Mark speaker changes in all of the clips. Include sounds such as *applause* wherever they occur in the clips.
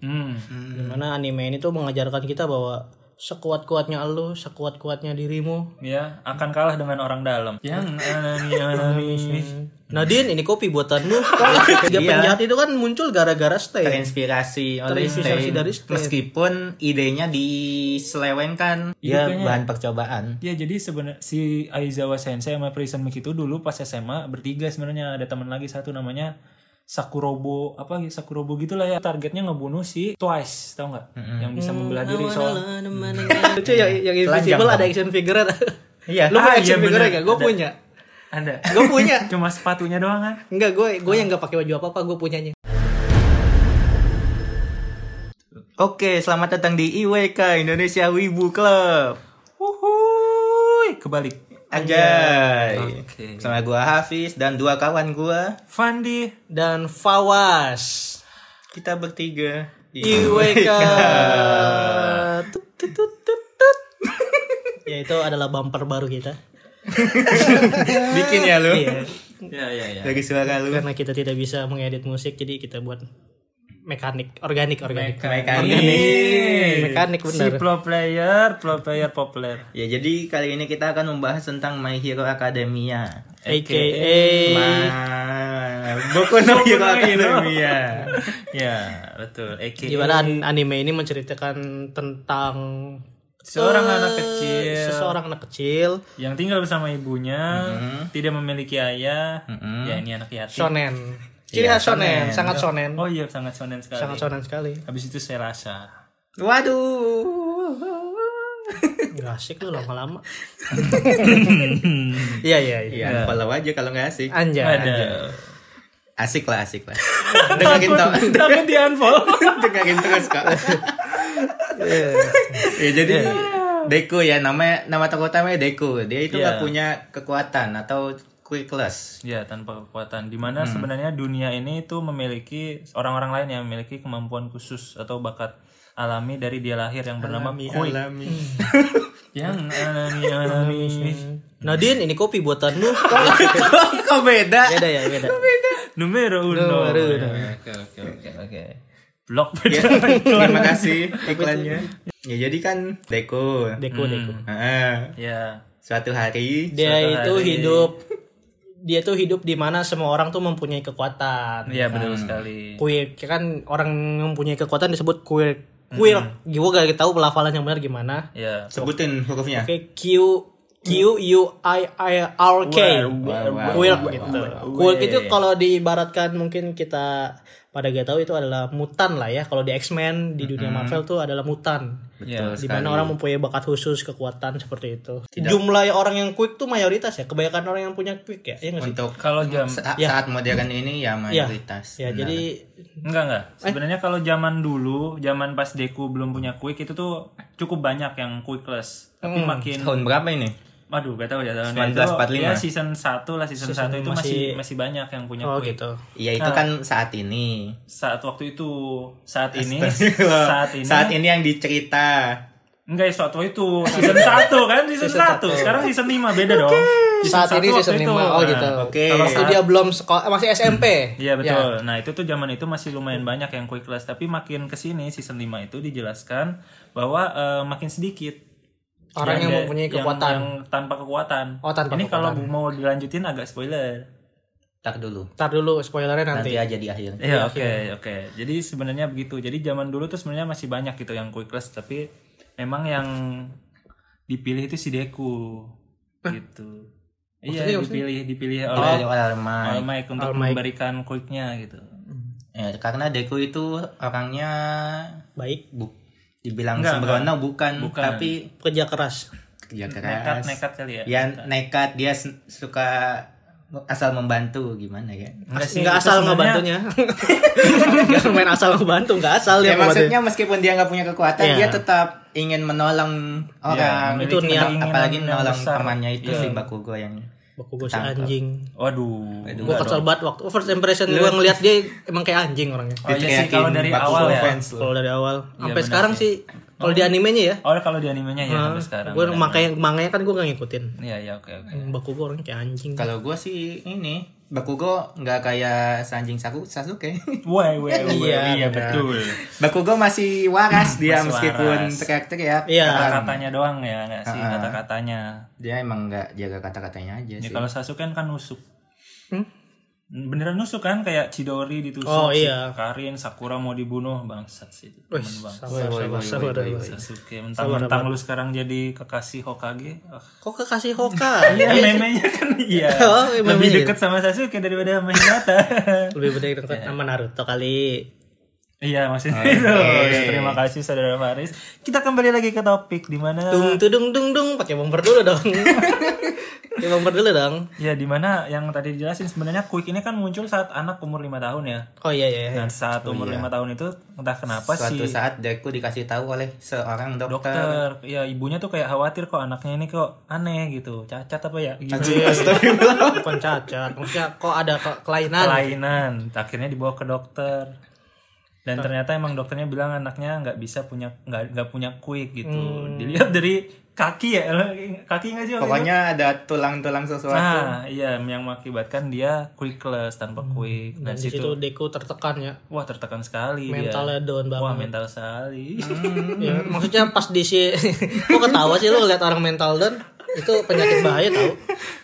Speaker 1: Hmm.
Speaker 2: Dimana anime ini tuh mengajarkan kita bahwa sekuat-kuatnya lu, sekuat-kuatnya dirimu.
Speaker 1: Ya, akan kalah dengan orang dalam. Yang
Speaker 3: Hmm.
Speaker 2: Nadine, ini kopi
Speaker 3: *laughs*
Speaker 2: buatanmu. Tiga penjahat itu kan muncul gara-gara stay.
Speaker 3: Iya. terinspirasi oleh
Speaker 2: Terinspirasi
Speaker 3: Stein.
Speaker 2: dari Stein.
Speaker 3: meskipun idenya diselewengkan ya
Speaker 1: kayaknya-
Speaker 3: bahan percobaan
Speaker 1: Ya jadi sebenarnya si Aizawa Sensei sama Prison Miki itu dulu pas SMA bertiga sebenarnya ada teman lagi satu namanya Sakurobo apa ya, Sakurobo gitulah ya targetnya ngebunuh si Twice tau nggak yang bisa membelah diri soal
Speaker 2: Lucu ya, yang invisible ada action figure.
Speaker 3: Iya.
Speaker 2: Lu punya
Speaker 1: Ah,
Speaker 2: action
Speaker 1: iya,
Speaker 2: figure
Speaker 1: bener.
Speaker 2: enggak? Gue
Speaker 1: Ada.
Speaker 2: punya.
Speaker 1: ada
Speaker 2: Gue punya.
Speaker 1: cuma sepatunya doang kan
Speaker 2: Enggak, gue gue
Speaker 3: Ah.
Speaker 2: yang enggak pakai baju apa-apa, gue punyanya.
Speaker 3: Oke, selamat datang di IWK Indonesia Wibu Club.
Speaker 2: Oh,
Speaker 1: Wuhuy kebalik
Speaker 2: iya.
Speaker 3: Anjay.
Speaker 1: Oke.
Speaker 3: Sama gua Hafiz dan dua kawan gua,
Speaker 1: Fandi
Speaker 2: Dan Fawas.
Speaker 3: kita bertiga.
Speaker 2: IWK. Tut, tut, tut, tut,
Speaker 3: *laughs*
Speaker 2: tut. ya itu adalah bumper baru kita.
Speaker 3: Bikin ya lu.
Speaker 2: Iya.
Speaker 1: ya ya ya
Speaker 3: Dari suara lu.
Speaker 2: Karena kita tidak bisa mengedit musik jadi kita buat mekanik, organik, organik. Mekanik
Speaker 1: si
Speaker 2: bener.
Speaker 1: pro player pro player populer
Speaker 3: Ya, jadi kali ini kita akan membahas tentang My Hero Academia.
Speaker 2: AKA
Speaker 3: Ma Boku no Hero Academia.
Speaker 1: ya betul Eki
Speaker 2: gimana an- anime ini menceritakan tentang
Speaker 1: Seorang
Speaker 2: eh,
Speaker 1: anak kecil.
Speaker 2: seseorang anak kecil
Speaker 1: yang tinggal bersama ibunya tidak memiliki ayah ya ini anak yatim
Speaker 2: shonen. Ciri khas shonen, sangat shonen.
Speaker 1: oh iya sangat shonen sekali
Speaker 2: Sangat shonen sekali.
Speaker 1: habis itu saya rasa
Speaker 3: Waduh.
Speaker 2: Gak asik lu lama-lama. Iya iya iya.
Speaker 3: Ya, follow aja kalau nggak asik.
Speaker 1: Ya,
Speaker 2: Anjay.
Speaker 1: Iya. ada
Speaker 3: Asik lah, asik lah. dengerin tau,
Speaker 1: takut di kan unfollow
Speaker 3: *laughs* dengerin terus kok. ya, jadi Deku ya namanya nama tokoh utamanya Deku. Dia itu nggak
Speaker 1: Iya.
Speaker 3: punya kekuatan atau quickless.
Speaker 1: *laughs* ya tanpa kekuatan dimana sebenarnya dunia ini itu memiliki orang-orang lain yang memiliki kemampuan khusus atau bakat alami dari dia lahir yang bernama Kui
Speaker 3: Alami. *laughs*
Speaker 1: *laughs* yang alami alami
Speaker 2: Hmm. Nadine, ini kopi buatanmu.
Speaker 1: *laughs*
Speaker 3: Oh, Kok beda?
Speaker 2: beda ya, beda.
Speaker 1: numero uno
Speaker 2: Baru.
Speaker 1: oke oke oke oke *laughs* blok
Speaker 3: Ya, terima kasih iklannya. Ya jadi kan Deku.
Speaker 2: Deku, deku.
Speaker 3: Heeh.
Speaker 1: ya
Speaker 3: suatu hari
Speaker 2: Dia
Speaker 1: Suatu
Speaker 2: itu
Speaker 1: hari.
Speaker 2: hidup dia tuh hidup di mana semua orang tuh mempunyai kekuatan.
Speaker 1: ya betul sekali
Speaker 2: Kuil kan orang yang mempunyai kekuatan disebut kuil. Kuil. Gue gak tahu pelafalan yang benar gimana.
Speaker 1: ya
Speaker 3: sebutin hurufnya.
Speaker 2: Oke, Q
Speaker 1: Mm.
Speaker 2: Q U I I R K.
Speaker 3: wow, wow,
Speaker 2: Quirk gitu. Quirk itu kalau diibaratkan mungkin kita pada gak tahu itu adalah mutan lah ya. Kalau di X-Men di dunia Marvel tuh adalah mutan.
Speaker 3: Betul
Speaker 2: Di
Speaker 3: sekali.
Speaker 2: mana orang mempunyai bakat khusus, kekuatan seperti itu. Jumlah orang yang quick tuh mayoritas ya. Kebanyakan orang yang punya quick ya. Iya nggak sih?
Speaker 3: Untuk
Speaker 1: kalau jam
Speaker 3: sa-
Speaker 2: Ya.
Speaker 3: saat modern ini ya
Speaker 2: Iya.
Speaker 3: mayoritas.
Speaker 2: Ya,
Speaker 3: Benar.
Speaker 2: jadi
Speaker 1: Enggak enggak.
Speaker 2: Eh?
Speaker 1: Sebenarnya kalau zaman dulu, zaman pas Deku belum punya Quick itu tuh cukup banyak yang Quickless.
Speaker 2: Hmm.
Speaker 1: Tapi makin
Speaker 3: tahun berapa ini?
Speaker 1: waduh gak tahu ya tahun Ya
Speaker 3: 1945.
Speaker 1: season 1 lah season,
Speaker 2: Season
Speaker 1: 1 itu masih
Speaker 2: masih-
Speaker 1: masih banyak yang punya
Speaker 2: oh
Speaker 1: Quick.
Speaker 2: gitu.
Speaker 3: Iya itu kan saat ini.
Speaker 1: Saat waktu itu, saat ini,
Speaker 3: *laughs* Loh,
Speaker 1: saat ini.
Speaker 3: Saat ini yang dicerita.
Speaker 1: Enggak, ya, saat waktu itu season 1 kan, season,
Speaker 2: Season
Speaker 1: 1.
Speaker 2: satu.
Speaker 1: Sekarang season 5 beda dong.
Speaker 2: Saat
Speaker 1: satu
Speaker 2: ini
Speaker 1: waktu
Speaker 2: season
Speaker 1: itu.
Speaker 2: 5. Oh
Speaker 1: Nah,
Speaker 2: gitu.
Speaker 3: Oke.
Speaker 1: Kalau
Speaker 2: Itu dia belum sekolah eh, masih SMP.
Speaker 1: Iya betul. Nah itu tuh zaman itu masih lumayan banyak yang quick class, tapi makin kesini season 5 itu dijelaskan bahwa eh, makin sedikit
Speaker 2: Orang yang
Speaker 1: ada-
Speaker 2: mempunyai
Speaker 1: yang-
Speaker 2: kekuatan.
Speaker 1: yang tanpa kekuatan.
Speaker 2: Oh, tanpa
Speaker 1: Ini kalau
Speaker 2: kekuatan.
Speaker 1: mau dilanjutin agak spoiler.
Speaker 3: Tak dulu.
Speaker 2: Ntar dulu spoilernya nanti.
Speaker 3: Nanti aja di akhir.
Speaker 1: Iya oke oke. Jadi sebenarnya begitu. Jadi zaman dulu tuh sebenarnya masih banyak gitu yang quick class, tapi memang yang dipilih itu si Deku gitu.
Speaker 2: Oh,
Speaker 1: Iya dipilih dipilih oleh
Speaker 3: Oleh oleh Alma.
Speaker 1: oleh Mike untuk memberikan quicknya gitu.
Speaker 3: Ya, karena Deku itu orangnya
Speaker 2: Baik,
Speaker 3: bu- dibilang
Speaker 1: Enggak,
Speaker 3: sembrono bukan,
Speaker 1: Bukan.
Speaker 3: tapi
Speaker 2: kerja keras.
Speaker 3: kerja
Speaker 1: Nekat
Speaker 3: keras.
Speaker 1: nekat kali ya.
Speaker 3: Ya nekat dia s- suka asal membantu gimana ya.
Speaker 1: Enggak sih,
Speaker 2: nggak
Speaker 1: itu
Speaker 2: asal
Speaker 1: sebenarnya-
Speaker 2: ngebantunya *laughs* nggak main asal ngebantu nggak asal
Speaker 3: Ya
Speaker 2: dia ngebantunya
Speaker 3: maksudnya meskipun dia nggak punya kekuatan
Speaker 2: Iya.
Speaker 3: dia tetap ingin menolong
Speaker 1: Iya,
Speaker 3: orang
Speaker 1: memiliki
Speaker 2: itu niat.
Speaker 1: keinginan
Speaker 3: apalagi
Speaker 1: yang
Speaker 3: menolong
Speaker 1: besar.
Speaker 3: temannya itu
Speaker 1: Iya.
Speaker 3: si Bakugo yang
Speaker 2: Baku gue si
Speaker 3: Tangkap.
Speaker 2: anjing
Speaker 1: Waduh. Waduh.
Speaker 2: gue kesel banget waktu first impression gue ngeliat dia emang kayak anjing orangnya
Speaker 1: Oh iya sih kalau dari
Speaker 3: Bakugo
Speaker 1: awal ya.
Speaker 3: fans lu.
Speaker 2: kalau dari awal sampai
Speaker 1: benar
Speaker 2: sekarang sih kalau di animenya ya
Speaker 1: Oh kalau di animenya ya sampai sekarang.
Speaker 2: gue makanya makanya kan gue nggak ngikutin
Speaker 1: Iya iya oke oke.
Speaker 2: Baku gue orangnya kayak anjing
Speaker 3: Kalau gue sih ini Bakugo nggak kayak Sanjing Saku Sasuke. *laughs*
Speaker 1: Wah, wah,
Speaker 2: Iya,
Speaker 1: wah,
Speaker 2: benar. Kan.
Speaker 1: iya betul.
Speaker 3: Bakugo masih waras dia
Speaker 1: Hmm, Masih
Speaker 3: meskipun
Speaker 1: waras.
Speaker 3: teriak-teriak.
Speaker 2: Iya.
Speaker 3: Kan.
Speaker 1: Kata-katanya doang ya, nggak sih
Speaker 3: Ah.
Speaker 1: kata-katanya.
Speaker 3: Dia emang nggak jaga kata-katanya aja
Speaker 1: Ya
Speaker 3: sih.
Speaker 1: kalau Sasuke kan kan nusuk.
Speaker 2: Iya Hmm?
Speaker 1: Beneran nusuk kan kayak Chidori ditusuk.
Speaker 2: Oh,
Speaker 1: si
Speaker 2: iya.
Speaker 1: Karin Sakura mau dibunuh bangsat sih.
Speaker 2: Wih,
Speaker 1: Temen bang.
Speaker 2: sabar,
Speaker 3: Woi,
Speaker 2: sabar,
Speaker 3: woi,
Speaker 2: sabar,
Speaker 3: woi, woi,
Speaker 2: sabar.
Speaker 1: Sasuke mentang-mentang lu sekarang jadi kekasih Hokage. Ah.
Speaker 2: Kok kekasih Hoka?
Speaker 1: Iya, memenya kan iya.
Speaker 2: *laughs* Oh, iya,
Speaker 1: Lebih
Speaker 2: memenya
Speaker 1: deket sama Sasuke daripada sama Hinata. *laughs*
Speaker 2: Lebih baik dengan
Speaker 3: Iya.
Speaker 2: nama Naruto kali.
Speaker 1: iya, maksudnya itu. Terima kasih saudara Faris. Kita kembali lagi ke topik di mana
Speaker 2: Dung tudung dung dung pakai bumper dulu
Speaker 3: *laughs*
Speaker 2: dong. pakai bumper dulu dong.
Speaker 1: ya di mana yang tadi dijelasin sebenarnya Quick ini kan muncul saat anak umur 5 tahun ya.
Speaker 2: Oh iya iya. iya.
Speaker 1: Dan saat umur lima tahun itu entah kenapa
Speaker 3: Suatu
Speaker 1: sih
Speaker 3: saat Deku dikasih tahu oleh seorang dokter.
Speaker 1: dokter ya ibunya tuh kayak khawatir kok anaknya ini kok aneh gitu cacat apa ya gitu
Speaker 3: Iya,
Speaker 2: *laughs*
Speaker 3: Astagfirullah.
Speaker 2: Bukan cacat, maksudnya kok ada ke kelainan.
Speaker 1: kelainan akhirnya dibawa ke dokter dan ternyata emang dokternya bilang anaknya nggak bisa punya nggak nggak punya quick gitu dilihat dari kaki ya *laughs* kaki nggak sih waktu itu?
Speaker 3: Pokoknya ada tulang-tulang sesuatu.
Speaker 1: nah iya yang mengakibatkan dia quickless tanpa quick
Speaker 2: Dan
Speaker 1: dan
Speaker 2: di
Speaker 3: gitu.
Speaker 2: situ
Speaker 1: situ
Speaker 2: Deku tertekan ya.
Speaker 1: wah tertekan
Speaker 3: Iya.
Speaker 1: sekali
Speaker 2: Mentalnya down
Speaker 1: dia wah
Speaker 2: banget.
Speaker 1: mental sekali
Speaker 2: Ya, maksudnya pas di si *laughs* kok ketawa sih lu lihat orang mental down itu penyakit bahaya tau.
Speaker 1: *laughs*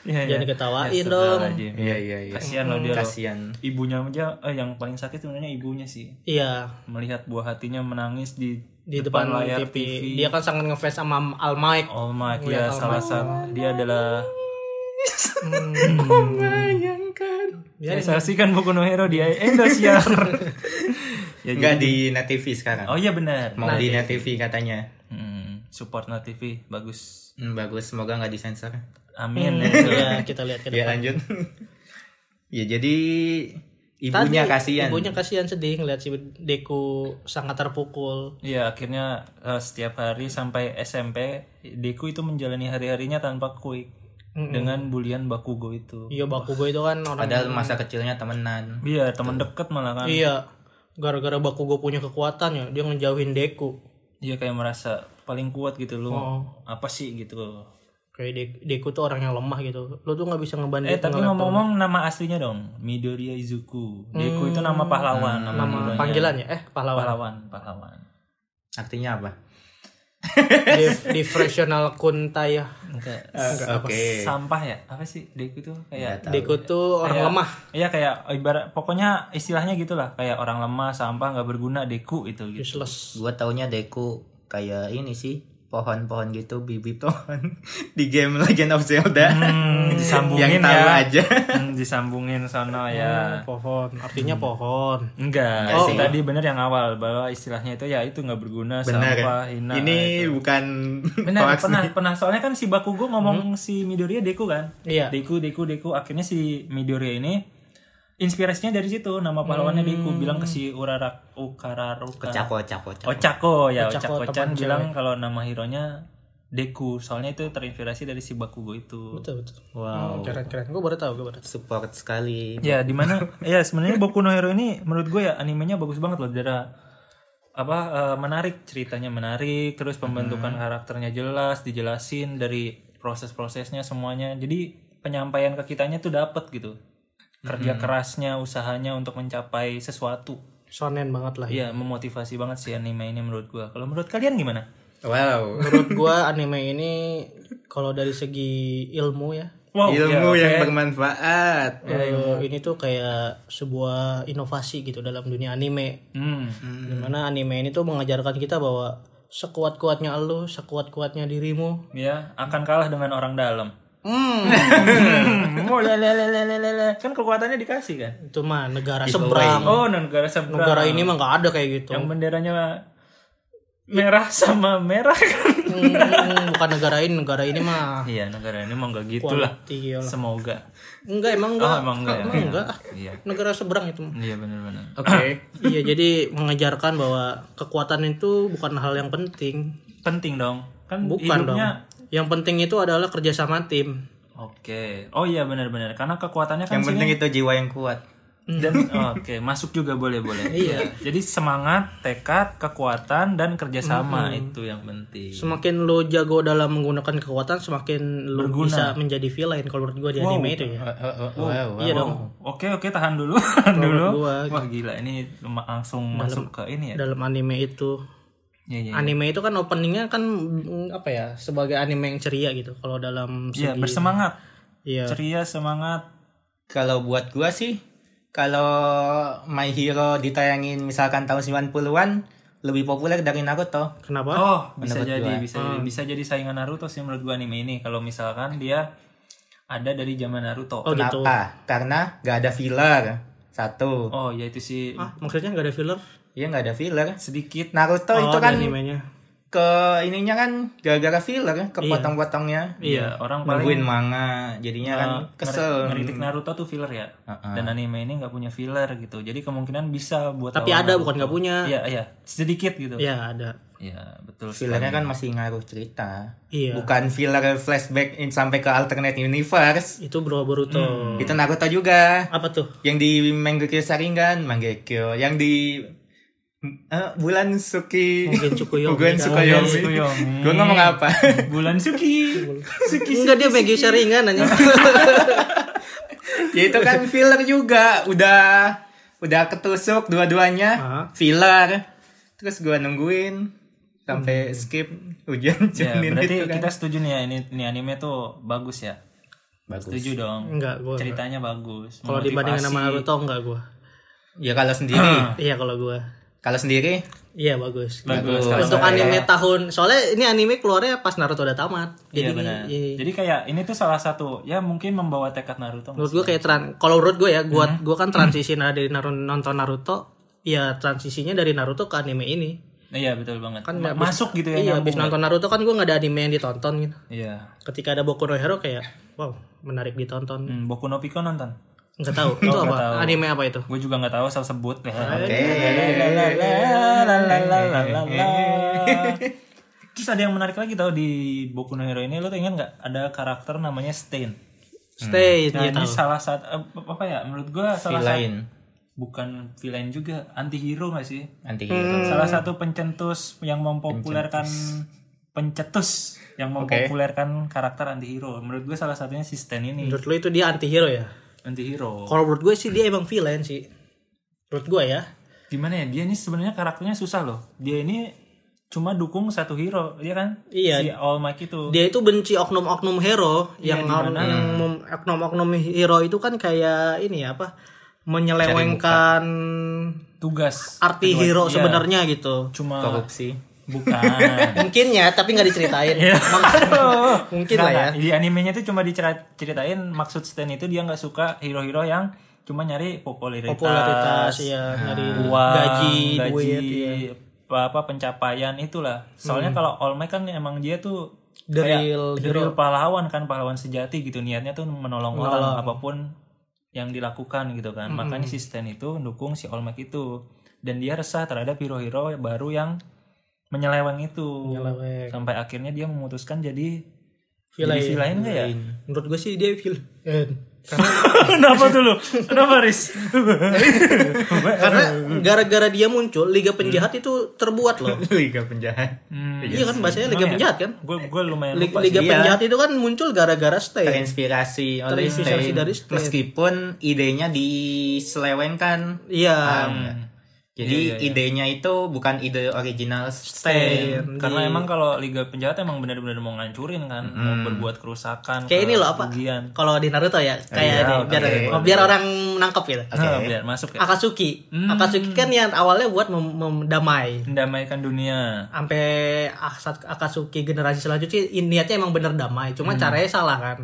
Speaker 1: Iya,
Speaker 2: Jangan
Speaker 1: iya.
Speaker 2: diketawain
Speaker 1: Ya,
Speaker 2: dong.
Speaker 1: astagfirullahaladzim.
Speaker 3: Iya iya iya.
Speaker 1: kasihan loh dia loh.
Speaker 3: Kasihan.
Speaker 1: ibunya aja eh, yang paling sakit sebenarnya ibunya sih
Speaker 2: Iya,
Speaker 1: melihat buah hatinya menangis di
Speaker 2: di depan,
Speaker 1: layar
Speaker 2: TV.
Speaker 1: TV,
Speaker 2: Dia kan sangat ngefans sama Al Mike.
Speaker 1: All Might ya salah satu dia adalah *laughs* ya, saksikan buku no hero di Indosiar ya
Speaker 3: Nggak
Speaker 1: jadi-
Speaker 3: di Net TV sekarang.
Speaker 1: oh iya benar
Speaker 3: Mau di Net TV katanya.
Speaker 1: hmm, support Net TV bagus
Speaker 3: Hmm, bagus, semoga nggak disensor.
Speaker 1: amin gitu
Speaker 2: Iya, kita lihat ke
Speaker 3: Ya
Speaker 2: depan.
Speaker 3: lanjut. *laughs* ya jadi ibunya
Speaker 2: Tadi,
Speaker 3: kasihan.
Speaker 2: Ibunya kasihan sedih ngeliat si Deku sangat terpukul.
Speaker 1: Iya akhirnya eh, setiap hari sampai SMP Deku itu menjalani hari-harinya tanpa kuik dengan bulian Bakugo itu.
Speaker 2: Iya Bakugo itu kan orang
Speaker 3: Padahal masa kecilnya temenan.
Speaker 1: Iya teman dekat malah kan.
Speaker 2: Iya Gara-gara Bakugo punya kekuatan ya Dia ngejauhin Deku
Speaker 1: Dia kayak merasa paling kuat gitu loh.
Speaker 2: Oh.
Speaker 1: Apa sih gitu.
Speaker 2: Kayak De- Deku tuh orang yang lemah gitu Lo tuh gak bisa ngebanding
Speaker 1: Eh tapi ngomong-ngomong nama aslinya dong Midoriya Izuku. Deku itu nama pahlawan, Hmm. nama,
Speaker 2: Nama
Speaker 1: hero-nya.
Speaker 2: panggilan ya Eh pahlawan
Speaker 1: pahlawan, pahlawan.
Speaker 3: Artinya apa?
Speaker 2: Di- Diffrational Kuntaya
Speaker 1: Enggak.
Speaker 3: Oke.
Speaker 1: Sampah ya? Apa sih Deku itu kayak
Speaker 2: Deku tuh orang
Speaker 1: Kayak-
Speaker 2: lemah
Speaker 1: Iya kayak ibarat pokoknya istilahnya gitulah kayak orang lemah, sampah, nggak berguna, deku itu gitu.
Speaker 2: Useless
Speaker 3: Gua taunya Deku kayak ini sih pohon-pohon gitu bibit pohon *laughs* di game Legend of Zelda
Speaker 1: Hmm,
Speaker 3: *laughs* yang
Speaker 1: disambungin
Speaker 3: tahu
Speaker 1: ya.
Speaker 3: aja
Speaker 1: *laughs* Hmm, disambungin sono ya.
Speaker 2: Pohon Artinya pohon
Speaker 1: Enggak,
Speaker 3: Oh.
Speaker 1: sih. tadi bener yang awal bahwa istilahnya itu ya itu nggak berguna,
Speaker 3: benar kan?
Speaker 1: sampah, hina.
Speaker 3: ini
Speaker 1: itu.
Speaker 3: bukan
Speaker 1: benar
Speaker 3: hoax Hmm.
Speaker 1: pernah pernah soalnya kan si Bakugo ngomong si Midoriya Deku kan.
Speaker 2: Iya
Speaker 1: Deku Deku Deku akhirnya si Midoriya ini inspirasinya dari situ nama pahlawannya
Speaker 3: Hmm.
Speaker 1: Deku bilang ke si Urarak Ukararuka.
Speaker 3: cako cako cako
Speaker 1: Ocako ya
Speaker 2: Ochako, teman
Speaker 1: Ocako, Chan bilang kalau nama hero-nya Deku soalnya itu terinspirasi dari si Bakugo itu
Speaker 2: Betul betul Hmm,
Speaker 3: wow
Speaker 2: Keren-keren Gue baru tau Gue baru tau
Speaker 3: support sekali
Speaker 1: ya di mana *laughs* ya sebenarnya Boku no Hero ini menurut gue ya animenya bagus banget loh Dara apa eh, menarik ceritanya menarik terus pembentukan karakternya jelas dijelasin dari proses-prosesnya semuanya jadi penyampaian ke kitanya tuh dapet gitu kerja kerasnya usahanya untuk mencapai sesuatu
Speaker 2: Sonen banget lah
Speaker 1: ya memotivasi banget sih anime ini menurut gue kalau menurut kalian gimana
Speaker 3: wow
Speaker 2: Menurut gua anime ini Kalau dari segi ilmu ya
Speaker 1: Wow,
Speaker 3: ilmu
Speaker 1: ya,
Speaker 3: yang
Speaker 1: oke.
Speaker 3: bermanfaat
Speaker 1: Iya,
Speaker 2: Eh, ini tuh kayak sebuah inovasi gitu dalam dunia anime.
Speaker 1: Hmm.
Speaker 2: Dimana anime ini tuh mengajarkan kita bahwa sekuat-kuatnya lu, sekuat-kuatnya dirimu.
Speaker 1: ya akan kalah dengan orang dalam.
Speaker 2: Hmm,
Speaker 1: Oh, lelelelelelele. kan kekuatannya dikasih kan.
Speaker 2: *laughs* itu mah negara seberang.
Speaker 1: Oh, negara seberang.
Speaker 2: Negara ini mah nggak ada kayak gitu.
Speaker 1: yang benderanya merah sama merah kan.
Speaker 2: Hmm, bukan negara ini, negara ini mah
Speaker 1: Iya, negara ini emang gak gitu lah.
Speaker 2: quality. ya.
Speaker 1: Semoga.
Speaker 2: Enggak, emang
Speaker 1: Oh,
Speaker 2: enggak.
Speaker 1: emang enggak ya.
Speaker 2: Emang enggak.
Speaker 1: Iya.
Speaker 2: Negara seberang itu. mah.
Speaker 1: Iya benar-benar.
Speaker 3: oke
Speaker 2: iya, jadi mengajarkan bahwa kekuatan itu bukan hal yang penting.
Speaker 1: Penting dong. Kan
Speaker 2: Bukan
Speaker 1: hidupnya
Speaker 2: dong. Yang penting itu adalah kerjasama tim.
Speaker 1: Oke. Oh iya benar-benar. Karena kekuatannya kan
Speaker 3: yang
Speaker 1: sini
Speaker 3: penting itu jiwa yang kuat
Speaker 1: dan oke masuk juga boleh boleh iya jadi semangat tekad kekuatan dan kerjasama
Speaker 2: Hmm.
Speaker 1: itu yang penting
Speaker 2: Semakin lo jago dalam menggunakan kekuatan, semakin lo
Speaker 1: Berguna.
Speaker 2: bisa menjadi villain kalau menurut gua di anime itu ya.
Speaker 3: Oh,
Speaker 2: Iya dong.
Speaker 1: oke oke tahan dulu tahan *laughs* dulu
Speaker 2: gua,
Speaker 1: wah gila ini lem- langsung masuk ke ini ya
Speaker 2: Dalam anime itu,
Speaker 1: Iya, iya.
Speaker 2: anime itu kan openingnya kan mm, apa ya sebagai anime yang ceria gitu. Kalau dalam
Speaker 1: Iya,
Speaker 2: segi-
Speaker 1: bersemangat
Speaker 2: Iya.
Speaker 1: ceria semangat
Speaker 3: Kalau buat gua sih, kalau My Hero ditayangin misalkan tahun 90-an, lebih populer dari Naruto.
Speaker 2: Kenapa?
Speaker 1: oh bisa
Speaker 3: Pendapat
Speaker 1: jadi
Speaker 3: gua.
Speaker 1: bisa
Speaker 2: Hmm.
Speaker 1: jadi bisa jadi saingan Naruto sih menurut gua anime ini kalau misalkan dia ada dari zaman Naruto
Speaker 2: Oh, gitu.
Speaker 3: Kenapa? Karena gak ada filler. Satu.
Speaker 1: oh ya itu sih
Speaker 2: Ah, maksudnya nggak ada filler?
Speaker 3: Iya nggak ada filler.
Speaker 1: sedikit
Speaker 3: Naruto
Speaker 2: Oh,
Speaker 3: itu
Speaker 2: di
Speaker 3: kan
Speaker 2: animenya.
Speaker 3: ke ininya kan gara-gara filler, kepotong-potongnya.
Speaker 1: Iya, orang paling
Speaker 3: Nungguin manga, jadinya kan
Speaker 1: uh,
Speaker 3: kesel.
Speaker 1: ngeri- ngeritik Naruto tuh filler ya.
Speaker 3: Uh-uh.
Speaker 1: Dan anime ini nggak punya filler gitu. Jadi kemungkinan bisa buat
Speaker 2: Tapi
Speaker 1: lawan
Speaker 2: ada
Speaker 1: Naruto.
Speaker 2: bukan nggak punya.
Speaker 1: Iya, iya, sedikit gitu.
Speaker 2: Iya, ada.
Speaker 1: Iya, betul.
Speaker 3: Fillernya kan masih ngaruh cerita.
Speaker 2: Iya.
Speaker 3: Bukan filler flashback in sampai ke alternate universe.
Speaker 2: Itu Bro Boruto.
Speaker 1: Hmm.
Speaker 3: Itu Naruto juga.
Speaker 2: Apa tuh?
Speaker 3: Yang di Mangekyo Sharingan, Mangekyo. Yang di eh, bulan Suki.
Speaker 2: Mungkin Tsukuyomi.
Speaker 3: *laughs* Bulan
Speaker 2: kan?
Speaker 1: Bulan
Speaker 3: Tsukuyomi.
Speaker 1: Tsukuyomi.
Speaker 3: Gue ngomong apa? *laughs*
Speaker 1: Bulan Suki.
Speaker 2: Enggak dia Maggie Sharingan nanya.
Speaker 1: *laughs*
Speaker 3: ya itu kan filler juga. Udah udah ketusuk dua-duanya.
Speaker 2: Hah?
Speaker 3: Filler. Terus gua nungguin sampai skip hujan
Speaker 1: ya,
Speaker 3: Junin
Speaker 1: berarti
Speaker 3: itu kan.
Speaker 1: kita setuju nih ya ini, ini anime tuh bagus ya.
Speaker 3: Bagus.
Speaker 1: Setuju dong.
Speaker 2: Enggak gua.
Speaker 1: Ceritanya bagus.
Speaker 2: Kalau dibandingin sama
Speaker 1: memotivasi.
Speaker 2: Naruto enggak gua.
Speaker 3: Ya kalau
Speaker 2: *clears throat*
Speaker 3: sendiri,
Speaker 2: Iya kalau gua.
Speaker 3: kalau sendiri
Speaker 2: Iya bagus.
Speaker 1: bagus.
Speaker 3: Bagus.
Speaker 2: Untuk
Speaker 3: Iya.
Speaker 2: anime tahun soalnya ini anime keluarnya pas Naruto udah tamat. Jadi
Speaker 1: Iya
Speaker 2: ini-
Speaker 1: benar.
Speaker 2: iya.
Speaker 1: Jadi kayak ini tuh salah satu ya mungkin membawa tekad Naruto.
Speaker 2: menurut gue kayak tran kalau menurut gue ya gue
Speaker 1: Hmm.
Speaker 2: gua kan transisi nah dari Naruto nonton Naruto ya transisinya dari Naruto ke anime ini
Speaker 1: Iya betul banget.
Speaker 2: Kan
Speaker 1: Ma-
Speaker 2: nggak
Speaker 1: masuk gitu ya.
Speaker 2: iya
Speaker 1: nyambung
Speaker 2: abis
Speaker 1: ya.
Speaker 2: nonton Naruto kan gue nggak ada anime yang ditonton gitu
Speaker 1: Iya.
Speaker 2: ketika ada Boku no Hero kayak wow menarik ditonton
Speaker 1: Hmm, Boku no Pico nonton.
Speaker 2: nggak
Speaker 1: *laughs*
Speaker 2: tahu itu apa
Speaker 1: tahu.
Speaker 2: anime apa itu
Speaker 1: Gue juga nggak tahu asal sebut. *laughs* Terus ada yang menarik lagi tau di Boku no Hero ini lo tuh ingat nggak ada karakter namanya Stain.
Speaker 2: Stay
Speaker 1: Nah,
Speaker 2: iya
Speaker 1: ini
Speaker 2: tahu
Speaker 1: salah satu eh, apa ya menurut gua salah satu
Speaker 3: lain
Speaker 1: bukan villain juga anti hero gak sih?
Speaker 3: anti
Speaker 1: *laughs*
Speaker 2: Hmm.
Speaker 3: hero.
Speaker 1: Salah satu pencetus yang mempopulerkan pencetus yang mempopulerkan karakter anti hero. Menurut gue salah satunya si Stain ini
Speaker 2: menurut lu itu dia anti hero ya
Speaker 1: anti hero.
Speaker 2: kalau menurut gue sih dia emang villain sih menurut gue ya
Speaker 1: gimana ya dia ini sebenarnya karakternya susah loh dia ini cuma dukung satu hero dia kan
Speaker 2: Iya.
Speaker 1: si All Might itu
Speaker 2: dia itu benci oknum-oknum hero yang or- yang
Speaker 1: Hmm.
Speaker 2: mem- oknum-oknum hero itu kan kayak ini ya apa menyelewengkan
Speaker 1: tugas
Speaker 2: arti hero
Speaker 1: Iya.
Speaker 2: sebenarnya gitu
Speaker 1: cuma
Speaker 3: korupsi.
Speaker 1: bukan
Speaker 2: mungkin ya tapi nggak diceritain
Speaker 1: *laughs* Iya.
Speaker 2: Mungkin lah ya.
Speaker 1: di animenya tuh cuma diceritain maksud Stan itu dia nggak suka hero-hero yang cuma nyari popularitas,
Speaker 2: popularitas ya nyari
Speaker 1: uang,
Speaker 2: gaji,
Speaker 1: gaji,
Speaker 2: duit ya.
Speaker 1: apa, apa pencapaian itulah soalnya kalau All Might kan emang dia tuh
Speaker 2: The
Speaker 1: kayak
Speaker 2: real
Speaker 1: the real pahlawan kan pahlawan sejati gitu niatnya tuh menolong orang apapun yang dilakukan gitu kan
Speaker 2: Hmm.
Speaker 1: makanya si Stan itu mendukung si All Might itu dan dia resah terhadap hero-hero baru yang menyeleweng itu
Speaker 2: Menyeleweng.
Speaker 1: sampai akhirnya dia memutuskan jadi
Speaker 2: Villain.
Speaker 1: jadi villain nggak ya
Speaker 2: menurut gue sih dia villain
Speaker 1: *laughs* kenapa tuh lu kenapa
Speaker 2: *laughs*
Speaker 1: Riz
Speaker 2: karena gara-gara dia muncul liga penjahat
Speaker 1: Hmm.
Speaker 2: itu terbuat loh
Speaker 1: *laughs*
Speaker 3: Liga penjahat.
Speaker 2: iya kan bahasanya
Speaker 1: ya?
Speaker 2: liga penjahat kan
Speaker 1: gue gue Hmm, lumayan
Speaker 2: Liga,
Speaker 1: lupa sih.
Speaker 2: liga
Speaker 3: iya.
Speaker 2: penjahat itu kan muncul gara-gara stay
Speaker 3: Terinspirasi oleh
Speaker 2: Terinspirasi
Speaker 3: Stein.
Speaker 2: dari Stein.
Speaker 3: Meskipun idenya diselewengkan.
Speaker 1: Ah,
Speaker 2: iya
Speaker 3: Paham nggak? Jadi idenya itu bukan ide original
Speaker 2: Stay.
Speaker 3: Stein.
Speaker 1: karena emang
Speaker 2: gitu.
Speaker 1: kalau liga penjahat emang benar-benar mau ngancurin kan mau berbuat kerusakan
Speaker 2: Hmm. Kayak ini loh apa?
Speaker 1: kerugian.
Speaker 2: Kalau di Naruto
Speaker 1: Oh
Speaker 2: ya kayak di-
Speaker 3: Iya,
Speaker 2: biar
Speaker 3: oke.
Speaker 2: biar orang nangkep gitu.
Speaker 1: Nah, biar masuk ya
Speaker 2: Akatsuki. Akatsuki kan yang awalnya buat mem- mendamai.
Speaker 1: mendamaikan dunia
Speaker 2: Sampai Asa- Akatsuki generasi selanjutnya i- niatnya emang bener damai, cuma
Speaker 1: Hmm.
Speaker 2: caranya salah kan.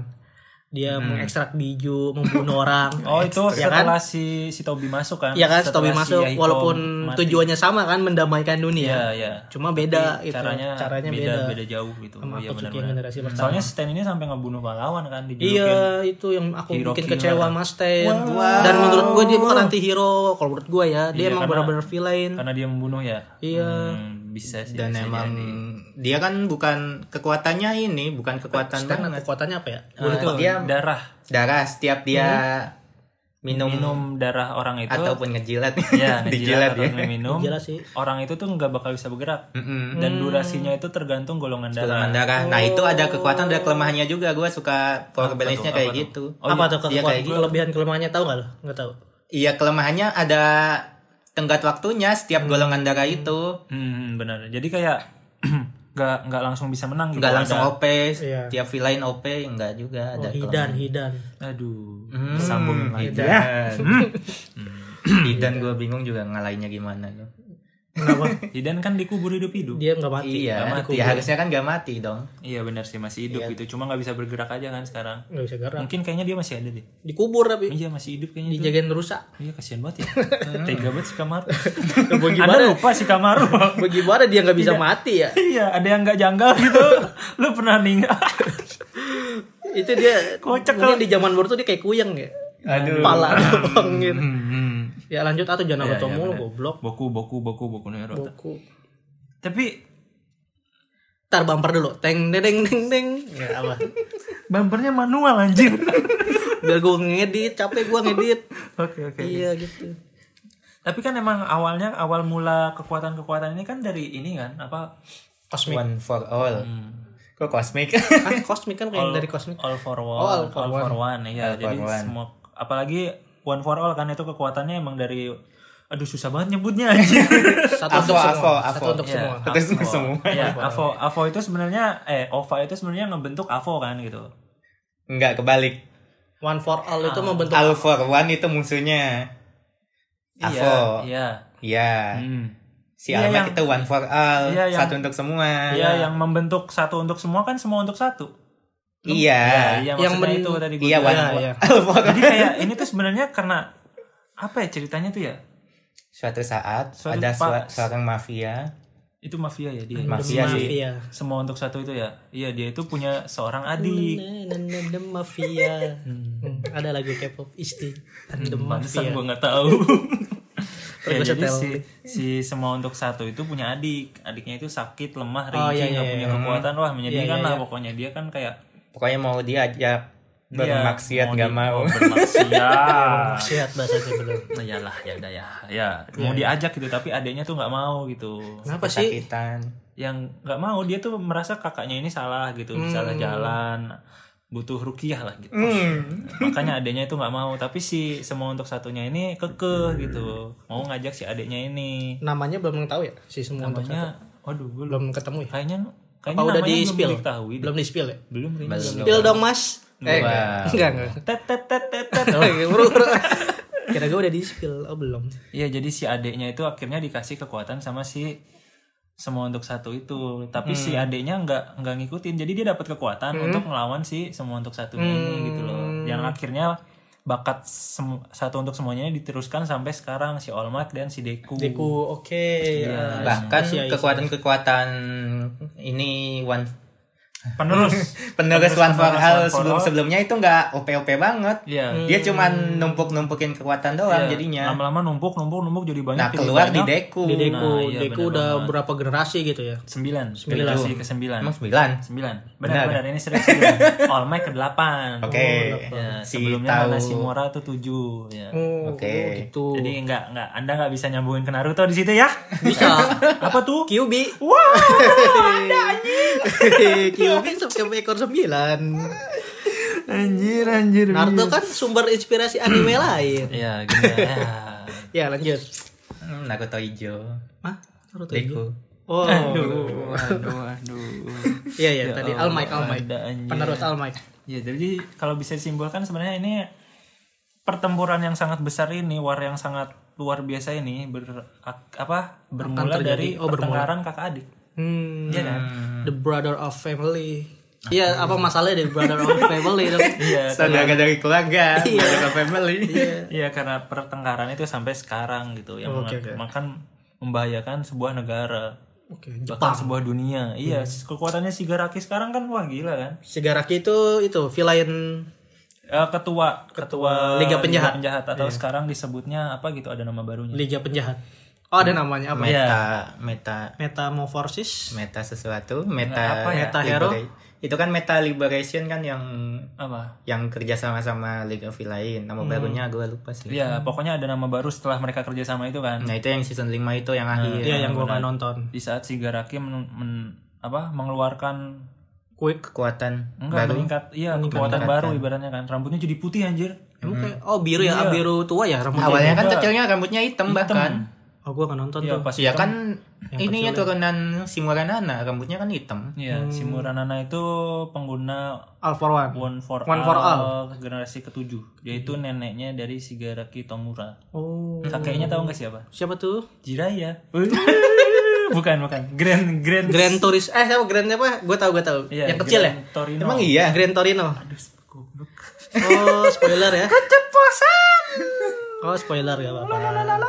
Speaker 2: Dia mengekstrak biju, membunuh orang.
Speaker 1: *laughs* oh itu
Speaker 2: ya kan?
Speaker 1: setelah si si Tobi masuk kan
Speaker 2: Iya kan, si
Speaker 1: Setelah
Speaker 2: Tobi masuk
Speaker 1: Yahiko
Speaker 2: walaupun
Speaker 1: mati.
Speaker 2: tujuannya sama kan mendamaikan
Speaker 1: ya
Speaker 2: dunia.
Speaker 1: ya
Speaker 2: Cuma beda itu.
Speaker 1: caranya caranya beda beda, jauh gitu
Speaker 2: Sama
Speaker 1: Oh, iya,
Speaker 2: Akatsuki
Speaker 1: benar-benar.
Speaker 2: yang generasi pertama.
Speaker 1: soalnya Stan ini sampai ngebunuh pahlawan kan di
Speaker 2: Iya, itu yang aku
Speaker 1: Hero
Speaker 2: bikin
Speaker 1: killer.
Speaker 2: kecewa Mas Ten. Dan menurut gue dia bukan anti hero kalau menurut gue ya. Dia
Speaker 1: Iya,
Speaker 2: emang
Speaker 1: karena-
Speaker 2: benar-benar villain.
Speaker 1: karena dia membunuh ya
Speaker 2: Iya.
Speaker 1: Hmm, bisa sih
Speaker 3: Dan
Speaker 1: bisa
Speaker 3: emang
Speaker 1: jadi.
Speaker 3: dia kan bukan kekuatannya ini,
Speaker 2: Kan
Speaker 3: bukan kekuatan
Speaker 2: Stan
Speaker 3: kan banget.
Speaker 2: kekuatannya apa ya?
Speaker 1: itu
Speaker 3: dia-
Speaker 1: darah
Speaker 3: Darah setiap dia minum,
Speaker 1: minum darah orang itu
Speaker 3: ataupun
Speaker 1: ya
Speaker 3: ngejilat *laughs*
Speaker 1: ngejilat
Speaker 3: dijilat ya
Speaker 1: atau minum
Speaker 2: Gila sih.
Speaker 1: orang itu tuh nggak bakal bisa bergerak
Speaker 3: Mm-mm.
Speaker 1: dan durasinya itu tergantung golongan darah
Speaker 3: Golongan darah. Nah itu
Speaker 2: Oh.
Speaker 3: ada kekuatan ada kelemahannya juga. Gue suka power balance-nya
Speaker 1: apa
Speaker 3: kayak
Speaker 1: tuh?
Speaker 3: gitu.
Speaker 2: apa tuh
Speaker 3: iya,
Speaker 2: kekuatan
Speaker 3: kayak gitu.
Speaker 2: kelebihan kelemahannya tahu nggak lo? Nggak tahu. Oh,
Speaker 3: Iya kelemahannya ada tenggat waktunya
Speaker 2: Hmm.
Speaker 3: setiap golongan darah itu.
Speaker 1: Hmm, benar. Jadi kayak *clears throat* nggak nggak langsung bisa menang gitu.
Speaker 3: Enggak langsung
Speaker 1: Ada-
Speaker 3: OP.
Speaker 2: Iya.
Speaker 3: Tiap villain OP enggak juga
Speaker 2: Oh,
Speaker 3: ada.
Speaker 2: hidan, hidan.
Speaker 1: Aduh,
Speaker 3: Hmm,
Speaker 1: sambung lagi. Iya. Hmm.
Speaker 3: Hidan.
Speaker 2: Hmm.
Speaker 3: Hidan gue bingung juga ngalahinnya gimana tuh.
Speaker 2: Kenapa?
Speaker 1: Hidan kan dikubur hidup-hidup.
Speaker 2: Dia nggak mati.
Speaker 3: Iya,
Speaker 1: Nggak mati.
Speaker 3: ya harusnya kan gak mati dong.
Speaker 1: Iya benar sih masih hidup gitu. Cuma nggak bisa bergerak aja kan sekarang.
Speaker 2: Nggak bisa gerak.
Speaker 1: Mungkin kayaknya dia masih ada deh.
Speaker 2: Dikubur tapi
Speaker 1: Iya masih hidup kayaknya. Dia.
Speaker 2: dijagain rusak.
Speaker 1: *laughs* Iya kasihan banget ya. Tega banget si
Speaker 3: *laughs*
Speaker 1: Kamaru.
Speaker 2: Bagaimana?
Speaker 1: Anda lupa si Kamaru.
Speaker 2: Bagaimana dia nggak bisa mati ya?
Speaker 1: iya, ada yang nggak janggal gitu. Lu pernah nih
Speaker 2: Itu dia
Speaker 1: Kocak
Speaker 2: mungkin di zaman baru tuh dia kayak kuyang ya.
Speaker 3: Aduh.
Speaker 2: Pala doang gitu.
Speaker 3: Hmm.
Speaker 2: Ya lanjut atau jangan
Speaker 1: Iya,
Speaker 2: ketemu
Speaker 1: iya,
Speaker 2: mulu
Speaker 1: bener.
Speaker 2: goblok.
Speaker 1: *laughs* Boku, boku, boku, boku no hero.
Speaker 2: Buku.
Speaker 1: Tapi
Speaker 2: Ntar bumper dulu. Teng deng deng deng. Ya apa?
Speaker 1: bumpernya manual anjir.
Speaker 3: *laughs*
Speaker 2: Biar gue ngedit, capek gue ngedit.
Speaker 1: Oke, oke.
Speaker 2: Iya gitu.
Speaker 1: Tapi kan emang awalnya awal mula kekuatan-kekuatan ini kan dari ini kan apa
Speaker 2: Kosmik.
Speaker 3: One for all.
Speaker 1: Hmm.
Speaker 3: Kok kosmik? *laughs*
Speaker 2: Ah, kosmik kan kayak dari
Speaker 1: *laughs*
Speaker 2: kosmik.
Speaker 1: all for one,
Speaker 2: all
Speaker 1: all,
Speaker 2: for
Speaker 1: for, one, ya.
Speaker 3: All
Speaker 1: Jadi
Speaker 3: for Oh, one.
Speaker 1: semua apalagi one for all kan itu kekuatannya emang dari aduh susah banget nyebutnya anjir.
Speaker 3: *laughs*
Speaker 2: Satu
Speaker 3: Avo,
Speaker 2: untuk semua.
Speaker 3: Avo,
Speaker 2: Satu
Speaker 3: Avo.
Speaker 2: untuk
Speaker 1: Iya,
Speaker 2: semua.
Speaker 3: Terus
Speaker 1: Avo.
Speaker 3: semua.
Speaker 1: Iya, Avo, Avo itu sebenarnya eh Ova itu sebenarnya ngebentuk Avo kan gitu.
Speaker 3: Enggak kebalik.
Speaker 2: One for all itu
Speaker 1: Ah.
Speaker 2: membentuk
Speaker 3: All for one itu musuhnya. Avo.
Speaker 1: Iya.
Speaker 3: Iya.
Speaker 1: Hmm.
Speaker 3: Si
Speaker 1: Iya,
Speaker 3: Alma
Speaker 1: yang-
Speaker 3: itu one for all,
Speaker 1: Iya, yang-
Speaker 3: satu untuk semua.
Speaker 1: Iya, yang membentuk satu untuk semua kan semua untuk satu.
Speaker 3: Iya.
Speaker 1: iya
Speaker 2: Yang
Speaker 1: maksudnya
Speaker 2: men-
Speaker 1: itu tadi gua
Speaker 3: Iya,
Speaker 1: bilang.
Speaker 3: one
Speaker 2: Iya,
Speaker 3: for
Speaker 2: iya.
Speaker 3: all *laughs* for
Speaker 1: Jadi kayak ini tuh sebenarnya karena apa ya ceritanya tuh ya?
Speaker 3: Suatu saat
Speaker 1: Suatu
Speaker 3: ada
Speaker 1: pas-
Speaker 3: sua- seorang mafia.
Speaker 1: Itu mafia ya dia.
Speaker 3: Mafia.
Speaker 2: mafia.
Speaker 3: sih.
Speaker 2: mafia.
Speaker 1: Semua untuk satu itu ya. Iya, dia itu punya seorang adik.
Speaker 2: Na, na, na, na, mafia. Hmm, Ada lagu K-pop isti. The mafia.
Speaker 1: Pantesan gue nggak tahu. ya,
Speaker 2: *laughs* Terus
Speaker 1: jadi
Speaker 2: setel.
Speaker 1: si, si semua untuk satu itu punya adik. Adiknya itu sakit, lemah, rinci,
Speaker 2: Oh, iya, iya,
Speaker 1: nggak punya kekuatan. Wah, menyedihkan
Speaker 2: Iya, iya,
Speaker 1: lah
Speaker 2: iya.
Speaker 1: pokoknya. Dia kan kayak
Speaker 3: Pokoknya mau dia aja
Speaker 1: dia
Speaker 3: bermaksiat
Speaker 1: Iya,
Speaker 3: nggak
Speaker 1: di-
Speaker 2: *laughs*
Speaker 3: *laughs* mau.
Speaker 1: bermaksiat.
Speaker 2: Sehat bahasa belum.
Speaker 1: Nah, iyalah, ya udah ya. Ya, mau
Speaker 2: Iya.
Speaker 1: diajak gitu tapi adiknya tuh nggak mau gitu.
Speaker 2: Kenapa sih?
Speaker 3: Sakitan.
Speaker 1: yang nggak mau dia tuh merasa kakaknya ini salah gitu salah
Speaker 2: Hmm.
Speaker 1: jalan butuh rukiah lah gitu
Speaker 2: Hmm.
Speaker 1: *laughs* makanya adiknya itu nggak mau tapi si semua untuk satunya ini kekeh gitu mau ngajak si adiknya ini
Speaker 2: Namanya belum tahu ya si semua untuk satu.
Speaker 1: namanya waduh gue belum
Speaker 2: Belum ketemu ya?
Speaker 1: kayaknya
Speaker 2: Apa
Speaker 1: kayaknya
Speaker 2: udah
Speaker 1: namanya
Speaker 2: di
Speaker 1: belum
Speaker 2: spill?
Speaker 1: diketahui deh.
Speaker 2: Belum di spill ya?
Speaker 1: belum kayaknya belum.
Speaker 2: Spill dong mas. Eh,
Speaker 3: Belum.
Speaker 2: enggak enggak.
Speaker 1: tet tet tet tet tet
Speaker 2: Kira gue udah di spill, oh belum.
Speaker 1: Iya jadi si adeknya itu akhirnya dikasih kekuatan sama si semua untuk satu itu tapi si adeknya nggak nggak ngikutin jadi dia dapat kekuatan untuk melawan si semua untuk satu ini gitu loh yang akhirnya bakat sem- satu untuk semuanya ini diteruskan sampai sekarang si All Might dan si Deku,
Speaker 2: Deku, oke. ya.
Speaker 3: Bahkan
Speaker 2: Iya, iya.
Speaker 3: kekuatan-kekuatan ini one *laughs*
Speaker 1: penerus
Speaker 3: penulis one
Speaker 1: penulis One for
Speaker 3: for all
Speaker 1: All.
Speaker 3: sebelum-sebelumnya itu nggak OP-OP banget.
Speaker 1: Iya.
Speaker 3: Dia cuman numpuk-numpukin kekuatan doang
Speaker 1: Iya.
Speaker 3: jadinya.
Speaker 1: lama-lama numpuk numpuk numpuk jadi banyak
Speaker 3: Nah,
Speaker 1: jadi
Speaker 3: keluar di
Speaker 1: banyak.
Speaker 3: deku.
Speaker 2: Di Deku,
Speaker 1: Nah, iya,
Speaker 2: Deku
Speaker 1: bener
Speaker 2: udah berapa generasi gitu ya?
Speaker 1: sembilan
Speaker 2: Sembilan.
Speaker 1: generasi ke sembilan
Speaker 3: Emang sembilan.
Speaker 1: sembilan
Speaker 3: Benar.
Speaker 1: benar benar ini serius serius. All Might ke delapan
Speaker 3: Oke.
Speaker 1: Ya,
Speaker 3: Iya, Si
Speaker 1: sebelumnya
Speaker 3: tahu.
Speaker 1: Nana Shimura tuh 7 ya.
Speaker 2: Oh,
Speaker 3: Oke.
Speaker 2: oh, gitu.
Speaker 1: Jadi nggak nggak Anda nggak bisa nyambungin ke Naruto di situ ya?
Speaker 2: Bisa.
Speaker 1: *laughs* Apa tuh?
Speaker 2: Kyubi.
Speaker 1: Wah,
Speaker 2: Kyubi sampai ekor sembilan.
Speaker 1: anjir anjir.
Speaker 2: Naruto kan sumber inspirasi anime lain.
Speaker 1: Ya, gini ya.
Speaker 2: Ya lanjut.
Speaker 3: Hmm, Naruto hijau.
Speaker 2: Hah? Naruto
Speaker 3: Deku.
Speaker 2: aja? Oh.
Speaker 1: Aduh, aduh, aduh.
Speaker 2: Iya iya tadi All Might, All Might.
Speaker 1: Ada anjir.
Speaker 2: Penerus All Might.
Speaker 1: Ya, jadi kalau bisa disimbolkan sebenarnya ini pertempuran yang sangat besar ini, war yang sangat luar biasa ini ber ak- apa? bermula dari
Speaker 2: terjadi. Oh, bermula.
Speaker 1: pertengkaran kakak adik.
Speaker 2: Hmm.
Speaker 1: Iya kan?
Speaker 2: The brother of family. Iya, apa masalahnya The brother of family dong?
Speaker 1: Iya,
Speaker 3: Saudara dari keluarga, saudara family.
Speaker 2: Iya.
Speaker 1: Iya karena pertengkaran itu sampai sekarang gitu yang
Speaker 2: Oke,
Speaker 1: mengakibat-
Speaker 2: oke.
Speaker 1: makan membahayakan sebuah negara
Speaker 2: Oke,
Speaker 1: bahkan
Speaker 2: Jepang.
Speaker 1: sebuah dunia. Iya kekuatannya Shigaraki sekarang kan wah gila kan.
Speaker 2: Shigaraki itu itu villain
Speaker 1: Eh, ketua ketua
Speaker 2: Liga Penjahat.
Speaker 1: atau sekarang disebutnya apa gitu ada nama barunya.
Speaker 2: Liga Penjahat. Oh ada namanya apa?
Speaker 3: meta meta
Speaker 2: Metamorphosis.
Speaker 3: meta sesuatu meta
Speaker 1: Apa ya?
Speaker 2: Meta hero?
Speaker 3: libera- itu kan meta liberation kan yang
Speaker 1: apa
Speaker 3: yang kerja sama sama League of Villain
Speaker 2: Hmm.
Speaker 3: nama barunya gue lupa sih
Speaker 1: ya pokoknya ada nama baru setelah mereka kerja sama itu kan
Speaker 3: nah itu yang season 5 itu yang akhir
Speaker 2: Iya yang gua nggak nonton.
Speaker 1: di saat Shigaraki men, men- apa mengeluarkan
Speaker 2: Quick.
Speaker 3: kekuatan
Speaker 1: enggak
Speaker 3: baru
Speaker 1: meningkat iya kekuatan baru ibaratnya kan rambutnya jadi putih anjir
Speaker 2: Emang kayak oh biru ya, ah, biru tua ya rambutnya.
Speaker 3: awalnya kan kecilnya rambutnya hitam, bahkan
Speaker 2: Oh gua nggak nonton
Speaker 1: Iya
Speaker 2: tuh.
Speaker 1: pas
Speaker 3: ya kan ininya turunan Simuranana rambutnya kan hitam
Speaker 1: Iya, si Muranana itu pengguna
Speaker 2: All for one.
Speaker 1: One for,
Speaker 2: One for
Speaker 1: all, generasi ketujuh, yaitu neneknya dari Shigaraki Tomura.
Speaker 2: Oh
Speaker 1: Kakeknya tahu nggak siapa?
Speaker 2: siapa tuh?
Speaker 1: Jiraiya. bukan, bukan. Grand Grand
Speaker 2: Grand Tourist. Eh siapa Grand apa? Gua tahu gua tahu.
Speaker 1: Iya,
Speaker 2: yang kecil
Speaker 1: Grand
Speaker 2: ya.
Speaker 1: Torino.
Speaker 3: emang iya
Speaker 2: Grand Torino.
Speaker 1: Aduh, goblok.
Speaker 2: Oh spoiler ya.
Speaker 3: keceplosan
Speaker 2: Oh spoiler gak apa-apa.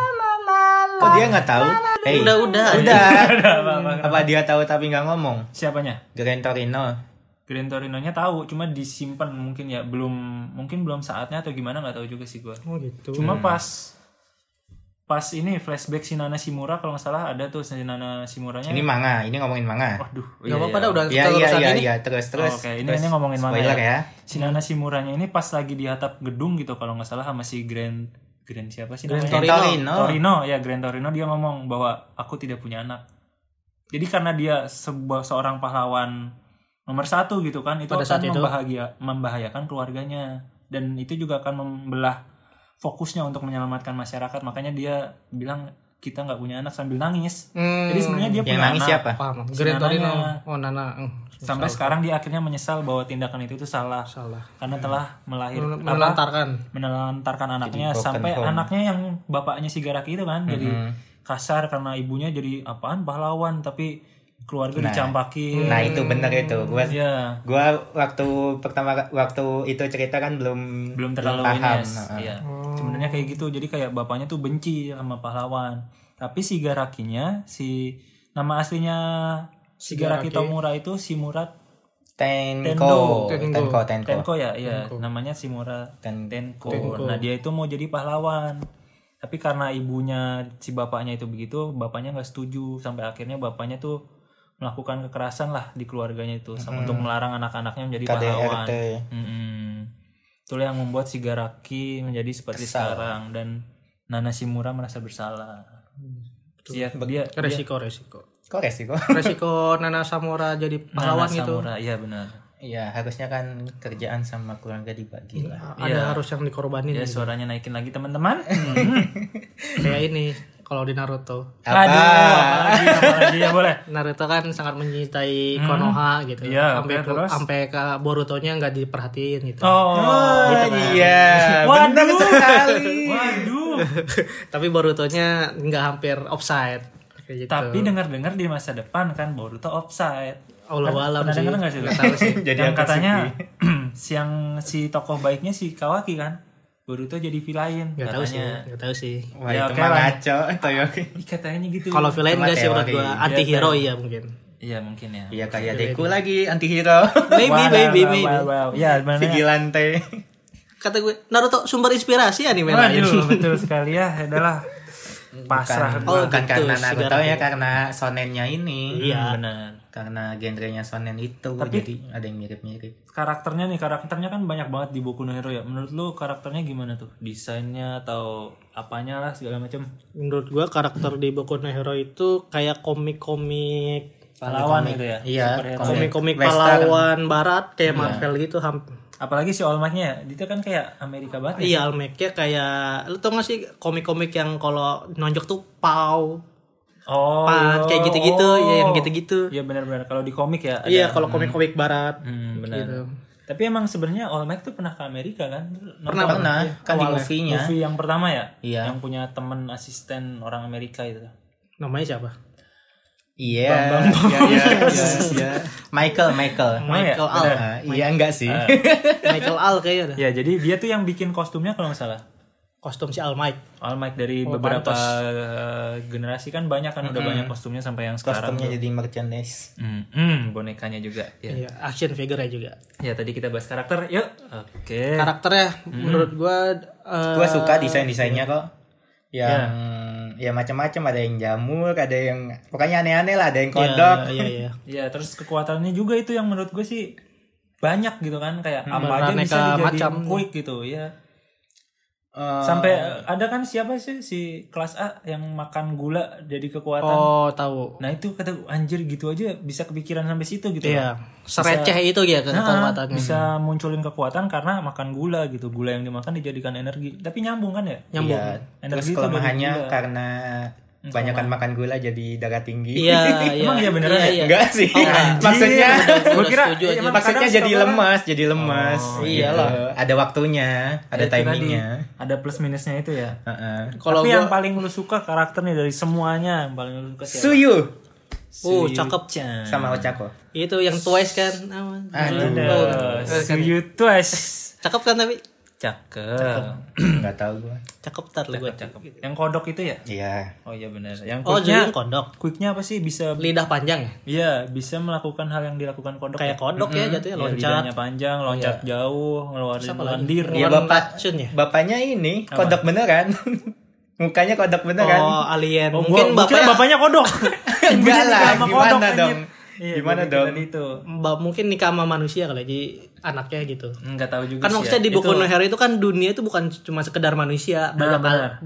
Speaker 3: kok dia nggak tahu hey
Speaker 2: Udah *laughs* udah.
Speaker 1: Oh, gitu.
Speaker 3: udah apa dia tahu tapi nggak ngomong
Speaker 1: Siapanya?
Speaker 3: Grand Torino
Speaker 1: Grand Torinonya tahu, cuma disimpan mungkin ya, belum mungkin belum saatnya atau gimana nggak tahu juga sih gua.
Speaker 2: Oh gitu.
Speaker 1: Cuma pas pas ini flashback si Nana Shimura kalau nggak salah ada tuh si Nana Shimuranya.
Speaker 3: ini manga ini ngomongin manga
Speaker 1: Waduh,
Speaker 2: Gak apa-apa dah udah
Speaker 3: Iya
Speaker 2: kita
Speaker 3: iya
Speaker 2: urusan
Speaker 3: iya
Speaker 2: ini.
Speaker 3: iya terus terus
Speaker 1: Oh, Oke, ini
Speaker 3: terus.
Speaker 1: ini ngomongin manga
Speaker 3: spoiler
Speaker 1: ya.
Speaker 3: ya
Speaker 1: Si Nana Shimuranya ini pas lagi di atap gedung gitu kalau nggak salah sama si Grand Grand siapa sih
Speaker 2: Grand
Speaker 1: namanya?
Speaker 3: Grand
Speaker 2: Torino.
Speaker 3: Torino
Speaker 1: Torino ya Grand Torino dia ngomong bahwa aku tidak punya anak. Jadi karena dia sebuah seorang pahlawan nomor satu gitu kan itu
Speaker 2: Pada
Speaker 1: akan
Speaker 2: saat itu.
Speaker 1: membahagia- membahayakan keluarganya dan itu juga akan membelah fokusnya untuk menyelamatkan masyarakat makanya dia bilang kita nggak punya anak sambil nangis.
Speaker 2: Hmm.
Speaker 1: Jadi sebenarnya dia punya
Speaker 3: yang nangis
Speaker 1: anak.
Speaker 3: siapa
Speaker 2: paham.
Speaker 1: Si
Speaker 2: Grand Torino.
Speaker 1: Nananya.
Speaker 2: Oh Nana. Hmm,
Speaker 1: Sampai sekarang dia akhirnya menyesal bahwa tindakan itu itu salah
Speaker 2: Salah.
Speaker 1: karena telah
Speaker 2: Men-
Speaker 1: melahirkan
Speaker 2: Menelantarkan.
Speaker 1: menelantarkan anaknya
Speaker 3: broken
Speaker 1: sampai
Speaker 3: home.
Speaker 1: anaknya yang bapaknya si Garaki itu kan jadi kasar karena ibunya jadi apaan pahlawan tapi keluarga dicampakin
Speaker 3: nah itu bener itu gua
Speaker 1: ya
Speaker 3: gua waktu pertama waktu itu cerita kan belum
Speaker 1: belum terlalu
Speaker 3: paham Nah,
Speaker 1: ini ya sebenarnya kayak gitu jadi kayak bapaknya tuh benci sama pahlawan tapi si Garakinya si nama aslinya si Garaki Tomura itu si Murat
Speaker 3: Tenko Tenko Tenko Kan
Speaker 1: Tenko ya iya namanya si Murat
Speaker 3: Ten-
Speaker 1: Tenko. Nah dia itu mau jadi pahlawan. Tapi karena ibunya si bapaknya itu begitu, bapaknya nggak setuju sampai akhirnya bapaknya tuh melakukan kekerasan lah di keluarganya itu sama untuk melarang anak-anaknya menjadi pahlawan.
Speaker 3: KDRT
Speaker 1: Mm-mm. Itulah yang membuat si Garaki menjadi seperti sekarang dan Nana Shimura merasa bersalah. Dia, dia, dia
Speaker 2: Resiko resiko.
Speaker 3: kok resiko *laughs*
Speaker 2: Resiko Nana Samora jadi pahlawan
Speaker 1: Nana
Speaker 2: gitu.
Speaker 1: Samura, iya benar.
Speaker 3: Iya, harusnya kan kerjaan sama keluarga dibagi lah.
Speaker 2: Ada harus yang dikorbanin.
Speaker 1: Ya suaranya naikin lagi teman-teman. Hmm.
Speaker 2: Kayak ini kalau di Naruto.
Speaker 3: Apa?
Speaker 1: Iya. Aduh, apalagi, apalagi ya boleh.
Speaker 2: Naruto kan sangat mencintai Konoha gitu.
Speaker 1: Hmm. Iya,
Speaker 2: sampai
Speaker 1: oke, terus?
Speaker 2: sampai ke Boruto-nya nggak diperhatiin gitu.
Speaker 1: Oh,
Speaker 3: Oh, iya, benar
Speaker 1: Waduh. *laughs*
Speaker 3: sekali.
Speaker 1: waduh.
Speaker 2: *laughs* Tapi Boruto-nya nggak hampir offside. Kayak gitu.
Speaker 1: Tapi dengar-dengar di masa depan kan Boruto offside.
Speaker 2: Allah alam
Speaker 1: Pernah
Speaker 2: sih.
Speaker 1: dengar nggak sih? lu?
Speaker 2: Nggak tahu *laughs* sih.
Speaker 3: Jadi
Speaker 1: yang
Speaker 3: apa sih,
Speaker 1: katanya *clears throat* siang si tokoh baiknya si Kawaki kan. Boruto jadi villain
Speaker 2: Nggak tahu sih.
Speaker 1: katanya.
Speaker 2: Nggak tahu sih.
Speaker 3: Wah,
Speaker 1: Ya,
Speaker 3: itu
Speaker 1: oke
Speaker 3: mah
Speaker 1: lah.
Speaker 3: ngaco, Toyoki.
Speaker 1: Ih, katanya gitu.
Speaker 2: Kalau villain
Speaker 3: Cuma
Speaker 2: nggak sih menurut
Speaker 3: teori.
Speaker 2: gua anti hero iya mungkin.
Speaker 1: Iya mungkin ya.
Speaker 3: Iya, kayak Deku lagi anti hero. *laughs*
Speaker 2: Maybe
Speaker 1: Wah,
Speaker 2: maybe
Speaker 1: wah,
Speaker 2: maybe.
Speaker 1: wah, wah. Ya, benar.
Speaker 3: Vigilante.
Speaker 2: Kata gue Naruto sumber inspirasi anime lain.
Speaker 1: Waduh, betul sekali ya. Adalah pasrah.
Speaker 2: *laughs*
Speaker 3: Bukan,
Speaker 2: Oh,
Speaker 3: bukan
Speaker 2: gitu,
Speaker 3: karena
Speaker 2: segala
Speaker 3: Naruto ya, karena sonennya ini.
Speaker 2: Iya.
Speaker 1: Hmm, Benar.
Speaker 3: Karena genrenya sonen itu, jadi ada yang mirip-mirip.
Speaker 1: karakternya nih karakternya kan banyak banget di Boku no Hero ya menurut lu karakternya gimana tuh desainnya atau apanya lah segala macam
Speaker 2: *laughs* Menurut gua karakter di Boku no Hero itu kayak komik-komik
Speaker 1: pahlawan gitu ya
Speaker 3: Iya,
Speaker 1: superhero.
Speaker 2: komik-komik
Speaker 3: Western.
Speaker 2: pahlawan barat kayak Marvel gitu hamp
Speaker 1: apalagi si All Might-nya ya dia tuh kan kayak Amerika banget ya.
Speaker 2: Iya, Almeknya kayak lu tau gak sih komik-komik yang kalau nonjok tuh pau,
Speaker 1: oh
Speaker 2: pan, kayak gitu-gitu, ya yang gitu-gitu.
Speaker 1: iya benar-benar kalau di komik ya ada.
Speaker 2: Iya, kalau komik-komik barat.
Speaker 1: Hmm, benar
Speaker 2: Gitu.
Speaker 1: tapi emang sebenarnya All Might tuh pernah ke Amerika kan Lu nonton
Speaker 3: Pernah, pernah.
Speaker 2: Iya,
Speaker 3: Kan di movie-nya.
Speaker 1: movie yang pertama ya
Speaker 3: Iya.
Speaker 1: yang punya temen asisten orang Amerika itu
Speaker 2: Namanya siapa?
Speaker 3: Iya. Iya, iya,
Speaker 2: *laughs*
Speaker 3: iya, iya. Michael,
Speaker 2: ya?
Speaker 3: Michael.
Speaker 2: Michael Al.
Speaker 3: Ah, iya enggak sih?
Speaker 2: *laughs*
Speaker 3: *laughs*
Speaker 2: Michael Al kayaknya dah.
Speaker 1: ya jadi dia tuh yang bikin kostumnya kalau nggak salah
Speaker 2: Kostum si Al Mike.
Speaker 1: All Might dari beberapa eh, generasi kan banyak kan udah banyak kostumnya sampai yang sekarang.
Speaker 3: Kostumnya gitu. jadi merchandise.
Speaker 1: Mm-mm, bonekanya juga. Ya.
Speaker 2: Iya, action figure-nya juga.
Speaker 1: ya tadi kita bahas karakter. Yuk. Oke.
Speaker 2: Karakternya menurut gua eh,
Speaker 3: gue suka desain desainnya kok yang
Speaker 2: Iya.
Speaker 3: ya macam-macam ada yang jamur ada yang pokoknya aneh-aneh lah ada yang kodok
Speaker 2: Iya, iya, iya.
Speaker 1: Ya terus kekuatannya juga itu yang menurut gue sih banyak gitu kan kayak apa aja bisa
Speaker 2: Hmm, Beraneka
Speaker 1: dijadiin
Speaker 2: macam.
Speaker 1: quick gitu ya.
Speaker 3: Eh,
Speaker 1: Sampai eh, ada kan siapa sih si kelas A yang makan gula jadi kekuatan.
Speaker 2: Oh, tahu.
Speaker 1: Nah itu kata gua, anjir gitu aja bisa kepikiran sampai situ gitu.
Speaker 2: Iya, sereceh itu ya ke-
Speaker 1: Nah,
Speaker 2: kekuatannya.
Speaker 1: *laughs* bisa munculin kekuatan karena makan gula gitu. Gula yang dimakan dijadikan energi. Tapi nyambung kan ya?
Speaker 2: Nyambung.
Speaker 3: iya. terus
Speaker 1: Energi itu dari
Speaker 3: kelemahannya
Speaker 1: gula.
Speaker 3: karena kebanyakan makan gula jadi darah tinggi
Speaker 2: Iya,
Speaker 3: *laughs*
Speaker 2: iya.
Speaker 1: Emang iya beneran
Speaker 2: Iya,
Speaker 1: ya?
Speaker 2: iya.
Speaker 3: enggak sih
Speaker 2: Oh, enggak.
Speaker 3: maksudnya
Speaker 2: Iya, bener, bener,
Speaker 1: Gua kira-
Speaker 2: setuju aja.
Speaker 1: emang
Speaker 3: maksudnya
Speaker 1: kadang
Speaker 3: jadi
Speaker 1: suka kan-
Speaker 3: lemas jadi lemas
Speaker 1: Oh,
Speaker 3: Iya
Speaker 2: iyalah.
Speaker 3: ada waktunya ada
Speaker 1: Itu tadi,
Speaker 3: timingnya
Speaker 1: Ada plus minusnya itu ya.
Speaker 3: Heeh.
Speaker 2: Kalau
Speaker 1: Tapi yang
Speaker 2: gua
Speaker 1: paling lu suka karakternya dari semuanya yang paling lu suka siapa?
Speaker 3: suyu
Speaker 2: Oh, cakep.
Speaker 1: Suyuchan.
Speaker 3: sama
Speaker 2: Nah. *clears throat*
Speaker 3: Ochako
Speaker 2: itu yang twice kan. Ah,
Speaker 1: Ada Suyu Twice.
Speaker 2: Cakep kan tapi
Speaker 1: Cakep.
Speaker 3: nggak tahu gua
Speaker 2: cakep tar lu gua.
Speaker 1: Yang kodok itu ya?
Speaker 3: iya
Speaker 1: Oh iya benar. Yang
Speaker 2: Oh, jadi
Speaker 1: quicknya,
Speaker 2: yang kodok.
Speaker 1: quicknya apa sih bisa
Speaker 2: Lidah panjang ya?
Speaker 1: Iya, bisa melakukan hal yang dilakukan kodok.
Speaker 2: Kayak
Speaker 1: ya?
Speaker 2: kodok ya jatuhnya
Speaker 1: Iya,
Speaker 2: loncat.
Speaker 1: lidahnya panjang, loncat jauh, ngeluarin
Speaker 2: Siapa lagi?
Speaker 1: lendir.
Speaker 3: Iya,
Speaker 2: One
Speaker 3: Bapak.
Speaker 2: Punch-un ya?
Speaker 3: bapaknya ini kodok beneran *laughs* mukanya kodok beneran
Speaker 2: Oh, alien.
Speaker 1: Iya Oh,
Speaker 2: Mungkin ya,
Speaker 1: gua- gua kira
Speaker 2: bapaknya
Speaker 1: bapaknya kodok.
Speaker 3: enggak
Speaker 1: Ibunya
Speaker 3: lah
Speaker 1: nikah sama kodok,
Speaker 3: gimana
Speaker 1: anjir.
Speaker 3: dong
Speaker 1: Iya,
Speaker 3: gimana
Speaker 1: gua
Speaker 3: dong
Speaker 1: mikirin Itu.
Speaker 2: Mbak mungkin nikah sama manusia kali ya, jadi anaknya gitu.
Speaker 1: Enggak tahu juga
Speaker 2: Kan
Speaker 1: sih
Speaker 2: maksudnya
Speaker 1: ya.
Speaker 2: di Boku
Speaker 1: Itu-
Speaker 2: no Hero itu kan dunia itu bukan cuma sekedar manusia,
Speaker 3: Ah,
Speaker 1: Nah,
Speaker 2: banyak
Speaker 1: benar.
Speaker 2: al-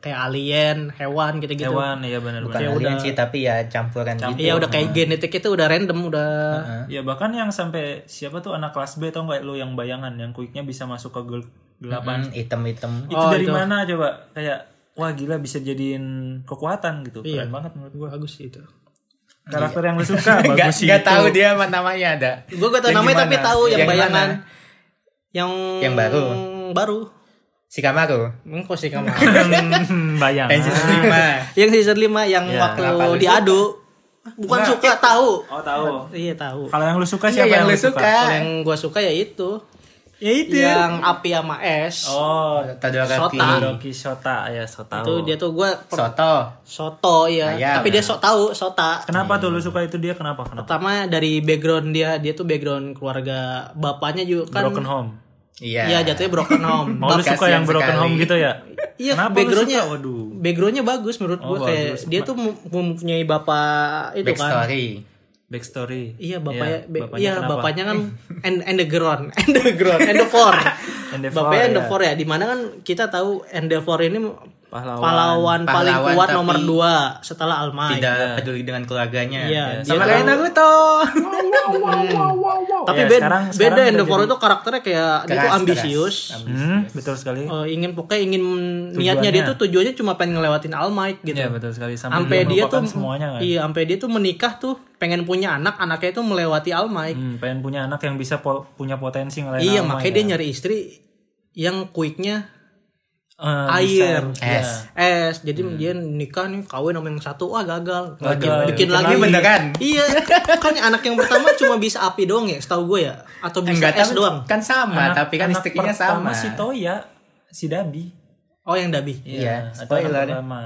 Speaker 2: kayak alien, hewan gitu-gitu.
Speaker 1: Hewan, iya benar
Speaker 3: bukan
Speaker 1: benar.
Speaker 3: alien sih tapi ya campuran gitu
Speaker 2: Iya udah kayak genetik itu udah random udah.
Speaker 3: Ah,
Speaker 1: Ya bahkan yang sampai siapa tuh anak kelas B tau nggak lu yang bayangan yang quicknya bisa masuk ke gel- gelapan.
Speaker 3: Hmm, hitam-hitam
Speaker 2: Oh,
Speaker 1: Itu dari mana coba? Kayak wah gila bisa jadiin kekuatan gitu.
Speaker 2: Iya.
Speaker 1: Keren banget menurut gua.
Speaker 2: Bagus itu. Iya.
Speaker 1: Karakter yang
Speaker 2: *laughs*
Speaker 1: lu suka
Speaker 3: *laughs* nggak
Speaker 1: bagus gitu. sih.
Speaker 3: nggak tahu dia ma- namanya ada
Speaker 2: Gue gak tau
Speaker 3: Yang
Speaker 2: namanya tapi
Speaker 3: gimana?
Speaker 2: tahu yang,
Speaker 3: Yang
Speaker 2: bayangan
Speaker 3: mana?
Speaker 2: yang
Speaker 3: Yang baru?
Speaker 2: baru.
Speaker 3: si Kamaru
Speaker 2: Engkau sih
Speaker 3: *laughs*
Speaker 2: kamu.
Speaker 1: *laughs* Bayang. ah.
Speaker 3: yang season *laughs* lima
Speaker 2: yang season 5 yang
Speaker 1: Ya,
Speaker 3: Iya, kenapa lu
Speaker 2: waktu diadu bukan suka tahu.
Speaker 1: Oh, tahu.
Speaker 2: Iya tahu.
Speaker 1: Kalau yang lu suka
Speaker 3: Iya,
Speaker 1: siapa
Speaker 3: yang
Speaker 1: yang,
Speaker 3: lu
Speaker 1: lu suka?
Speaker 3: suka.
Speaker 2: Kalau yang gue suka Iya. ya itu.
Speaker 1: Ya itu.
Speaker 3: Iya.
Speaker 2: Yang api sama es.
Speaker 1: Oh,
Speaker 3: Todoroki
Speaker 2: Sota.
Speaker 1: Todoroki Shota ya Shota.
Speaker 2: Itu dia tuh gue
Speaker 3: Soto
Speaker 2: soto ya.
Speaker 3: Ayam.
Speaker 2: Tapi dia sok tahu sota.
Speaker 1: Kenapa tuh lu
Speaker 2: Hmm.
Speaker 1: suka itu dia? Kenapa? Kenapa?
Speaker 2: Pertama dari background dia, dia tuh background keluarga bapaknya juga kan.
Speaker 1: Broken Home.
Speaker 3: iya
Speaker 2: Iya jatuhnya broken
Speaker 1: *laughs*
Speaker 2: home.
Speaker 1: Mau lu suka
Speaker 3: Kasihan
Speaker 1: yang Broken
Speaker 3: sekali.
Speaker 1: Home gitu ya?
Speaker 2: Iya,
Speaker 1: Kenapa lu
Speaker 2: backgroundnya,
Speaker 1: suka? Waduh.
Speaker 2: backgroundnya bagus menurut
Speaker 1: Oh,
Speaker 2: gue kayak
Speaker 1: bagus.
Speaker 2: dia tuh mem- mempunyai bapak itu kan.
Speaker 3: backstory
Speaker 1: Backstory.
Speaker 2: Iya bapaknya,
Speaker 1: Iya,
Speaker 2: be-
Speaker 1: bapaknya
Speaker 2: iya
Speaker 1: kenapa?
Speaker 2: bapaknya
Speaker 1: *laughs*
Speaker 2: kan and and the ground, *laughs* and the ground, and the four.
Speaker 1: And the
Speaker 2: bapaknya
Speaker 1: four,
Speaker 2: and the
Speaker 1: iya.
Speaker 2: four ya, dimana kan kita tahu and the four ini
Speaker 1: Pahlawan.
Speaker 2: pahlawan, paling
Speaker 3: Pahlawan,
Speaker 2: kuat
Speaker 3: tapi-
Speaker 2: nomor dua setelah
Speaker 1: Iya.
Speaker 2: Almai.
Speaker 3: tidak peduli dengan keluarganya
Speaker 2: Iya,
Speaker 3: Ya. sama
Speaker 2: dia
Speaker 3: kayak
Speaker 2: tahu.
Speaker 3: Naruto
Speaker 2: Tapi
Speaker 1: Iya,
Speaker 2: beda,
Speaker 1: sekarang-
Speaker 2: beda
Speaker 1: sekarang
Speaker 2: and the
Speaker 1: udah
Speaker 2: four itu karakternya kayak dia tuh
Speaker 3: Keras,
Speaker 2: ambisius.
Speaker 3: keras.
Speaker 1: Hmm, betul sekali.
Speaker 2: Eh, ingin pokoknya ingin niatnya dia tuh tujuannya cuma pengen ngelewatin Almight gitu.
Speaker 1: Iya, betul sekali. Sampai,
Speaker 2: sampai
Speaker 1: dia
Speaker 2: dia
Speaker 1: melupakan
Speaker 2: tuh
Speaker 1: semuanya kan.
Speaker 2: iya sampai dia tuh menikah tuh pengen punya anak anaknya itu melewati Almai
Speaker 1: Hmm, pengen punya anak yang bisa po- punya potensi ngelain
Speaker 2: Eh. iya
Speaker 1: nama
Speaker 2: makanya
Speaker 1: ya.
Speaker 2: dia nyari istri yang quicknya
Speaker 1: Eh, bisa.
Speaker 2: air Iya,
Speaker 3: Es.
Speaker 2: es jadi dia nikah nih kawin sama yang satu wah gagal Lagi
Speaker 1: Hmm. Gagal.
Speaker 2: bikin
Speaker 1: Bikin
Speaker 2: lagi
Speaker 3: lagi beneran.
Speaker 2: iya kan anak yang pertama cuma bisa api doang ya setahu gue ya atau bisa
Speaker 3: enggak
Speaker 2: es
Speaker 3: tapi-
Speaker 2: doang
Speaker 3: kan sama
Speaker 1: Anak-
Speaker 3: tapi kan
Speaker 1: anak
Speaker 3: istrinya
Speaker 1: pertama
Speaker 3: sama
Speaker 1: si Toya, si Dabi.
Speaker 2: oh yang dabi
Speaker 1: Iya,
Speaker 3: Iya,
Speaker 1: atau anak
Speaker 3: spoiler.
Speaker 1: pertama.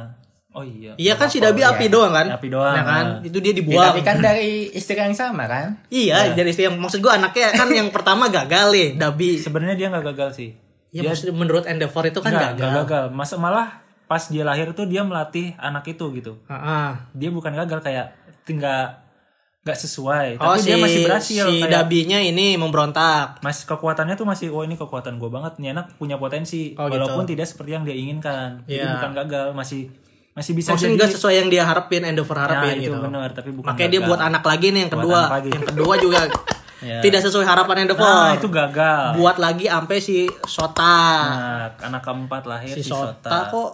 Speaker 1: Oh iya.
Speaker 2: iya kan si dabi api doang kan
Speaker 1: Api doang,
Speaker 2: Nah kan
Speaker 1: nah.
Speaker 2: itu dia
Speaker 3: Ya,
Speaker 2: dibuang
Speaker 3: tapi kan dari istri yang sama kan
Speaker 2: iya dari istri yang maksud gue anaknya kan yang pertama gagal ya dabi
Speaker 1: Sebenarnya dia nggak gagal sih.
Speaker 2: Ya, maksud- menurut Endeavor itu kan
Speaker 1: Enggak,
Speaker 2: gagal.
Speaker 1: nggak gagal. Mas malah pas dia lahir tuh dia melatih anak itu gitu.
Speaker 2: Heeh.
Speaker 1: Dia bukan gagal kayak tinggal nggak sesuai,
Speaker 2: Oh,
Speaker 1: tapi
Speaker 2: si,
Speaker 1: dia masih berhasil
Speaker 2: si
Speaker 1: kayak
Speaker 2: Dabinya ini memberontak.
Speaker 1: Mas kekuatannya tuh masih oh ini kekuatan gue banget nih anak punya potensi
Speaker 2: Oh, gitu.
Speaker 1: walaupun tidak seperti yang dia inginkan. Jadi
Speaker 2: Iya.
Speaker 1: bukan gagal, masih masih bisa
Speaker 2: Maksudnya
Speaker 1: jadi.
Speaker 2: nggak sesuai yang dia harapin, Endeavor
Speaker 1: Nah,
Speaker 2: harapin
Speaker 1: itu
Speaker 2: gitu.
Speaker 1: benar, tapi bukan
Speaker 2: Makanya dia
Speaker 1: gagal.
Speaker 2: buat anak lagi nih yang kedua.
Speaker 1: anak lagi.
Speaker 2: Yang kedua
Speaker 1: *laughs*
Speaker 2: juga
Speaker 1: Iya.
Speaker 2: tidak sesuai harapan Endeavor.
Speaker 1: Nah, itu gagal.
Speaker 2: Buat lagi sampai si Sota.
Speaker 1: Nah, anak keempat lahir
Speaker 2: si
Speaker 1: si,
Speaker 2: Sota,
Speaker 1: Sota.
Speaker 2: kok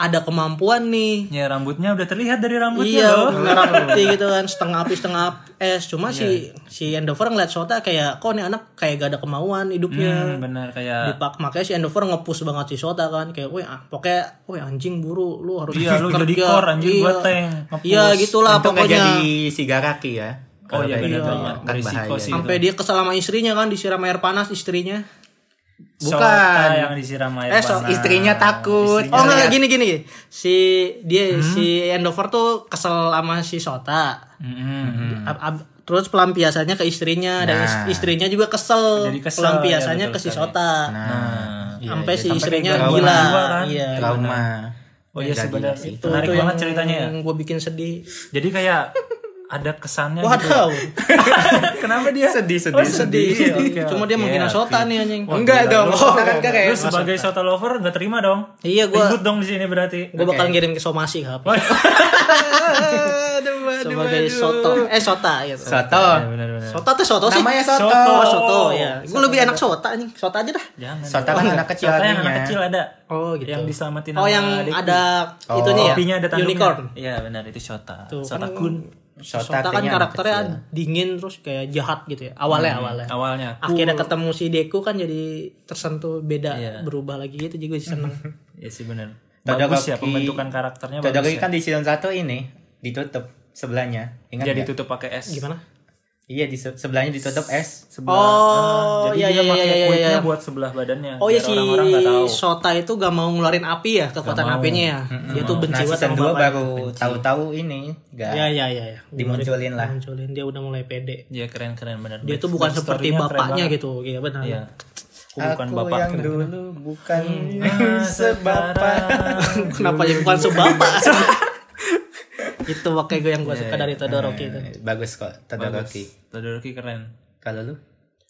Speaker 2: ada kemampuan nih.
Speaker 1: Ya rambutnya udah terlihat dari rambutnya
Speaker 2: Iya,
Speaker 1: loh.
Speaker 2: *laughs* merah putih gitu kan, setengah api setengah ap- es. Cuma
Speaker 1: Iya.
Speaker 2: si si Endeavor ngeliat Sota kayak kok nih anak kayak gak ada kemauan hidupnya.
Speaker 1: Hmm, benar kayak
Speaker 2: dipak makanya si Endover nge-push banget si Sota kan kayak woi ah, pokoknya woi anjing buru lu harus
Speaker 1: Iya, lu jadi
Speaker 2: kerja."
Speaker 1: kor, anjing,
Speaker 2: Iya.
Speaker 1: gua tank, nge-push.
Speaker 2: iya gitulah
Speaker 3: Untung nggak
Speaker 2: pokoknya
Speaker 3: jadi si Garaki ya
Speaker 1: Oh iya benar
Speaker 2: Iya.
Speaker 1: banget.
Speaker 3: Kan
Speaker 1: Berisiko
Speaker 3: bahaya.
Speaker 1: sih.
Speaker 2: sampai dia kesel sama istrinya kan disiram air panas istrinya
Speaker 1: Sota
Speaker 3: Bukan.
Speaker 1: yang disiram air
Speaker 2: Eh, so-
Speaker 1: panas.
Speaker 3: istrinya takut
Speaker 1: Iya.
Speaker 2: oh
Speaker 3: Ngeliat
Speaker 2: enggak gini gini si
Speaker 1: Hmm?
Speaker 2: dia si Endover tuh kesel sama si Sota
Speaker 1: Mm-mm.
Speaker 2: Ab- ab- terus pelampiasannya ke istrinya dan is-
Speaker 3: Nah.
Speaker 2: istrinya juga kesel,
Speaker 1: Jadi kesel, ya,
Speaker 2: pelampiasannya
Speaker 1: iya,
Speaker 2: ke
Speaker 1: betul
Speaker 2: si
Speaker 1: sekali.
Speaker 2: Sota
Speaker 3: Nah,
Speaker 2: sampai si istrinya
Speaker 3: trauma.
Speaker 2: gila
Speaker 1: Jiwa kan.
Speaker 2: iya
Speaker 3: trauma.
Speaker 1: Oh iya sih benar.
Speaker 3: sih.
Speaker 1: Itu, Menarik banget ceritanya ya.
Speaker 2: gue bikin sedih.
Speaker 1: Jadi kayak ada kesannya gitu.
Speaker 2: Waduh,
Speaker 1: Kenapa dia?
Speaker 3: sedih sedih
Speaker 2: *laughs* sedih.
Speaker 1: Oh, Sedih, oke.
Speaker 2: Cuma dia menghina
Speaker 1: Iya,
Speaker 2: Sota nih anjing.
Speaker 3: enggak dong oh, kan
Speaker 1: Lu
Speaker 3: keren
Speaker 1: sebagai Sota lover nggak terima dong?
Speaker 2: Iya gue
Speaker 1: Ribut dong di sini berarti.
Speaker 2: gue bakal
Speaker 3: Oke.
Speaker 2: ngirim ke somasi ke HP.
Speaker 3: aduh, aduh,
Speaker 2: sebagai
Speaker 3: aduh.
Speaker 2: soto eh sota gitu
Speaker 3: soto
Speaker 1: Benar-benar.
Speaker 2: sota tuh soto sih
Speaker 3: namanya soto
Speaker 1: Soto.
Speaker 2: oh soto ya gue lebih enak sota nih sota aja dah
Speaker 1: Jangan.
Speaker 3: soto kan anak kecil
Speaker 1: Sota yang
Speaker 3: artinya.
Speaker 1: anak kecil ada.
Speaker 2: oh gitu
Speaker 1: Yang diselamatin
Speaker 2: oh
Speaker 1: sama
Speaker 2: yang
Speaker 1: adikku.
Speaker 2: ada
Speaker 3: Oh.
Speaker 2: itunya ya
Speaker 1: Kopinya ada tanduknya.
Speaker 2: unicorn
Speaker 1: Iya benar itu Shota.
Speaker 2: Tuh,
Speaker 1: Shota
Speaker 2: kan-
Speaker 1: kun.
Speaker 3: Soto
Speaker 2: sota kan
Speaker 3: artinya anak
Speaker 1: Iya.
Speaker 2: karakternya
Speaker 3: kecil.
Speaker 2: dingin terus kayak jahat gitu ya awalnya awalnya
Speaker 1: Awalnya. Hmm. aku.
Speaker 2: akhirnya ketemu si Deku kan jadi tersentuh beda
Speaker 1: Iya.
Speaker 2: berubah lagi gitu jadi gue
Speaker 1: *laughs*
Speaker 2: seneng
Speaker 1: Iya sih benar.
Speaker 3: Todoroki-
Speaker 1: Bagus ya pembentukan karakternya bagus.
Speaker 3: Todoroki
Speaker 1: ya.
Speaker 3: kan di season 1 ini ditutup sebelahnya. Ingat ya?
Speaker 1: Jadi
Speaker 3: nggak?
Speaker 1: tutup pakai es.
Speaker 2: gimana
Speaker 3: Iya, di se- sebelahnya ditutup es.
Speaker 1: Sebelah.
Speaker 2: Oh,
Speaker 1: Ah, jadi
Speaker 2: iya,
Speaker 1: dia
Speaker 2: iya,
Speaker 1: pakai
Speaker 2: iya, iya,
Speaker 1: kuitnya
Speaker 2: iya.
Speaker 1: buat sebelah badannya.
Speaker 2: Oh iya
Speaker 1: biar
Speaker 2: si
Speaker 1: orang-orang nggak tahu.
Speaker 2: Sota itu gak mau ngeluarin api ya kekuatan
Speaker 1: Nggak mau.
Speaker 2: apinya ya. Dia tuh benci
Speaker 3: Nah,
Speaker 2: banget
Speaker 3: season
Speaker 2: sama
Speaker 3: 2
Speaker 2: bapaknya.
Speaker 3: baru tahu-tahu ini enggak
Speaker 2: Ya ya ya ya.
Speaker 3: dimunculin lah.
Speaker 2: Munculin dia udah mulai pede.
Speaker 1: Iya keren-keren benar.
Speaker 2: Dia tuh bukan
Speaker 1: Backstory-nya
Speaker 2: seperti
Speaker 1: keren
Speaker 2: bapaknya
Speaker 1: banget.
Speaker 2: gitu. Iya benar.
Speaker 1: Iya. Aku bukan
Speaker 3: Aku
Speaker 1: bapak.
Speaker 3: yang dulu bukan *laughs*
Speaker 1: Ah,
Speaker 3: sebapa.
Speaker 2: *laughs*
Speaker 1: sekarang.
Speaker 2: Kenapa ya bukan
Speaker 1: *laughs*
Speaker 2: sebapak? itu makanya gue yang
Speaker 1: Iya,
Speaker 2: gue suka dari Todoroki itu.
Speaker 3: Bagus kok Todoroki.
Speaker 1: Todoroki keren.
Speaker 3: Kalau lu?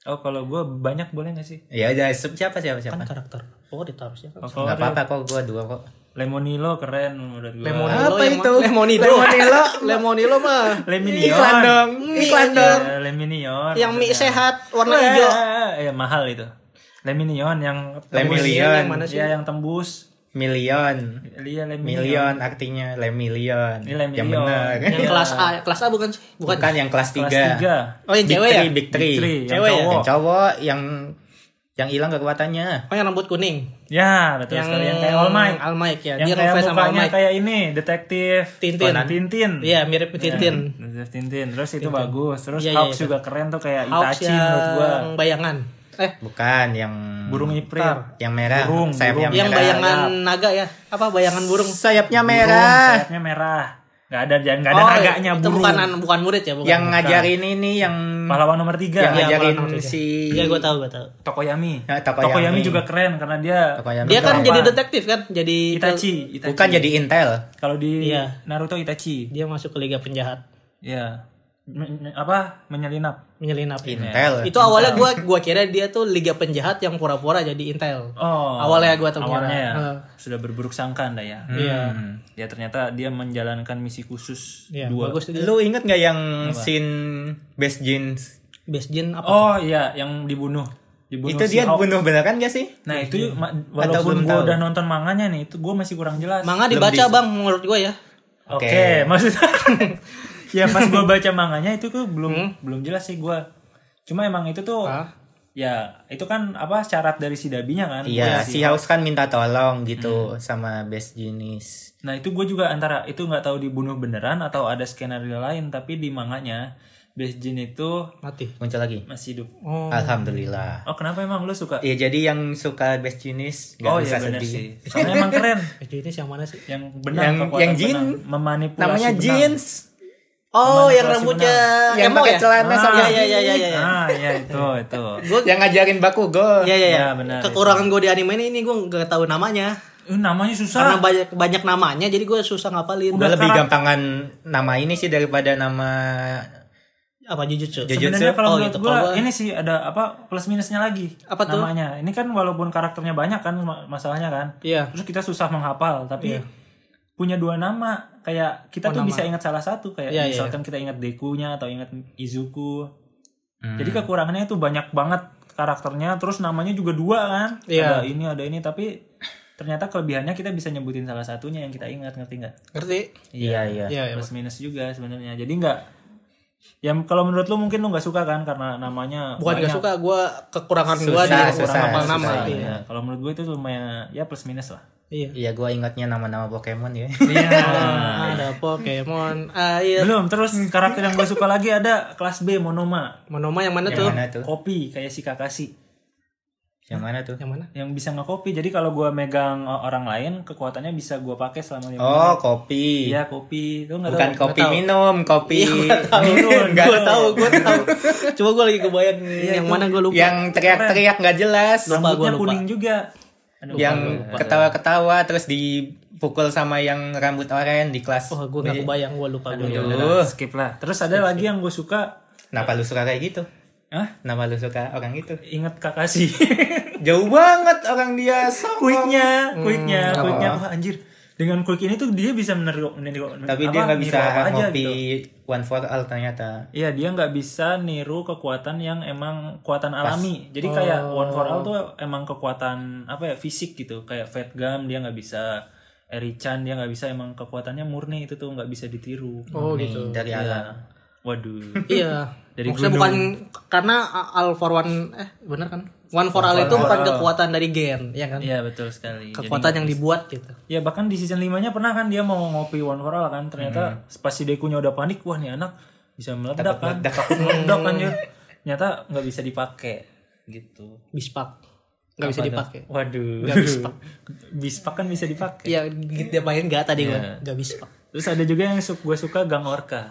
Speaker 1: Oh kalau gue banyak boleh gak sih?
Speaker 3: Ya udah sub- siapa siapa siapa.
Speaker 2: Kan karakter. Oh ditaruh siapa?
Speaker 1: Favorit.
Speaker 3: Enggak apa-apa kok gua dua kok.
Speaker 1: Lemonilo keren menurut gue.
Speaker 2: Lemonilo
Speaker 3: Apa
Speaker 2: yang-
Speaker 3: itu?
Speaker 2: Lemonido.
Speaker 3: Lemonilo.
Speaker 2: Lemonilo mah.
Speaker 1: Leminion.
Speaker 3: Iklan dong. Iklan dong.
Speaker 1: Ya, Leminion.
Speaker 2: Yang mie
Speaker 1: maksudnya.
Speaker 2: sehat warna
Speaker 1: Wah,
Speaker 2: hijau.
Speaker 1: Ya mahal itu. Leminion yang
Speaker 2: Yang
Speaker 3: Lemilion.
Speaker 2: mana sih?
Speaker 1: Ya yang tembus.
Speaker 3: Million.
Speaker 1: Iya Leminion.
Speaker 3: Million artinya lemillion.
Speaker 1: Ini
Speaker 3: Yang
Speaker 1: Lemillion.
Speaker 3: benar.
Speaker 1: *laughs*
Speaker 3: *laughs*
Speaker 2: Yang
Speaker 1: Iya.
Speaker 2: kelas A, kelas A bukan sih? Bukan.
Speaker 3: Bukan kan, yang kelas 3.
Speaker 1: Kelas tiga.
Speaker 2: Oh yang
Speaker 3: Big
Speaker 2: cewek ya?
Speaker 3: Three, Big Three.
Speaker 1: Big Three, yang
Speaker 2: Cewek ya?
Speaker 1: cowok.
Speaker 3: Yang cowok yang yang hilang kekuatannya.
Speaker 2: Oh yang rambut kuning.
Speaker 1: Ya betul
Speaker 2: Yang
Speaker 1: sekali. Yang kayak All Might.
Speaker 2: All Might ya.
Speaker 1: yang
Speaker 2: Dia
Speaker 1: kayak
Speaker 2: nge-face sama All
Speaker 1: mukanya
Speaker 2: Might.
Speaker 1: kayak ini detektif
Speaker 2: Tintin.
Speaker 1: Conan. Tintin
Speaker 2: Iya, mirip Tintin.
Speaker 1: Ya, detektif Tintin terus itu bagus terus
Speaker 2: Iya, iya,
Speaker 1: Hawks
Speaker 2: iya.
Speaker 1: juga keren tuh kayak
Speaker 2: Hawks
Speaker 1: Itachi menurut gua
Speaker 2: yang bayangan. Eh,
Speaker 3: Bukan yang
Speaker 1: burung iprit
Speaker 2: Bentar.
Speaker 3: yang merah,
Speaker 1: Burung, burung.
Speaker 3: sayapnya
Speaker 2: yang
Speaker 3: merah.
Speaker 2: bayangan naga ya. Apa bayangan burung?
Speaker 3: sayapnya
Speaker 1: burung
Speaker 3: merah.
Speaker 1: sayapnya merah nggak ada jangan nggak ada naganya
Speaker 2: Oh, itu
Speaker 1: burung
Speaker 2: bukan bukan murid ya, bukan.
Speaker 3: yang ngajarin ini yang
Speaker 1: pahlawan nomor tiga
Speaker 3: yang
Speaker 2: Iya,
Speaker 3: ngajarin
Speaker 2: pahlawan nomor tiga.
Speaker 3: si
Speaker 2: Iya, gua tahu, gua tahu.
Speaker 1: Tokoyami
Speaker 3: Ya, Tokoyami.
Speaker 1: Tokoyami juga keren karena dia
Speaker 3: Tokoyami.
Speaker 2: Dia kan
Speaker 1: Apa?
Speaker 2: jadi detektif kan, jadi
Speaker 1: Itachi, Itachi.
Speaker 3: bukan jadi intel.
Speaker 1: kalau di
Speaker 2: Iya.
Speaker 1: Naruto Itachi
Speaker 2: dia masuk ke liga penjahat,
Speaker 1: ya Men- apa menyelinap
Speaker 2: menyelinap Iya.
Speaker 3: Intel.
Speaker 2: Itu awalnya gua gua kira dia tuh liga penjahat yang pura-pura jadi intel.
Speaker 1: oh
Speaker 2: Awalnya gua tahu.
Speaker 1: awalnya ya
Speaker 2: Heeh.
Speaker 1: sudah berburuk sangka anda ya
Speaker 2: Iya.
Speaker 1: ya ternyata dia menjalankan misi khusus
Speaker 2: Iya,
Speaker 1: dua
Speaker 2: bagus itu.
Speaker 3: Lu inget nggak yang scene best jeans?
Speaker 2: Best Jin apa?
Speaker 1: Oh iya, yang dibunuh. Dibunuh
Speaker 3: itu
Speaker 1: si
Speaker 3: dia
Speaker 1: Hawk.
Speaker 3: bunuh beneran gak sih?
Speaker 1: Nah, itu ma-
Speaker 3: belum
Speaker 1: walaupun gue
Speaker 3: tahu?
Speaker 1: udah nonton manganya nih, itu gue masih kurang jelas.
Speaker 2: Manga dibaca, Bang, menurut gua ya.
Speaker 1: Oke,
Speaker 3: Oke.
Speaker 1: maksudnya *laughs* ya pas gue baca manganya itu tuh belum belum jelas sih gue. Cuma emang itu tuh
Speaker 2: Hah?
Speaker 1: ya itu kan apa syarat dari si dabinya kan.
Speaker 3: Iya,
Speaker 1: Gua
Speaker 3: si House kan minta tolong gitu sama best jeans.
Speaker 1: Nah itu gue juga antara itu nggak tahu dibunuh beneran atau ada skenario lain tapi di manganya Best Jin itu
Speaker 2: Mati.
Speaker 3: Muncul lagi.
Speaker 1: masih hidup.
Speaker 2: Oh.
Speaker 3: Alhamdulillah.
Speaker 1: Oh kenapa emang lu suka?
Speaker 3: Ya jadi yang suka best jenis gak
Speaker 1: oh
Speaker 3: usah
Speaker 1: iya bener
Speaker 3: sedih.
Speaker 1: sih. Soalnya emang keren.
Speaker 2: Best Jin yang mana sih?
Speaker 1: Yang benar
Speaker 3: Yang-
Speaker 1: kekuatan
Speaker 3: yang Jin.
Speaker 1: benang. memanipulasi
Speaker 3: Namanya
Speaker 1: benang.
Speaker 3: jeans
Speaker 2: Oh, yang
Speaker 1: Manipulasi
Speaker 2: rambutnya
Speaker 3: benang. Yang
Speaker 2: emo
Speaker 3: pakai
Speaker 2: ya?
Speaker 3: celana
Speaker 2: Ah,
Speaker 3: sama-
Speaker 2: Iya, iya, iya, iya. iya.
Speaker 1: Ah, ya itu itu.
Speaker 3: yang ngajarin baku
Speaker 2: Iya iya iya.
Speaker 1: Ya, benar,
Speaker 2: Kekurangan gue di anime ini, ini gue nggak tahu namanya
Speaker 1: Eh, namanya
Speaker 2: karena
Speaker 1: susah.
Speaker 2: banyak banyak namanya jadi gue susah ngapalin.
Speaker 3: Gue lebih
Speaker 1: karak-
Speaker 3: gampangan nama ini sih daripada nama
Speaker 2: Apa jujutsu?
Speaker 3: Jujutsu.
Speaker 2: Oh,
Speaker 1: Sebenarnya kalau menurut
Speaker 2: gitu.
Speaker 1: gua,
Speaker 2: Kalau gua-
Speaker 1: ini sih ada apa plus minusnya lagi
Speaker 2: Apa tuh?
Speaker 1: namanya. Ini kan walaupun karakternya banyak kan ma- masalahnya kan.
Speaker 2: Iya.
Speaker 1: Terus kita susah menghafal tapi punya dua nama kayak kita tuh bisa ingat salah satu
Speaker 2: Oh,
Speaker 1: kayak
Speaker 2: Iya, iya.
Speaker 1: misalkan kita ingat Dekunya atau ingat Izuku.
Speaker 2: Hmm.
Speaker 1: Jadi kekurangannya itu banyak banget karakternya terus namanya juga dua kan.
Speaker 2: Iya.
Speaker 1: Ada ini ada ini tapi ternyata kelebihannya kita bisa nyebutin salah satunya yang kita ingat ngerti nggak?
Speaker 2: Ngerti?
Speaker 3: Iya iya.
Speaker 2: Iya. iya.
Speaker 1: plus minus juga sebenarnya jadi nggak ya kalau menurut lu mungkin lu nggak suka kan karena namanya
Speaker 2: Bukan gak
Speaker 1: banyak.
Speaker 2: suka, gue kekurangan gue
Speaker 3: Susah,
Speaker 2: di
Speaker 3: susah,
Speaker 2: ngapal
Speaker 3: susah,
Speaker 2: nama.
Speaker 1: Iya,
Speaker 2: Iya.
Speaker 1: kalau menurut gue itu lumayan ya plus minus lah
Speaker 2: Iya.
Speaker 3: Iya gue ingatnya nama-nama Pokemon ya.
Speaker 1: iya
Speaker 2: Ada Pokemon air.
Speaker 1: *laughs* belum terus karakter yang gue suka lagi ada kelas B Monoma
Speaker 2: Monoma yang mana
Speaker 3: yang
Speaker 2: tuh?
Speaker 3: mana tuh?
Speaker 1: kopi kayak si Kakashi
Speaker 3: Yang mana tuh?
Speaker 2: Yang mana?
Speaker 1: yang bisa ngekopi jadi kalau gue megang eh, orang lain kekuatannya bisa gue pakai selama lima
Speaker 3: Oh kopi.
Speaker 1: iya kopi lu nggak
Speaker 3: Bukan
Speaker 1: tahu?
Speaker 3: kopi minum, kopi.
Speaker 2: Iya,
Speaker 3: *laughs* Nggak
Speaker 2: Gue tahu, gue
Speaker 3: *laughs*
Speaker 2: tahu. Coba gue lagi kebayang yang mana gue lupa.
Speaker 3: Yang teriak-teriak nggak jelas.
Speaker 2: Lupa, gua
Speaker 1: rambutnya
Speaker 2: lupa.
Speaker 1: kuning juga Aduh,
Speaker 3: yang
Speaker 1: gua lupa.
Speaker 3: ketawa-ketawa terus di dipukul sama yang rambut oranye di kelas.
Speaker 2: Wah, gue gak Oh, kebayang, gue lupa
Speaker 1: Aduh,
Speaker 2: gue.
Speaker 1: ya udah lah, skip lah. Terus ada lagi yang gue suka,
Speaker 3: Kenapa lu suka kayak gitu?
Speaker 1: Hah?
Speaker 3: Kenapa lu suka orang itu?
Speaker 1: inget Kakashi.
Speaker 3: Jauh banget orang dia sombong.
Speaker 1: quicknya, quicknya, quicknya. Wah anjir. Dengan quick ini tuh dia bisa meniru, meniru
Speaker 3: Tapi
Speaker 1: apa,
Speaker 3: dia nggak bisa
Speaker 1: niru apa aja
Speaker 3: ngopi
Speaker 1: gitu.
Speaker 3: one for all ternyata.
Speaker 1: Iya dia nggak bisa niru kekuatan yang emang kekuatan alami. Jadi kayak
Speaker 3: Oh.
Speaker 1: one for all tuh emang kekuatan apa ya fisik gitu. Kayak Fat Gum dia nggak bisa, Erichan dia nggak bisa. Emang kekuatannya murni itu tuh nggak bisa ditiru.
Speaker 2: Oh
Speaker 3: Nih,
Speaker 2: gitu.
Speaker 3: Dari alam.
Speaker 1: Waduh. *laughs*
Speaker 2: Iya.
Speaker 1: Dari
Speaker 2: Maksudnya
Speaker 1: gunung.
Speaker 2: bukan karena all for one eh bener kan? One for all itu bukan kekuatan dari gen, ya kan?
Speaker 1: Iya betul sekali. Jadi-
Speaker 2: Kekuatan yang dibuat gitu.
Speaker 1: Ya bahkan di season 5 nya pernah kan dia mau ngopi one for all kan ternyata pas si Dekunya udah panik wah nih anak bisa meledak kan takut *laughs* meledak kan dia ternyata nggak bisa dipakai gitu
Speaker 2: Bispak. Nggak bisa dipakai.
Speaker 1: waduh
Speaker 2: bispak.
Speaker 1: bispak kan bisa dipakai
Speaker 2: Iya, gitu dia main gak tadi
Speaker 1: Iya.
Speaker 2: gue. Gak bispak.
Speaker 1: terus ada juga yang su- gue suka Gang Orca
Speaker 2: *laughs*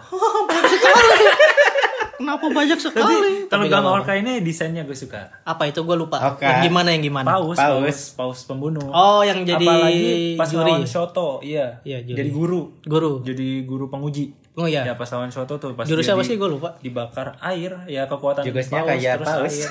Speaker 2: Kenapa banyak sekali?
Speaker 1: tapi kalau Gang Orca ini desainnya gue suka
Speaker 2: Apa itu gue lupa.
Speaker 3: Oke.
Speaker 2: Yang gimana yang gimana?
Speaker 1: paus
Speaker 3: Paus.
Speaker 1: paus paus pembunuh
Speaker 2: Oh, yang jadi
Speaker 1: apalagi pas
Speaker 2: juri.
Speaker 1: lawan Shoto iya,
Speaker 2: Iya, juri.
Speaker 1: jadi guru
Speaker 2: Guru.
Speaker 1: jadi guru penguji
Speaker 2: Oh iya.
Speaker 1: ya pas lawan Shoto tuh pas
Speaker 2: Juru
Speaker 1: dia
Speaker 2: siapa
Speaker 1: di-
Speaker 2: sih gue lupa.
Speaker 1: dibakar air ya kekuatan
Speaker 3: Jurusnya
Speaker 1: paus,
Speaker 3: kayak
Speaker 1: terus
Speaker 3: paus.
Speaker 1: air.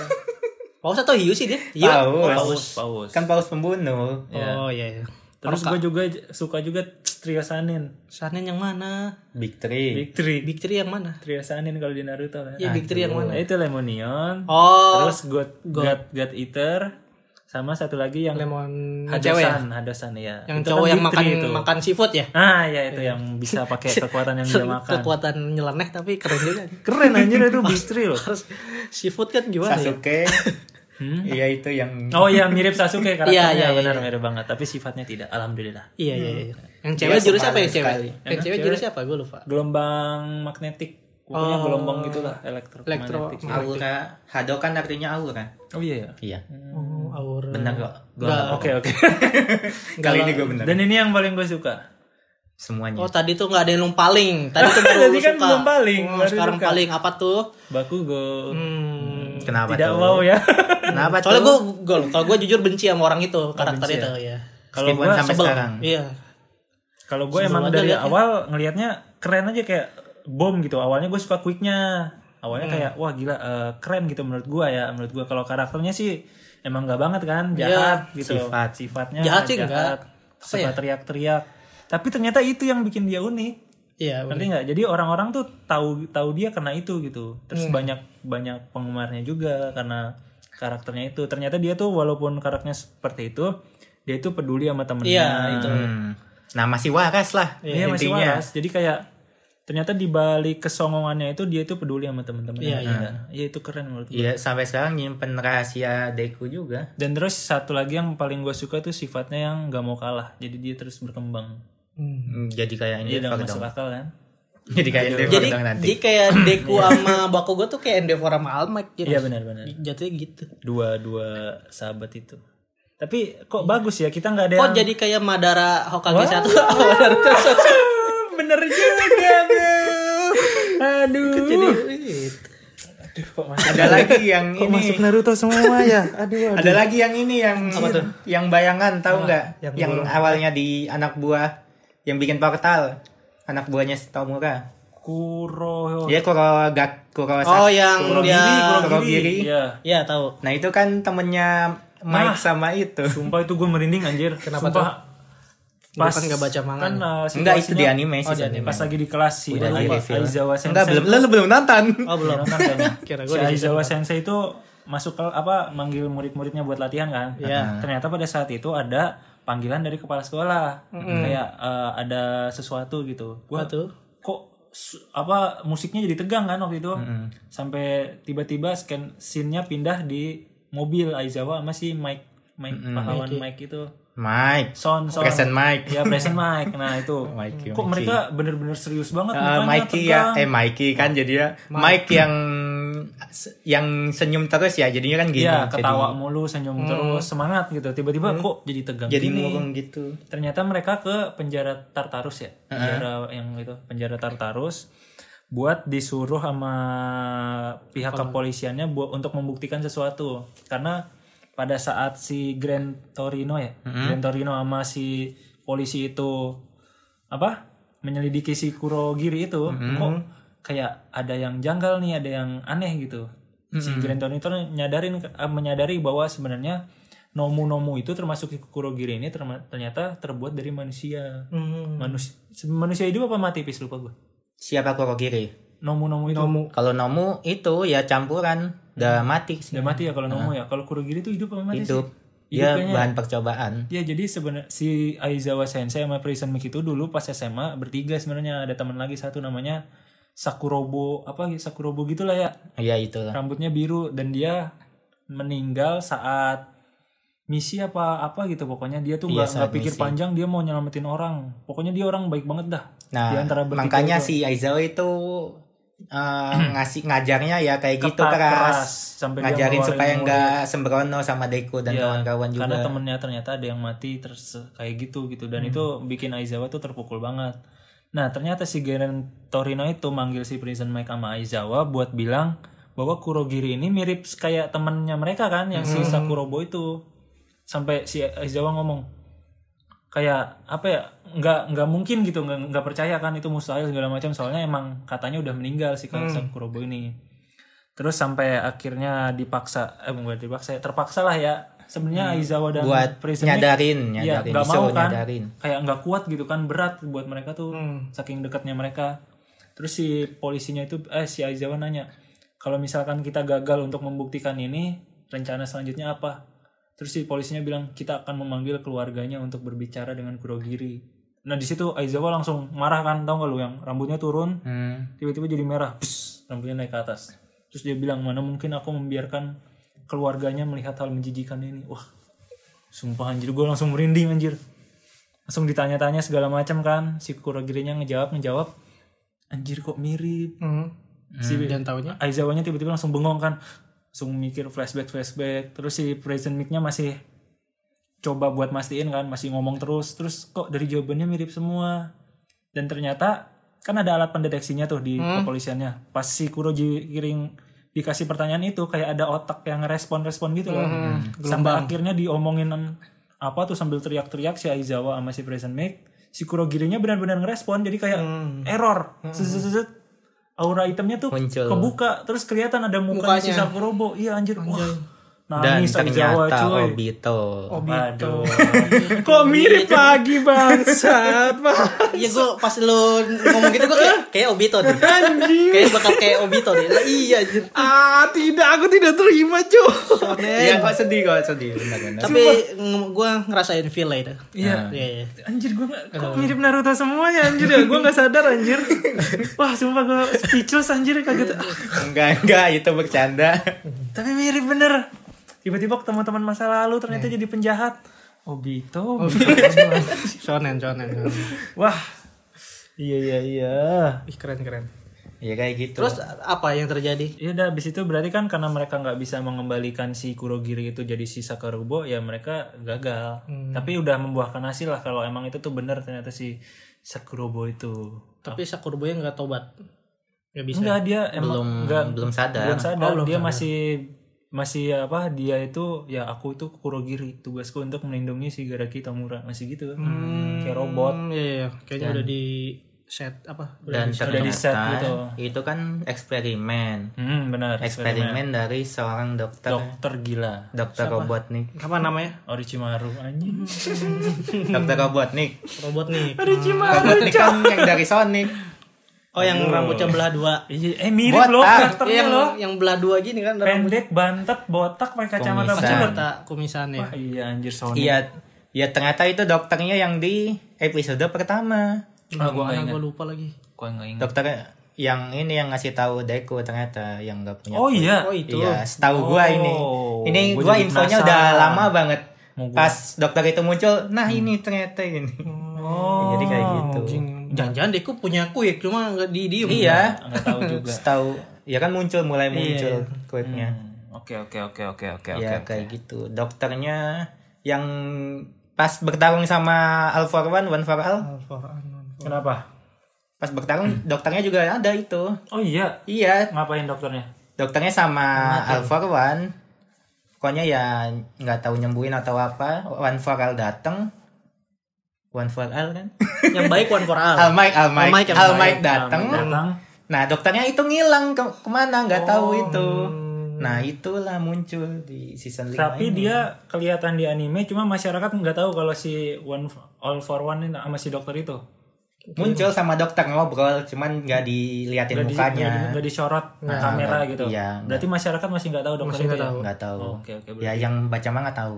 Speaker 2: Paus atau hiu sih dia? Hiu. ya?
Speaker 3: Paus.
Speaker 1: paus paus
Speaker 3: Kan paus pembunuh.
Speaker 2: Oh iya. iya.
Speaker 1: terus gue juga j- suka juga Trio Sanin
Speaker 2: Sanen yang mana?
Speaker 3: Big Three.
Speaker 1: Big Three
Speaker 2: Big Three yang mana?
Speaker 1: Trio Sanin kalau di Naruto kan
Speaker 2: Iya, Big Three yang
Speaker 1: Nah,
Speaker 2: mana?
Speaker 1: itu Lemonion
Speaker 2: Oh,
Speaker 1: terus God, God God Eater sama satu lagi yang
Speaker 2: lemon cewek ya?
Speaker 1: Hadosan Hadosan ya
Speaker 2: yang
Speaker 1: Itu kan
Speaker 2: cowok yang
Speaker 1: Big
Speaker 2: makan
Speaker 1: Three itu.
Speaker 2: makan seafood ya
Speaker 1: ah ya itu yang bisa
Speaker 2: *laughs*
Speaker 1: pakai kekuatan yang dia makan
Speaker 2: kekuatan nyeleneh tapi keren juga
Speaker 1: keren anjir
Speaker 2: *laughs*
Speaker 1: itu Big Three loh
Speaker 2: harus seafood kan gimana ya
Speaker 3: Sasuke. Iya itu yang
Speaker 1: oh iya mirip Sasuke
Speaker 2: *laughs*
Speaker 1: karakternya
Speaker 2: Iya, iya, iya,
Speaker 1: benar mirip banget tapi sifatnya tidak alhamdulillah
Speaker 2: iya iya iya yang cewek jurus apa ya cewek
Speaker 3: sekali.
Speaker 2: yang cewek jurus apa gue lupa
Speaker 1: gelombang magnetik pokoknya gelombang gitulah
Speaker 2: elektro
Speaker 1: elektromagnetik
Speaker 3: aura. Hado kan artinya aura.
Speaker 1: oh iya ya
Speaker 3: Iya.
Speaker 2: oh, aura
Speaker 3: Benar kok. Gua
Speaker 2: Nggak.
Speaker 1: oke oke
Speaker 3: Kali ini gue benar.
Speaker 1: dan ini yang paling gue suka
Speaker 3: Semuanya.
Speaker 2: oh tadi tuh nggak ada yang belum paling tadi
Speaker 1: *laughs*
Speaker 2: tuh baru lu
Speaker 1: Tadi kan
Speaker 2: suka.
Speaker 1: belum paling,
Speaker 2: Oh,
Speaker 1: baru
Speaker 2: sekarang
Speaker 1: suka.
Speaker 2: paling apa tuh
Speaker 1: Bakugo
Speaker 2: hmm.
Speaker 3: Kenapa
Speaker 1: tidak
Speaker 3: tuh?
Speaker 1: wow ya *laughs*
Speaker 3: Kenapa
Speaker 2: soalnya
Speaker 3: tuh?
Speaker 2: gue gue kalau gue jujur benci sama orang itu karakter
Speaker 1: Oh, benci
Speaker 2: itu ya
Speaker 1: kalau
Speaker 3: Meskipun
Speaker 1: gue
Speaker 3: sampai
Speaker 2: Sebel.
Speaker 3: sekarang.
Speaker 2: iya
Speaker 1: kalau gue
Speaker 2: Sebelum
Speaker 1: emang
Speaker 2: ada
Speaker 1: dari
Speaker 2: liatnya.
Speaker 1: awal ngelihatnya keren aja kayak bom gitu awalnya gue suka quicknya awalnya
Speaker 2: Hmm.
Speaker 1: kayak wah gila eh, keren gitu menurut gue ya menurut gue kalau karakternya sih emang nggak banget kan jahat gitu
Speaker 3: Sifat.
Speaker 1: sifatnya
Speaker 2: Iya. Jahat sih ya? nggak.
Speaker 1: suka teriak-teriak tapi ternyata itu yang bikin dia unik
Speaker 2: iya
Speaker 1: Ngerti nggak? Jadi orang-orang tuh tahu tahu dia karena itu gitu. Terus banyak banyak penggemarnya juga karena karakternya itu. Ternyata dia tuh walaupun karakternya seperti itu, dia tuh peduli sama temennya.
Speaker 2: Iya, itu.
Speaker 3: Hmm. Nah masih waras lah.
Speaker 1: Iya, masih waras. Jadi kayak ternyata di balik kesongongannya itu dia tuh peduli sama temen-temennya.
Speaker 2: Iya,
Speaker 1: Iya, Iya, itu keren menurut gue.
Speaker 3: Iya sampai sekarang nyimpen rahasia Deku juga.
Speaker 1: Dan terus satu lagi yang paling gue suka tuh sifatnya yang nggak mau kalah. Jadi dia terus berkembang.
Speaker 2: Hmm.
Speaker 3: Hmm, Jadi kayak
Speaker 1: Iya, udah
Speaker 3: Endeavor dong.
Speaker 1: masuk akal kan?
Speaker 3: Jadi kayak Endeavor
Speaker 2: jadi
Speaker 3: dong nanti.
Speaker 2: jadi kayak Deku sama Bakugo tuh kayak Endeavor sama Almec gitu.
Speaker 1: Iya benar-benar.
Speaker 2: Jatuhnya gitu.
Speaker 1: Dua dua sahabat itu. Tapi kok bagus ya kita nggak ada
Speaker 2: Kok
Speaker 1: yang-
Speaker 2: Oh, jadi kayak Madara Hokage satu sama Naruto satu.
Speaker 1: Bener juga, Aduh.
Speaker 2: Jadi gitu.
Speaker 1: kok masuk,
Speaker 3: Ada lagi yang ini.
Speaker 1: Naruto semua
Speaker 3: *laughs*
Speaker 1: ya? Aduh.
Speaker 3: Ada lagi yang ini yang yang bayangan tahu nggak? Yang, awalnya di anak buah yang bikin portal anak buahnya si Tomura.
Speaker 1: Kuro.
Speaker 3: Iya Kuro Gak Kuro
Speaker 2: Oh yang
Speaker 3: Iya,
Speaker 2: dia
Speaker 3: Kurogiri.
Speaker 1: Iya.
Speaker 2: ya tahu.
Speaker 3: Nah itu kan temennya Mike sama itu.
Speaker 1: Sumpah itu gue merinding anjir.
Speaker 2: Kenapa
Speaker 1: Sumpah.
Speaker 2: Pas kan gak baca manga.
Speaker 1: Kan uh, situasinya-
Speaker 3: Enggak itu di anime
Speaker 2: Oh,
Speaker 3: sih.
Speaker 2: di anime.
Speaker 1: Pas lagi di kelas si
Speaker 3: Udah di
Speaker 1: Aizawa
Speaker 3: reveal.
Speaker 1: Aizawa Sensei.
Speaker 3: Enggak belum lu belum nonton.
Speaker 2: Oh belum.
Speaker 1: Nonton Iya, kan kayaknya.
Speaker 2: *laughs* Kira
Speaker 1: si
Speaker 2: gua di-
Speaker 1: Aizawa Sensei itu masuk ke apa manggil murid-muridnya buat latihan kan?
Speaker 2: Iya.
Speaker 1: Ternyata pada saat itu ada panggilan dari kepala sekolah. Kayak eh, ada sesuatu gitu. Gua
Speaker 2: tuh?
Speaker 1: kok su- apa musiknya jadi tegang kan waktu itu. Sampai tiba-tiba scan scene-nya pindah di mobil Aizawa sama si Mike Mike pahlawan Mike itu.
Speaker 3: Mike.
Speaker 1: Son son.
Speaker 3: Present Mike.
Speaker 1: Ya present Mike. Nah, itu.
Speaker 3: *laughs* Mikey,
Speaker 1: Kok mereka bener-bener serius banget
Speaker 3: Eh,
Speaker 1: mukanya
Speaker 3: Mikey
Speaker 1: tegang.
Speaker 3: ya, eh Mikey kan jadi ya Mike yang yang senyum terus ya jadinya kan gini.
Speaker 1: Iya, ketawa mulu, senyum terus, semangat gitu. Tiba-tiba kok jadi tegang
Speaker 3: Jadi, jadi
Speaker 1: gini.
Speaker 3: murung gitu.
Speaker 1: Ternyata mereka ke penjara Tartarus ya. Penjara yang itu, penjara Tartarus buat disuruh sama pihak kepolisiannya buat untuk membuktikan sesuatu. Karena pada saat si Grand Torino ya, Grand Torino sama si polisi itu apa menyelidiki si Kurogiri itu kok kayak ada yang janggal nih ada yang aneh gitu si Grand Tornado nyadarin eh, menyadari bahwa sebenarnya Nomu Nomu itu termasuk si Kurogiri ini terma- ternyata terbuat dari manusia
Speaker 2: Hmm.
Speaker 1: manusia manusia hidup apa mati pis lupa gue
Speaker 3: Siapa Kurogiri?
Speaker 1: Nomu Nomu itu
Speaker 3: Kalau Nomu itu ya campuran, udah mati sih.
Speaker 1: udah mati ya kalau Nomu ya kalau Kurogiri itu hidup apa mati sih?
Speaker 3: Hidup.
Speaker 1: Hidup
Speaker 3: Dia
Speaker 1: kayaknya.
Speaker 3: bahan percobaan.
Speaker 1: Ya jadi sebenarnya si Aizawa Sensei sama Prison Miki itu dulu pas SMA bertiga sebenarnya ada teman lagi satu namanya Sakurobo apa ya, Sakurobo gitulah ya
Speaker 3: Ya itulah.
Speaker 1: rambutnya biru dan dia meninggal saat misi apa apa gitu pokoknya dia tuh
Speaker 3: Iya,
Speaker 1: nggak
Speaker 3: saat
Speaker 1: nggak pikir
Speaker 3: misi.
Speaker 1: panjang dia mau nyelamatin orang pokoknya dia orang baik banget dah Di
Speaker 3: Nah,
Speaker 1: antara bertiga
Speaker 3: makanya
Speaker 1: itu.
Speaker 3: si Aizawa itu eh, ngasih ngajarnya ya kayak gitu
Speaker 1: Hmm. Ketat,
Speaker 3: keras.
Speaker 1: sampai dia
Speaker 3: Ngajarin
Speaker 1: ngeluarin
Speaker 3: supaya
Speaker 1: mulut.
Speaker 3: nggak sembrono sama Deku dan
Speaker 1: Iya,
Speaker 3: kawan-kawan juga.
Speaker 1: karena temennya ternyata ada yang mati terus kayak gitu gitu
Speaker 3: Hmm.
Speaker 1: dan itu bikin Aizawa tuh terpukul banget nah ternyata si Geren Torino itu manggil si Prison Mike sama Aizawa buat bilang bahwa Kurogiri ini mirip kayak temennya mereka kan yang si
Speaker 3: Hmm.
Speaker 1: Sakurobo itu sampai si Aizawa ngomong kayak apa ya nggak nggak mungkin gitu nggak nggak percaya kan itu mustahil segala macam soalnya emang katanya udah meninggal si Kang Sakurobo ini terus sampai akhirnya dipaksa eh bukan dipaksa ya, terpaksa lah ya sebenarnya Aizawa dan
Speaker 3: buat
Speaker 1: Prison Mike,
Speaker 3: nyadarin,
Speaker 1: ya
Speaker 3: nyadarin,
Speaker 1: nggak mau
Speaker 3: disuruh
Speaker 1: kan
Speaker 3: nyadarin.
Speaker 1: kayak nggak kuat gitu kan berat buat mereka tuh saking dekatnya mereka terus si polisinya itu eh si Aizawa nanya kalau misalkan kita gagal untuk membuktikan ini rencana selanjutnya apa terus si polisinya bilang kita akan memanggil keluarganya untuk berbicara dengan Kurogiri nah di situ Aizawa langsung marah kan tau gak lu yang rambutnya turun
Speaker 3: Hmm.
Speaker 1: tiba-tiba jadi merah Pss, rambutnya naik ke atas terus dia bilang mana mungkin aku membiarkan keluarganya melihat hal menjijikan ini wah sumpah anjir gue langsung merinding anjir langsung ditanya-tanya segala macam kan si kurogirinya ngejawab ngejawab anjir kok mirip
Speaker 2: Hmm.
Speaker 1: si
Speaker 2: Dan taunya
Speaker 1: Aizawanya tiba-tiba langsung bengong kan langsung mikir flashback flashback terus si present mic-nya masih coba buat mastiin kan masih ngomong terus terus kok dari jawabannya mirip semua dan ternyata kan ada alat pendeteksinya tuh di kepolisiannya pas si Kuroji kiring dikasih pertanyaan itu kayak ada otak yang respon-respon gitu loh sampai akhirnya diomongin apa tuh sambil teriak-teriak si Aizawa sama si present mic si Kurogirinya benar-benar ngerespon jadi kayak error Zzzzt. aura itemnya tuh
Speaker 3: Muncul.
Speaker 1: kebuka terus kelihatan ada mukanya, si
Speaker 2: Mukanya.
Speaker 1: Sakurobo iya anjir wah
Speaker 3: Dan
Speaker 1: nangis Aizawa
Speaker 3: ternyata
Speaker 1: cuy Oh,
Speaker 3: Obito. *laughs*
Speaker 1: Aduh.
Speaker 2: Kok mirip lagi bangsat *laughs* Iya gue pas lu ngomong gitu gue kayak kayak Obito deh. Anjing. Kayak bakal kayak Obito deh. Lah, iya anjir.
Speaker 4: Ah, tidak, aku tidak terima, cuy.
Speaker 3: Iya, kok sedih kok sedih benar-benar.
Speaker 2: Tapi gue ngerasain feel lah itu.
Speaker 1: Iya.
Speaker 2: Iya. iya.
Speaker 1: Anjir gue kok mirip Naruto semuanya anjir ya gue nggak sadar anjir wah sumpah gue speechless anjir kaget Ah,
Speaker 3: Enggak, enggak, itu
Speaker 1: *laughs*
Speaker 3: bercanda.
Speaker 1: tapi mirip bener tiba-tiba ketemu teman masa lalu ternyata jadi penjahat Obito,
Speaker 2: Shonen, shonen, shonen.
Speaker 1: wah iya iya iya
Speaker 2: Ih keren keren.
Speaker 3: Ya kayak gitu.
Speaker 2: Terus apa yang terjadi?
Speaker 1: Ya udah abis itu berarti kan karena mereka nggak bisa mengembalikan si Kurogiri itu jadi si Sakarubo ya mereka gagal. Tapi udah membuahkan hasil lah kalau emang itu tuh bener ternyata si Sakurobo itu.
Speaker 2: Tapi Sakuroboya nggak tobat. Nggak bisa.
Speaker 1: Enggak dia emang
Speaker 3: belum
Speaker 1: nggak-
Speaker 3: belum sadar.
Speaker 1: Oh, belum sadar dia masih masih apa dia itu ya aku itu Kurogiri tugasku untuk melindungi si Garaki Tamura masih gitu kan kayak robot
Speaker 2: Hmm, iya, iya. Kayaknya udah di set apa? Udah
Speaker 3: Dan ternyata
Speaker 1: di-set gitu.
Speaker 3: itu kan eksperimen.
Speaker 1: hmm, benar
Speaker 3: Eksperimen dari seorang dokter
Speaker 1: dokter gila
Speaker 3: dokter
Speaker 1: *laughs*
Speaker 3: Robotnik.
Speaker 2: apa namanya?
Speaker 1: Orochimaru anjing *laughs*
Speaker 3: Dokter Robotnik.
Speaker 2: Robot *laughs* nih.
Speaker 3: Robotnik kan yang dari Sonic.
Speaker 2: Oh yang rambutnya belah dua.
Speaker 1: Iya, eh mirip
Speaker 3: Botak.
Speaker 1: loh
Speaker 2: Iya,
Speaker 1: karakternya
Speaker 2: yang
Speaker 1: loh
Speaker 2: yang belah dua gini kan rambut
Speaker 1: pendek bantet botak pakai kacamata
Speaker 3: Kumisan.
Speaker 1: kecil
Speaker 2: kata kumisan ya.
Speaker 1: iya anjir Sony
Speaker 3: Iya, ya ternyata itu dokternya yang di episode pertama.
Speaker 1: ah, gua nggak
Speaker 2: Mana
Speaker 1: ingat
Speaker 2: gua lupa lagi.
Speaker 1: gua nggak ingat
Speaker 3: Dokter yang ini yang ngasih tahu Deku ternyata yang nggak punya
Speaker 1: oh iya
Speaker 2: Oh itu.
Speaker 3: Iya, setahu gua ini. Ini
Speaker 1: gua
Speaker 3: gua
Speaker 1: jadi
Speaker 3: infonya
Speaker 1: penasaran.
Speaker 3: udah lama banget.
Speaker 1: Mau gua- Hmm.
Speaker 3: Pas dokter itu muncul, nah ini ternyata ini.
Speaker 1: oh
Speaker 3: Jadi kayak gitu.
Speaker 1: Hmm.
Speaker 2: Jangan-jangan Deku punya kuik cuma nggak di diem.
Speaker 3: Iya,
Speaker 1: nggak tahu juga
Speaker 3: setahu ya kan muncul mulai muncul kuitnya.
Speaker 1: *laughs* Hmm. oke oke oke oke oke
Speaker 3: ya
Speaker 1: oke
Speaker 3: kayak gitu. Dokternya yang pas bertarung sama All for One, One for All,
Speaker 1: kenapa
Speaker 3: pas bertarung dokternya juga ada itu.
Speaker 1: oh iya
Speaker 3: Iya,
Speaker 1: ngapain dokternya
Speaker 3: dokternya sama All for One. Pokoknya ya nggak tahu nyembuhin atau apa. One for All datang. One for all kan?
Speaker 2: Yang baik one for all.
Speaker 3: All Mike, All Mike,
Speaker 2: All Mike yang
Speaker 3: All
Speaker 2: baik.
Speaker 3: Mike
Speaker 1: Nah,
Speaker 3: datang.
Speaker 1: datang.
Speaker 3: Nah dokternya itu ngilang ke- kemana? Nggak tahu itu. Nah itulah muncul di season 5
Speaker 1: Tapi dia kelihatan di anime, cuma masyarakat nggak tahu kalau si One All for One ini sama si dokter itu.
Speaker 3: muncul sama dokter ngobrol, cuman nggak
Speaker 1: Gitu. Nggak
Speaker 3: diliatin
Speaker 1: di-
Speaker 3: mukanya.
Speaker 1: nggak di- nggak disorot kamera gitu.
Speaker 3: Iya, nggak.
Speaker 1: Berarti masyarakat masih nggak tahu dokter
Speaker 4: Masih
Speaker 1: itu
Speaker 4: nggak
Speaker 1: ya?
Speaker 4: tahu.
Speaker 3: Nggak tahu.
Speaker 1: Oke, oke,
Speaker 3: ya
Speaker 1: berarti.
Speaker 3: yang baca mah nggak
Speaker 1: *laughs*
Speaker 3: tahu.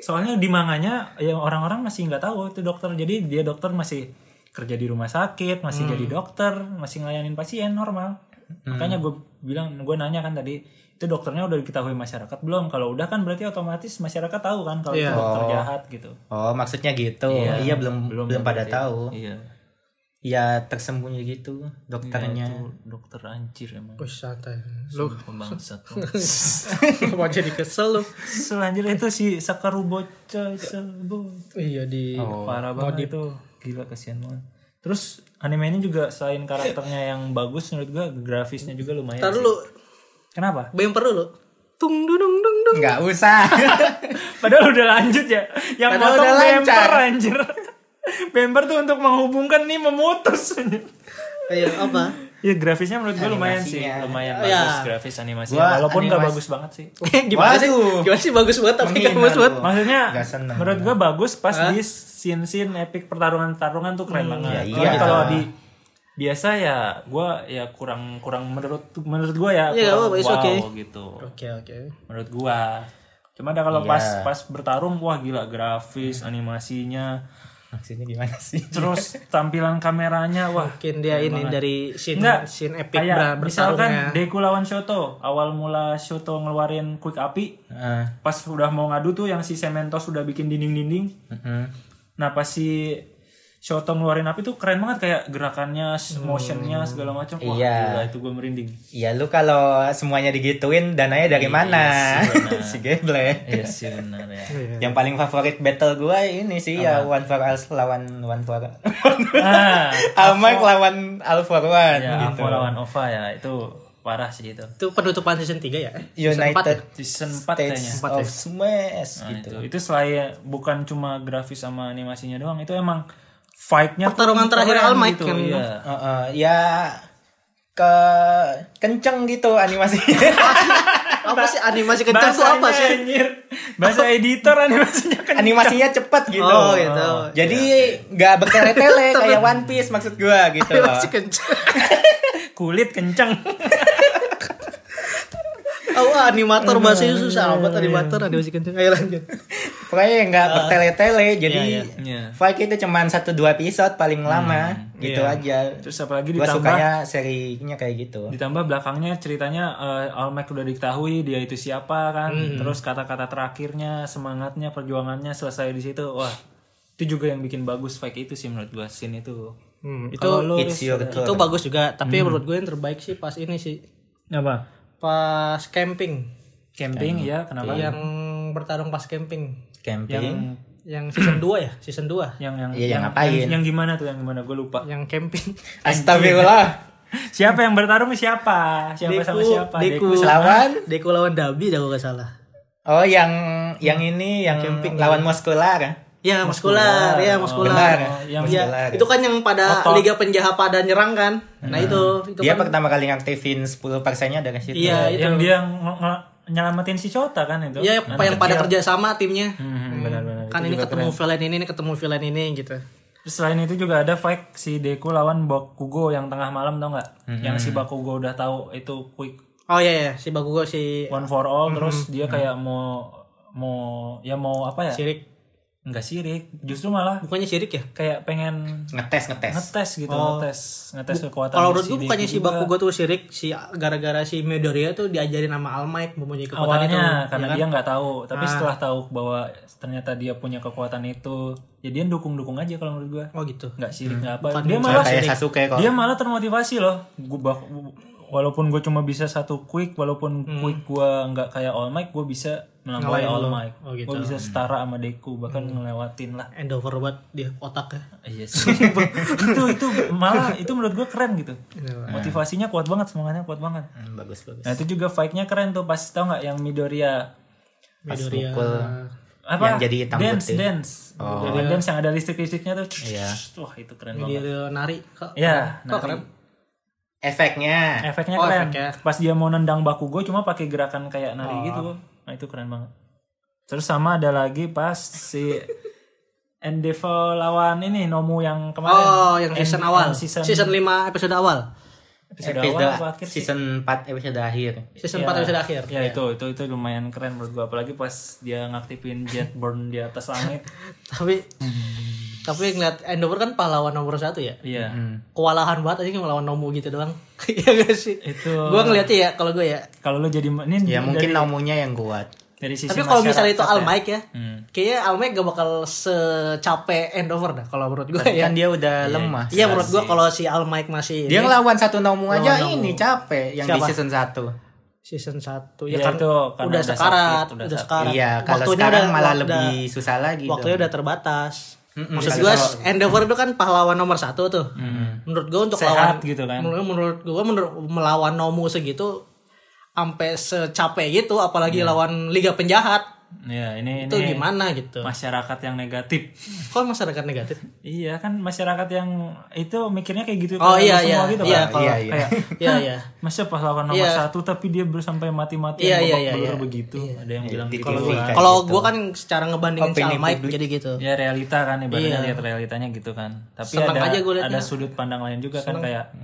Speaker 1: Soalnya di manganya ya orang-orang masih nggak tahu itu dokter. Jadi dia dokter masih kerja di rumah sakit, masih
Speaker 3: Hmm.
Speaker 1: jadi dokter, masih ngelayanin pasien normal. Makanya gue bilang, gue nanya kan tadi, itu dokternya udah diketahui masyarakat belum? Kalau udah kan berarti otomatis masyarakat tahu kan kalau itu dokter jahat gitu.
Speaker 3: oh maksudnya gitu. Iya, belum belum, pada
Speaker 1: berarti.
Speaker 3: tahu.
Speaker 1: Iya.
Speaker 3: Ya tersembunyi gitu dokternya.
Speaker 1: Itu dokter anjir emang.
Speaker 4: Wih santai.
Speaker 2: *laughs*
Speaker 4: Lu
Speaker 1: Pembangsat.
Speaker 4: mau jadi kesel lu.
Speaker 1: Selanjutnya itu si Sakaru Bocah Sabo.
Speaker 4: Iya di
Speaker 1: Oh. Parah banget itu. Gila kasihan banget. Terus anime ini juga selain karakternya yang bagus menurut gua grafisnya juga lumayan.
Speaker 2: Ntar
Speaker 1: sih.
Speaker 2: dulu,
Speaker 1: Kenapa?
Speaker 2: bemper dulu. Tung dung dung dung.
Speaker 3: Nggak
Speaker 1: *laughs*
Speaker 3: usah.
Speaker 1: Padahal udah lanjut ya. Yang
Speaker 3: Padahal
Speaker 1: motong
Speaker 3: udah lancar.
Speaker 1: bemper anjir. *laughs* Bemper tuh untuk menghubungkan nih memutus. anjir.
Speaker 2: Iya,
Speaker 4: *laughs*
Speaker 2: apa?
Speaker 1: Ya grafisnya menurut gua lumayan sih, lumayan
Speaker 2: Ya.
Speaker 1: bagus grafis animasinya.
Speaker 3: Oh, Gua
Speaker 1: Walaupun nggak
Speaker 3: animasi-
Speaker 1: bagus banget sih.
Speaker 2: gimana sih?
Speaker 3: Waduh.
Speaker 2: Gimana sih bagus banget tapi nggak
Speaker 3: Menghina
Speaker 2: bagus banget.
Speaker 3: lu.
Speaker 1: Maksudnya
Speaker 3: Nggak seneng.
Speaker 1: menurut gua bagus pas di scene-scene epic pertarungan-pertarungan tuh keren banget.
Speaker 3: ya
Speaker 1: Tapi
Speaker 3: iya.
Speaker 1: kalau di biasa ya gua ya kurang kurang menurut menurut gua ya
Speaker 2: Iya, nggak
Speaker 1: kurang
Speaker 2: apa-apa, it's okay.
Speaker 1: gitu.
Speaker 4: Oke oke.
Speaker 1: Menurut gua. Cuma ada
Speaker 3: Iya.
Speaker 1: kalau pas pas bertarung wah gila grafis, animasinya,
Speaker 3: Maksudnya gimana sih?
Speaker 1: terus tampilan kameranya wah
Speaker 4: Mungkin dia ini dari scene
Speaker 1: Nggak.
Speaker 4: scene epic
Speaker 1: kayak
Speaker 4: ber-
Speaker 1: misalkan
Speaker 4: bertarungnya.
Speaker 1: Deku lawan Shoto awal mula Shoto ngeluarin quick api
Speaker 3: Ah,
Speaker 1: pas udah mau ngadu tuh yang si Sementos udah bikin dinding-dinding
Speaker 3: mm-mm.
Speaker 1: Nah pas si Shoto ngeluarin api tuh keren banget kayak gerakannya, motionnya segala macam. Wah
Speaker 3: Iya.
Speaker 1: gila itu gue merinding.
Speaker 3: Ya lu kalau semuanya digituin dananya dari mana? *laughs* si Geble.
Speaker 1: *laughs* Iya sih benar ya.
Speaker 3: Yang paling favorit battle gua ini sih ya One for All lawan One for *laughs*
Speaker 1: Ah,
Speaker 3: Almark lawan All for One
Speaker 1: ya
Speaker 3: gitu.
Speaker 1: Avo lawan Ova ya itu parah sih itu.
Speaker 4: Itu penutupan season 3 ya?
Speaker 3: United
Speaker 1: Season 4 kayaknya.
Speaker 3: States of Smash
Speaker 1: Nah,
Speaker 3: gitu.
Speaker 1: itu. itu selain bukan cuma grafis sama animasinya doang, itu emang fight-nya tuh
Speaker 2: Pertarungan terakhir
Speaker 1: keren
Speaker 2: All Might
Speaker 1: gitu,
Speaker 2: kan.
Speaker 1: Iya.
Speaker 3: Heeh, ya ke kenceng gitu animasinya.
Speaker 2: *laughs* Apa sih animasi kencang tuh apa sih?
Speaker 1: anjir. Bahasa editor animasinya kan.
Speaker 3: animasinya cepet gitu.
Speaker 2: Oh, gitu.
Speaker 3: Jadi
Speaker 1: Iya,
Speaker 3: nggak bertele-tele kayak One Piece maksud gua gitu
Speaker 2: *laughs*
Speaker 3: loh.
Speaker 2: Animasi kencang.
Speaker 1: Kulit kenceng. *laughs*
Speaker 2: Oh, animator bahasanya susah amat animator animasi kencang. Ayo lanjut.
Speaker 3: Pokoknya nggak bertele-tele. Jadi
Speaker 2: iya,
Speaker 1: Iya. Hmm,
Speaker 3: fight itu cuman satu dua episode paling lama gitu
Speaker 1: iya.
Speaker 3: aja.
Speaker 1: Terus apalagi
Speaker 3: Gua
Speaker 1: ditambah
Speaker 3: sukanya serinya kayak gitu.
Speaker 1: Ditambah belakangnya ceritanya eh, All Might udah diketahui dia itu siapa kan. Terus kata-kata terakhirnya, semangatnya, perjuangannya selesai di situ. Wah, itu juga yang bikin bagus fake itu sih menurut gua scene itu.
Speaker 4: Hmm, itu
Speaker 1: Kalau lu
Speaker 3: It's
Speaker 1: Riz,
Speaker 3: your turn.
Speaker 4: itu bagus juga,
Speaker 2: Hmm.
Speaker 4: tapi menurut gue yang terbaik sih pas ini sih,
Speaker 1: apa?
Speaker 4: pas camping.
Speaker 1: Camping ya, kenapa?
Speaker 2: Iya.
Speaker 4: Yang bertarung pas camping.
Speaker 3: Camping.
Speaker 4: Yang season 2 ya? Season 2.
Speaker 1: Yang yang
Speaker 3: Iya, yang ngapain?
Speaker 1: Yang, yang gimana tuh yang gimana? Gue lupa.
Speaker 4: Yang camping. *laughs*
Speaker 3: Astagfirullah.
Speaker 1: Siapa yang bertarung siapa? Siapa sama siapa?
Speaker 4: Deku,
Speaker 1: sama-
Speaker 3: Lawan.
Speaker 4: Deku lawan Dabi dah gue gak salah.
Speaker 3: Oh, yang yang ini yang lawan muskular.
Speaker 2: Ya, muskular, ya
Speaker 3: Benar. iya.
Speaker 2: muskular.
Speaker 1: yang
Speaker 2: Ya,
Speaker 3: Muskular.
Speaker 2: itu kan yang pada
Speaker 1: Oh, iya. Otot.
Speaker 2: Liga Penjahat pada nyerang kan. Nah, itu itu
Speaker 3: Dia
Speaker 2: kan.
Speaker 3: pertama kali ngaktifin 10 persennya dari situ.
Speaker 2: Iya, itu.
Speaker 1: yang dia ng- ng- nyelamatin si Cota kan itu.
Speaker 2: Iya, apa yang pada kerja sama timnya.
Speaker 1: Hmm, benar-benar.
Speaker 2: Kan ini ketemu villain ini, ini ketemu villain ini gitu.
Speaker 1: Terus selain itu juga ada fight si Deku lawan Bakugo yang tengah malam tau nggak?
Speaker 2: Mm-hmm.
Speaker 1: Yang si Bakugo udah tahu itu quick
Speaker 2: Oh iya ya, si Bagugo si
Speaker 1: one for all
Speaker 2: Mm-hmm.
Speaker 1: terus dia kayak mau mau ya mau apa ya?
Speaker 2: Sirik.
Speaker 1: Enggak sirik, justru malah
Speaker 2: Bukannya Sirik ya?
Speaker 1: kayak pengen
Speaker 3: Ngetes ngetes.
Speaker 1: ngetes gitu, ngetes ngetes
Speaker 2: Oh.
Speaker 1: kekuatan.
Speaker 2: Kalau menurut gue bukannya
Speaker 1: Deku
Speaker 2: si
Speaker 1: juga.
Speaker 2: Bakugo tuh sirik, si gara-gara si Midoriya tuh diajarin sama All Might mempunyai kekuatan itu.
Speaker 1: awalnya karena dia
Speaker 2: kan?
Speaker 1: nggak tahu,
Speaker 2: Ah.
Speaker 1: tapi setelah tahu bahwa ternyata dia punya kekuatan itu, jadian dukung-dukung aja kalau menurut gua.
Speaker 2: Oh gitu.
Speaker 1: Nggak sirik nggak apa. Dia malah
Speaker 3: kayak Sasuke kok.
Speaker 1: Dia malah termotivasi loh. Gua bak- walaupun gue cuma bisa satu quick, walaupun
Speaker 2: Hmm.
Speaker 1: quick gue nggak kayak All Might, gue bisa melampaui All Might.
Speaker 2: Oh, gitu. Hmm.
Speaker 1: Gue bisa setara sama Deku, bahkan ngelewatin lah.
Speaker 2: End over buat dia otaknya.
Speaker 1: *laughs* Iya sih. itu itu malah itu menurut gue keren gitu. Motivasinya kuat banget, semangatnya kuat banget.
Speaker 3: Hmm, bagus bagus.
Speaker 1: Nah itu juga fight-nya keren tuh pas tau nggak yang Midoriya
Speaker 3: Pas mukul
Speaker 1: apa
Speaker 3: Yang jadi hitam
Speaker 1: dance
Speaker 3: putih.
Speaker 1: dance
Speaker 3: Oh.
Speaker 1: Dari dance yang ada listrik listriknya tuh
Speaker 3: Iya.
Speaker 1: wah itu keren
Speaker 2: Jadi
Speaker 1: banget
Speaker 2: dia nari kok.
Speaker 1: Iya,
Speaker 2: kok
Speaker 1: nari.
Speaker 2: keren.
Speaker 3: Efeknya.
Speaker 1: efeknya
Speaker 2: Oh,
Speaker 1: keren
Speaker 2: efeknya. Oh.
Speaker 1: pas dia mau nendang baku gue cuma pakai gerakan kayak nari gitu nah itu keren banget terus sama ada lagi pas
Speaker 2: *laughs*
Speaker 1: si Endeavor lawan ini Nomu yang kemarin
Speaker 2: Oh, yang season
Speaker 1: End-
Speaker 2: awal.
Speaker 1: end
Speaker 2: Season,
Speaker 1: season,
Speaker 2: 5 episode awal.
Speaker 1: episode
Speaker 3: Episode
Speaker 1: awal apa akhir sih?
Speaker 3: season 4 episode akhir.
Speaker 2: Season
Speaker 1: Iya.
Speaker 2: 4 episode akhir.
Speaker 1: Ya, itu itu itu lumayan keren menurut gua apalagi pas dia
Speaker 2: *laughs*
Speaker 1: ngaktifin jetburn di atas langit.
Speaker 2: *laughs* Tapi tapi ngeliat Endover kan pahlawan nomor satu ya.
Speaker 1: Iya.
Speaker 2: Kewalahan banget aja ngelawan Nomu gitu doang. *laughs* Iya gak sih?
Speaker 1: Itu
Speaker 2: Gue ngeliatnya ya kalau gue ya.
Speaker 1: kalau lu jadi ini
Speaker 3: Ya
Speaker 1: dari-
Speaker 3: mungkin nomunya yang kuat.
Speaker 1: dari sisi
Speaker 2: Tapi kalau misalnya itu
Speaker 1: masyarakat
Speaker 2: Al
Speaker 1: ya.
Speaker 2: Mike ya,
Speaker 1: Hmm.
Speaker 2: kayaknya Al Mike gak bakal secapek Endover dah kalau menurut gue
Speaker 1: Iya,
Speaker 3: Tapi
Speaker 2: ya.
Speaker 3: kan dia udah lemah.
Speaker 2: Iya menurut gue kalau si Al Mike masih
Speaker 3: Dia
Speaker 2: ini,
Speaker 3: ngelawan satu nomu aja
Speaker 2: Lawan Nomu.
Speaker 3: ini capek yang di
Speaker 2: Siapa?
Speaker 3: season 1.
Speaker 2: season 1
Speaker 1: Iya,
Speaker 2: ya, kan
Speaker 1: itu
Speaker 2: udah
Speaker 1: karena udah
Speaker 2: sekarat,
Speaker 1: sakit, udah
Speaker 2: udah,
Speaker 1: sakit.
Speaker 2: sekarat.
Speaker 3: Iya, kalau sekarang malah lebih susah lagi. dong.
Speaker 2: waktunya udah terbatas.
Speaker 3: Gitu. Mm-mm,
Speaker 2: Maksud
Speaker 3: kalau
Speaker 2: gue
Speaker 3: kalau-
Speaker 2: Endeavor itu kan pahlawan nomor satu tuh. Menurut gue untuk
Speaker 1: Sehat
Speaker 2: lawan
Speaker 1: gitu kan.
Speaker 2: Menurut, menurut gue menurut melawan Nomu segitu sampai secapek gitu apalagi
Speaker 3: Iya.
Speaker 2: lawan liga penjahat
Speaker 1: Iya, ini
Speaker 2: itu
Speaker 1: ini
Speaker 2: gimana gitu.
Speaker 1: masyarakat yang negatif.
Speaker 2: Kok masyarakat
Speaker 3: *laughs*
Speaker 2: negatif?
Speaker 1: Iya kan masyarakat yang itu mikirnya kayak gitu
Speaker 2: Oh
Speaker 1: kalau
Speaker 2: iya iya.
Speaker 1: semua gitu
Speaker 2: iya,
Speaker 1: kan.
Speaker 2: kalau
Speaker 3: Iya, iya.
Speaker 1: Kayak
Speaker 2: iya iya.
Speaker 1: masa pahlawan nomor
Speaker 2: Iya.
Speaker 1: satu tapi dia ber- sampai mati-matian
Speaker 2: Iya, iya,
Speaker 1: babak
Speaker 2: iya,
Speaker 1: belur
Speaker 2: iya.
Speaker 1: begitu. Ada yang bilang
Speaker 3: Di
Speaker 1: gitu.
Speaker 3: TV
Speaker 1: kan.
Speaker 3: kayak
Speaker 2: Kalau
Speaker 3: gitu.
Speaker 2: gue kan secara ngebandingin
Speaker 3: Opini
Speaker 2: sama Mike
Speaker 3: publik.
Speaker 2: jadi gitu.
Speaker 1: ya realita kan ibaratnya
Speaker 2: Iya.
Speaker 1: lihat realitanya gitu kan tapi
Speaker 2: Seneng
Speaker 1: ada
Speaker 2: aja gua liatnya.
Speaker 1: ada sudut pandang lain juga kan kayak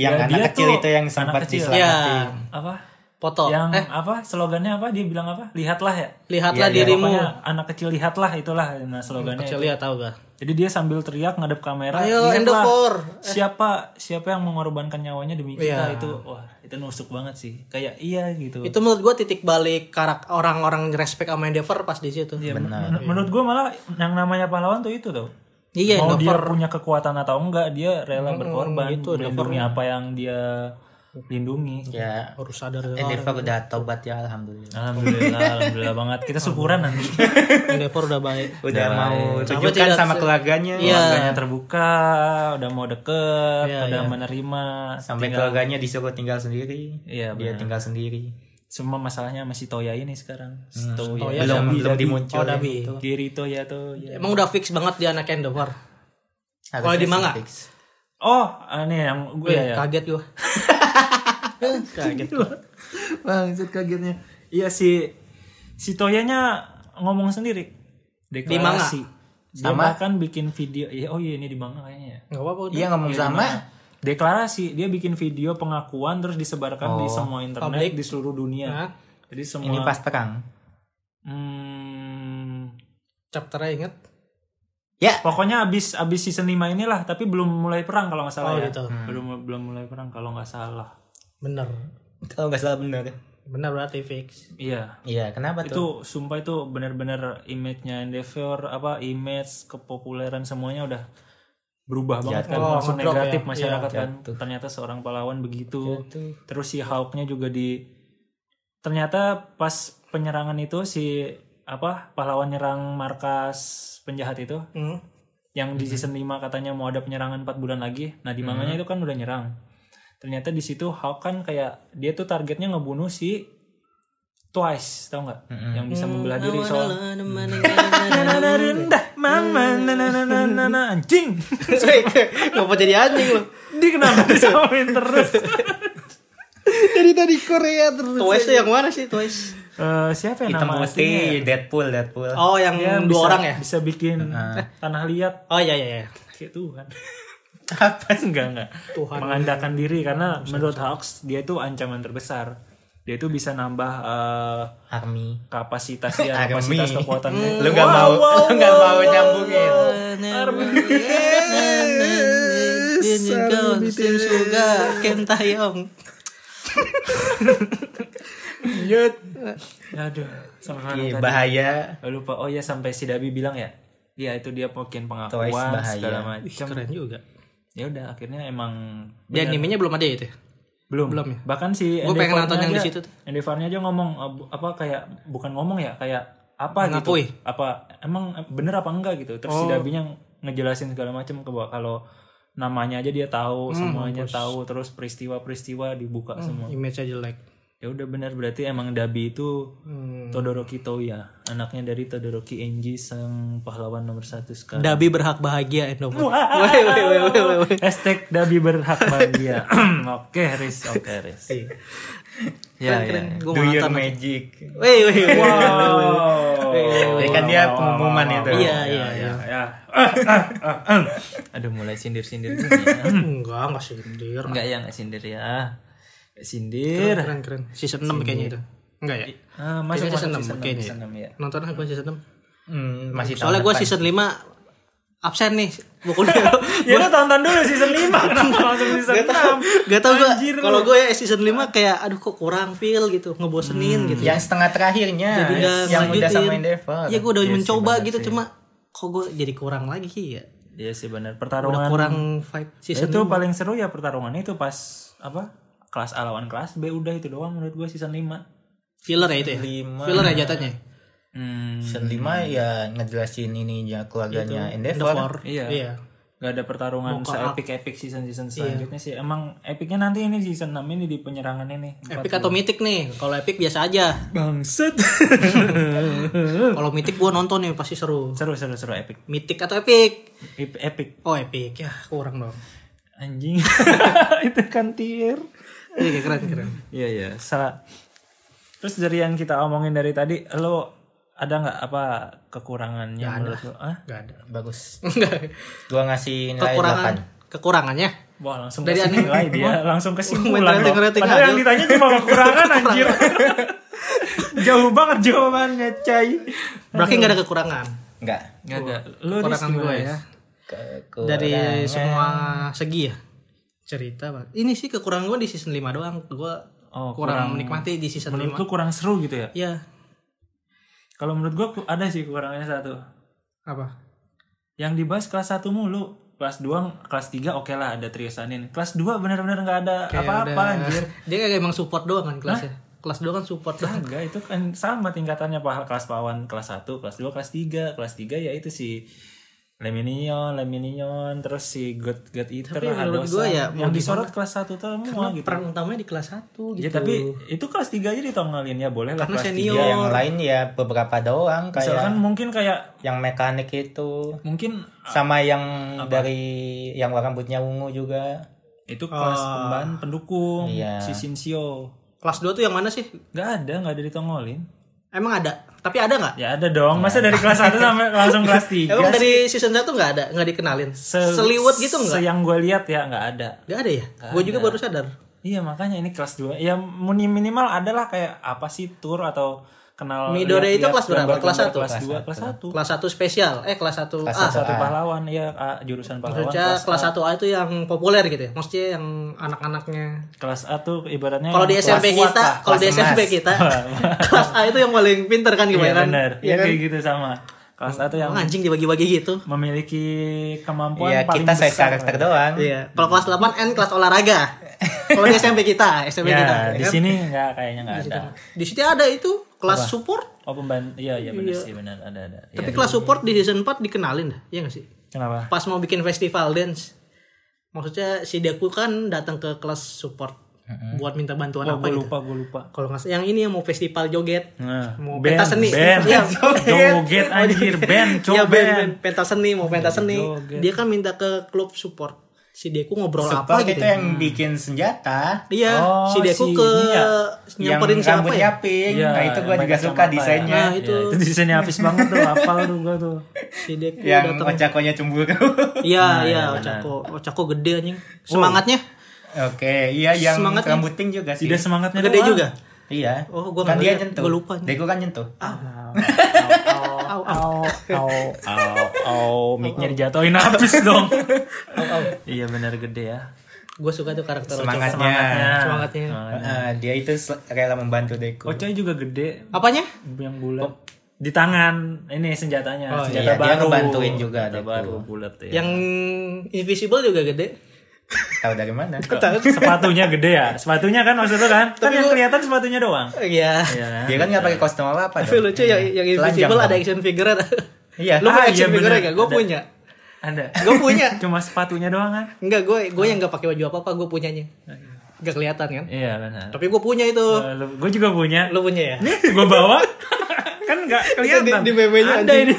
Speaker 3: yang
Speaker 1: Ya,
Speaker 3: anak
Speaker 1: dia
Speaker 3: kecil
Speaker 1: tuh
Speaker 3: itu yang
Speaker 1: anak
Speaker 3: sempat
Speaker 1: kecil.
Speaker 3: diselamatin.
Speaker 2: Iya.
Speaker 1: apa
Speaker 2: Foto.
Speaker 3: Iya.
Speaker 2: eh,
Speaker 1: yang apa slogannya apa dia bilang apa lihatlah ya
Speaker 2: lihatlah
Speaker 3: Iya, iya.
Speaker 2: dirimu.
Speaker 1: pokoknya anak kecil lihatlah itulah nah slogannya
Speaker 2: Kecil
Speaker 1: itu.
Speaker 2: lihat tahu gak?
Speaker 3: Iya,
Speaker 1: jadi dia sambil teriak ngadep kamera
Speaker 2: Ayo
Speaker 1: "Lihatlah,
Speaker 2: Endofor.
Speaker 1: siapa siapa yang mengorbankan nyawanya demi
Speaker 2: Iya.
Speaker 1: kita itu wah itu nusuk banget sih kayak iya gitu
Speaker 2: Itu menurut gue titik balik karak orang-orang respect sama Endeavor pas di situ.
Speaker 1: Ya,
Speaker 3: Iya,
Speaker 1: men- menurut gue malah yang namanya pahlawan tuh itu tuh
Speaker 2: Iya,
Speaker 1: mau dia
Speaker 2: Endover.
Speaker 1: punya kekuatan atau enggak dia rela berkorban
Speaker 2: gitu,
Speaker 1: melindungi apa yang dia lindungi
Speaker 3: Ya,
Speaker 2: harus sadar
Speaker 3: Endeavor udah tobat ya alhamdulillah.
Speaker 1: alhamdulillah alhamdulillah banget kita syukuran nanti
Speaker 2: Iya. Endeavor udah baik.
Speaker 3: Udah mau ya, tunjukkan
Speaker 2: tidak
Speaker 3: sama
Speaker 2: se-
Speaker 3: keluarganya.
Speaker 1: keluarganya terbuka udah mau deket
Speaker 2: Iya,
Speaker 1: udah
Speaker 2: iya.
Speaker 1: menerima
Speaker 3: Sampai keluarganya disuruh tinggal sendiri.
Speaker 1: Iya,
Speaker 3: dia tinggal sendiri.
Speaker 1: semua masalahnya masih Toya ini sekarang si
Speaker 2: Hmm,
Speaker 1: Toya
Speaker 2: Toya Iya.
Speaker 1: belum
Speaker 3: belum belum dimunculin.
Speaker 2: Oh, Dabi.
Speaker 1: Giri Toya Toya
Speaker 2: Emang udah fix banget dia anak Endeavor.
Speaker 3: Harusnya
Speaker 2: Kalau di manga?
Speaker 3: fix.
Speaker 1: oh ini yang
Speaker 2: Iya.
Speaker 1: gue ya, ya.
Speaker 2: Kaget gue. Kaget.
Speaker 1: Bangsat kagetnya. Iya si si Toyanya ngomong sendiri. Deklarasi. Dia
Speaker 3: Sama.
Speaker 1: bahkan bikin video. Iya, oh iya ini di manga kayaknya ya.
Speaker 2: Gak apa-apa. udah.
Speaker 3: Iya ngomong sama
Speaker 1: Deklarasi, dia bikin video pengakuan terus disebarkan di semua internet
Speaker 2: Public.
Speaker 1: di seluruh dunia.
Speaker 2: Nah,
Speaker 1: Jadi semua
Speaker 3: Oh. ini pas perang.
Speaker 1: Hmm,
Speaker 2: chapternya inget.
Speaker 3: Ya,
Speaker 1: pokoknya abis abis season 5 inilah, tapi belum mulai perang kalau nggak salah
Speaker 2: Oh,
Speaker 1: ya.
Speaker 2: gitu.
Speaker 3: Hmm.
Speaker 1: Belum belum mulai perang kalau nggak salah.
Speaker 2: Bener.
Speaker 3: kalau nggak salah benar.
Speaker 2: Bener berarti fix.
Speaker 1: Iya.
Speaker 3: Iya, kenapa tuh?
Speaker 1: itu sumpah itu benar-benar image-nya Endeavor apa image kepopuleran semuanya udah berubah banget kan
Speaker 2: Oh,
Speaker 1: langsung
Speaker 2: ngedrop
Speaker 1: negatif
Speaker 2: ya.
Speaker 1: masyarakat kan ternyata seorang pahlawan
Speaker 3: Iya.
Speaker 1: begitu terus si Hawknya juga di ternyata pas penyerangan itu si apa pahlawan nyerang markas penjahat itu
Speaker 2: *laughs* Hmm.
Speaker 1: yang di season 5 katanya mau ada penyerangan 4 bulan lagi. Nah, di manganya itu kan udah nyerang. Ternyata di situ Hawk kan kayak dia tuh targetnya ngebunuh si Twice, tau nggak? Yang bisa membelah diri soal rendah mama na na na na na na anjing.
Speaker 2: Cuy, Ngapa jadi anjing lu?
Speaker 1: Dia
Speaker 2: *laughs*
Speaker 1: kenapa disamain terus?
Speaker 2: Jadi tadi Korea terus. Twice tuh yang mana sih Twice?
Speaker 1: Eh, siapa yang
Speaker 3: Hitam
Speaker 1: nama aslinya? ya?
Speaker 3: putih, Deadpool, Deadpool.
Speaker 2: Oh yang
Speaker 1: Dia
Speaker 2: dua
Speaker 1: bisa-
Speaker 2: orang ya?
Speaker 1: Bisa bikin tanah liat
Speaker 2: Oh iya iya iya.
Speaker 1: kayak *laughs* Tuhan.
Speaker 3: Apa?
Speaker 1: enggak enggak
Speaker 2: Tuhan.
Speaker 1: mengandalkan diri karena menurut Hawks dia itu ancaman terbesar dia itu bisa nambah eh,
Speaker 3: Army.
Speaker 1: kapasitas
Speaker 3: *laughs*
Speaker 1: ya
Speaker 3: Army.
Speaker 1: kapasitas kekuatannya
Speaker 3: Lu nggak mau, lu nggak mau nyambungin.
Speaker 2: Jinjin Sim Suga Kentayong
Speaker 3: Lanjut.
Speaker 1: aduh sama
Speaker 3: Hmm. Iya,
Speaker 1: tadi.
Speaker 3: bahaya.
Speaker 1: lupa oh ya sampai si Dabi bilang ya Iya itu dia bikin
Speaker 3: Twice
Speaker 1: pengakuan
Speaker 3: bahaya.
Speaker 1: segala macam
Speaker 2: Keren juga
Speaker 1: ya udah akhirnya emang
Speaker 2: Di animenya belum ada ya itu ya?
Speaker 1: belum
Speaker 2: Belum ya?
Speaker 1: bahkan si
Speaker 2: Gua pengen
Speaker 1: Endeavornya
Speaker 2: nonton yang di
Speaker 1: aja-
Speaker 2: situ tuh.
Speaker 1: Endeavornya aja ngomong eh, bu- apa kayak bukan ngomong ya kayak apa
Speaker 2: Mengakui.
Speaker 1: gitu apa emang bener apa enggak gitu terus
Speaker 2: Oh.
Speaker 1: si Dabinya ngejelasin segala macam ke bahwa kalau
Speaker 2: Hmm,
Speaker 1: namanya aja dia tahu semuanya tahu terus peristiwa-peristiwa dibuka semua
Speaker 2: Image-nya jelek
Speaker 1: Ya udah benar berarti emang Dabi itu
Speaker 2: Hmm.
Speaker 1: Todoroki Toya, anaknya dari Todoroki Enji sang pahlawan nomor satu
Speaker 2: *laughs*
Speaker 1: sekarang.
Speaker 2: Dabi berhak bahagia Endo.
Speaker 1: Hashtag Dabi berhak
Speaker 2: *coughs*
Speaker 1: bahagia. Oke, Riz. Oke, Riz.
Speaker 2: Iya. Keren, keren. Gue
Speaker 3: Do your
Speaker 2: mantan.
Speaker 3: magic.
Speaker 2: Weh, weh, weh.
Speaker 1: Oh, Wow.
Speaker 3: Ya kan dia pengumuman itu.
Speaker 2: Iya, iya, iya.
Speaker 1: Ya.
Speaker 5: Aduh mulai sindir-sindir
Speaker 2: Hmm.
Speaker 5: gini ya.
Speaker 2: Enggak, enggak sindir.
Speaker 5: Enggak ya enggak sindir ya.
Speaker 1: Nggak Sindir.
Speaker 2: Keren, keren. Season 6 kayaknya itu. Enggak ya?
Speaker 1: Ah, masuk
Speaker 2: Kayaknya season
Speaker 1: masuk
Speaker 2: 6 kayaknya.
Speaker 5: Senam ya.
Speaker 2: Nonton apa season 6?
Speaker 3: Hmm, masih tahun
Speaker 2: Soalnya gue
Speaker 3: depan.
Speaker 2: season 5 absen nih bukunya
Speaker 1: *laughs* Ya lu tonton dulu season 5 kenapa langsung season 6?
Speaker 2: Gak tau gue
Speaker 1: Anjir lu.
Speaker 2: Kalau gue ya season 5 kayak Aduh kok kurang feel gitu Ngebosenin
Speaker 1: Hmm.
Speaker 2: gitu
Speaker 3: yang setengah terakhirnya
Speaker 2: Jadi nggak
Speaker 3: yang udah
Speaker 2: ngelanjutin.
Speaker 3: sama Endeavor.
Speaker 2: Ya gue udah
Speaker 1: Iya sih,
Speaker 2: mencoba
Speaker 1: bener
Speaker 2: gitu
Speaker 1: sih.
Speaker 2: Cuma Kok gue jadi kurang lagi ya
Speaker 1: Iya sih benar.
Speaker 2: Udah
Speaker 1: Pertarungan
Speaker 2: kurang vibe season
Speaker 1: itu paling seru ya pertarungannya itu pas apa? Kelas A lawan kelas B udah itu doang menurut gua season 5.
Speaker 2: Filler ya itu ya
Speaker 3: Lima.
Speaker 2: Filler ya jatahnya
Speaker 1: Hmm.
Speaker 3: Season 5 ya ngejelasin ininya keluarganya
Speaker 2: Endeavor
Speaker 3: Endeavor.
Speaker 1: Iya.
Speaker 2: Iya
Speaker 1: Gak ada pertarungan
Speaker 2: Mau ke
Speaker 1: se-epic-epic
Speaker 2: Iya.
Speaker 1: season-season selanjutnya sih. Emang epicnya nanti ini season 6 ini di penyerangannya nih.
Speaker 2: Epic atau Mythic nih Kalau Epic biasa aja
Speaker 1: Bangset.
Speaker 2: Kalau Mythic gue nonton nih pasti seru
Speaker 1: seru seru seru epic.
Speaker 2: Mythic atau Epic
Speaker 1: Ep- Epic.
Speaker 2: Oh Epic ya kurang dong *laughs*
Speaker 1: Anjing. itu kan tier.
Speaker 2: Iya keren keren
Speaker 1: Iya iya. Salah. Terus dari yang kita omongin dari tadi, lo ada nggak apa kekurangannya menurut lo? Ah,
Speaker 2: Gak ada
Speaker 3: Bagus. Gua ngasih nilai
Speaker 2: Kekurangan
Speaker 3: 8.
Speaker 2: Kekurangannya
Speaker 1: wah langsung
Speaker 2: Dari
Speaker 1: dari
Speaker 2: aneh.
Speaker 1: nilai dia, langsung
Speaker 2: Main
Speaker 1: kesimpulan lo.
Speaker 2: rating-rating
Speaker 1: Padahal
Speaker 2: aja.
Speaker 1: yang ditanya
Speaker 2: *laughs*
Speaker 1: cuma kekurangan anjir. *laughs* Jauh banget jawabannya, Cai.
Speaker 2: Berarti gak ada kekurangan
Speaker 3: Enggak.
Speaker 1: Nggak ada. Lo Riz,
Speaker 2: Kekurangan
Speaker 1: gimana
Speaker 2: gue
Speaker 1: Riz?
Speaker 2: ya
Speaker 3: Kekurangan.
Speaker 2: dari semua segi ya cerita Pak. ini sih kekurangan gue di season 5 doang gue
Speaker 1: Oh,
Speaker 2: kurang, menikmati di season 5
Speaker 1: Menurut lo kurang seru gitu ya?
Speaker 2: ya
Speaker 1: Kalau menurut gua ku- ada sih kekurangannya satu.
Speaker 2: apa
Speaker 1: Yang dibahas kelas 1 mulu. Kelas 2, kelas 3 oke lah ada Triusanin. Kelas 2 benar-benar nggak ada apa-apa anjir.
Speaker 2: dia kayak emang support doang kan kelasnya kelas doang kan support doang
Speaker 1: Enggak, itu kan sama tingkatannya Pak. kelas pawan kelas 1, kelas 2, kelas 3. Kelas 3 ya itu si Leminion, Leminion, terus si God God Eater,
Speaker 2: Tapi menurut
Speaker 1: Hadosa.
Speaker 2: gua ya, mau
Speaker 1: yang disorot kelas 1 tuh semua gitu.
Speaker 2: perang utamanya di kelas 1 gitu
Speaker 1: Ya, tapi itu kelas 3 aja ditongolin ya, boleh lah
Speaker 2: Karena
Speaker 1: kelas
Speaker 2: senior.
Speaker 1: 3.
Speaker 3: yang lain ya beberapa doang kayak
Speaker 1: Misalkan mungkin kayak
Speaker 3: yang mekanik itu
Speaker 1: mungkin ah,
Speaker 3: sama yang dari yang rambutnya ungu juga.
Speaker 1: itu
Speaker 2: Ah.
Speaker 1: kelas pemban pendukung
Speaker 3: Iya.
Speaker 1: si Shinshio.
Speaker 2: kelas 2 tuh yang mana sih
Speaker 1: Gak ada, gak ada ditongolin.
Speaker 2: emang ada tapi ada nggak
Speaker 1: Ya ada dong, masa dari kelas 1 sampai langsung kelas 3.
Speaker 2: Iya. emang dari season 1 nggak ada nggak dikenalin seliwet gitu nggak
Speaker 1: Yang gue lihat ya nggak ada.
Speaker 2: nggak ada ya gue juga baru sadar
Speaker 1: Iya makanya ini kelas 2. Ya muni- minimal adalah kayak apa sih tour atau kenal
Speaker 2: Midori
Speaker 1: lihat-lihat
Speaker 2: itu kelas berapa?
Speaker 1: gambar-gambar
Speaker 2: Kelas satu?
Speaker 1: kelas 2, kelas 1.
Speaker 2: kelas 1 spesial eh kelas 1
Speaker 3: Kelas
Speaker 2: A
Speaker 3: satu.
Speaker 1: Satu pahlawan ya ah, jurusan pahlawan.
Speaker 2: Maksudnya
Speaker 1: kelas
Speaker 2: kelas 1A itu yang populer gitu ya. Maksudnya yang anak-anaknya.
Speaker 1: kelas A tuh ibaratnya
Speaker 2: Kalau di
Speaker 1: yang
Speaker 2: SMP
Speaker 3: kuat lah,
Speaker 2: kita, kalau di
Speaker 3: kelas emas.
Speaker 2: SMP
Speaker 1: *laughs*
Speaker 2: kita, *laughs* kelas A itu yang paling pinter kan
Speaker 1: Iya
Speaker 2: gimana?
Speaker 1: benar. Iya kayak gitu Hmm. sama. Kelas A tuh yang
Speaker 2: anjing dibagi-bagi gitu.
Speaker 1: memiliki kemampuan
Speaker 3: Iya,
Speaker 1: paling
Speaker 3: kita saya
Speaker 1: besar.
Speaker 3: karakter doang.
Speaker 2: Iya. Kalau kelas 8 N kelas
Speaker 1: *laughs*
Speaker 2: olahraga. Kalau di SMP kita, SMP kita.
Speaker 1: Ya, di
Speaker 2: ya kan?
Speaker 1: sini nggak kayaknya nggak ada.
Speaker 2: Di sini ada itu kelas support.
Speaker 1: Oh pembantu, iya iya benar sih benar ada ada. Iya.
Speaker 2: Tapi kelas support di season 4 dikenalin dah. Iya gak sih?
Speaker 1: Kenapa?
Speaker 2: Pas mau bikin festival dance. Maksudnya si Deku kan datang ke kelas support buat minta bantuan
Speaker 1: Oh,
Speaker 2: apa
Speaker 1: gue
Speaker 2: gitu.
Speaker 1: lupa gue lupa.
Speaker 2: Kalau nggak yang ini yang mau festival joget.
Speaker 1: Nah,
Speaker 2: Mau
Speaker 1: band,
Speaker 2: pentas seni.
Speaker 1: band,
Speaker 2: Iya.
Speaker 1: joget anjir, band, coba
Speaker 2: *laughs* Iya band, band pentas seni mau pentas seni.
Speaker 1: Joget.
Speaker 2: Dia kan minta ke klub support. Si Deku ngobrol apa
Speaker 3: Support
Speaker 2: gitu.
Speaker 3: itu
Speaker 2: ya.
Speaker 3: yang bikin senjata
Speaker 2: Iya,
Speaker 1: Oh,
Speaker 2: si Deku
Speaker 1: si
Speaker 2: ke
Speaker 1: ini ya,
Speaker 3: yang
Speaker 2: nyamperin siapa ya?
Speaker 3: rambutnya pink.
Speaker 1: Iya,
Speaker 3: nah, itu gua
Speaker 1: yang
Speaker 3: juga
Speaker 1: pakai
Speaker 3: suka
Speaker 1: kacamata
Speaker 3: desainnya.
Speaker 2: Nah, itu
Speaker 1: Iya, Itu di sini habis banget tuh, apal tuh gue tuh.
Speaker 2: si Deku
Speaker 3: Yang
Speaker 2: datang.
Speaker 3: ocakonya cemburu. *laughs*
Speaker 2: Iya,
Speaker 1: Nah,
Speaker 2: iya, Ocako. Ocako gede anjing.
Speaker 1: Oh.
Speaker 2: Semangatnya
Speaker 3: Oke, iya yang
Speaker 2: Semangatnya.
Speaker 3: rambut pink juga
Speaker 1: *laughs*
Speaker 3: sih.
Speaker 1: Tidak semangatnya
Speaker 2: gede
Speaker 1: doang.
Speaker 2: juga.
Speaker 3: Iya.
Speaker 2: Oh, gua
Speaker 3: kan
Speaker 2: nggak
Speaker 3: dia
Speaker 2: lihat.
Speaker 3: nyentuh.
Speaker 2: Gua lupa nih. Ah.
Speaker 3: Deko kan nyentuh.
Speaker 2: Au, au.
Speaker 1: Au, *laughs* au, au, mic-nya dijatuhin habis *laughs* dong. Iya benar gede ya.
Speaker 2: Gue suka tuh karakter Ocako.
Speaker 3: Semangatnya.
Speaker 2: Semangatnya.
Speaker 1: Nah,
Speaker 3: Eh, dia itu se- rela membantu Deko.
Speaker 1: Kocai juga gede
Speaker 2: Apanya?
Speaker 1: yang bulat. Oh. Di tangan ini senjatanya,
Speaker 2: Oh,
Speaker 1: senjata
Speaker 3: iya, dia
Speaker 1: baru.
Speaker 3: ngebantuin juga
Speaker 1: senjata
Speaker 3: Deku.
Speaker 1: baru bulat ya.
Speaker 2: Yang invisible juga gede.
Speaker 3: Tahu dari mana?
Speaker 1: *laughs* sepatunya gede ya. Sepatunya kan maksud lu kan? Kan yang kelihatan sepatunya doang.
Speaker 2: Iya.
Speaker 1: Iya.
Speaker 3: Dia kan nggak pakai kostum apa apa.
Speaker 2: Tapi
Speaker 1: ya,
Speaker 3: dong.
Speaker 2: lucu yang yang invisible
Speaker 3: Telanjang
Speaker 2: ada
Speaker 3: dong.
Speaker 2: action figure ada.
Speaker 3: Iya.
Speaker 2: Lu punya
Speaker 1: Ah,
Speaker 2: action
Speaker 1: iya,
Speaker 2: figure
Speaker 1: bener.
Speaker 2: enggak? Gue
Speaker 1: Ada.
Speaker 2: punya.
Speaker 1: Ada.
Speaker 2: Gue punya.
Speaker 1: *laughs* Cuma sepatunya doang kan?
Speaker 2: Enggak, gue gue yang enggak pakai baju apa-apa gue punyanya. Gak kelihatan kan?
Speaker 1: Ah. Iya benar.
Speaker 2: Tapi gue punya itu.
Speaker 1: gue juga punya.
Speaker 2: Lu punya ya?
Speaker 1: gue bawa kan nggak
Speaker 2: di,
Speaker 1: kelihatan.
Speaker 2: di meme-nya
Speaker 1: Ada
Speaker 2: anjing.
Speaker 1: ini.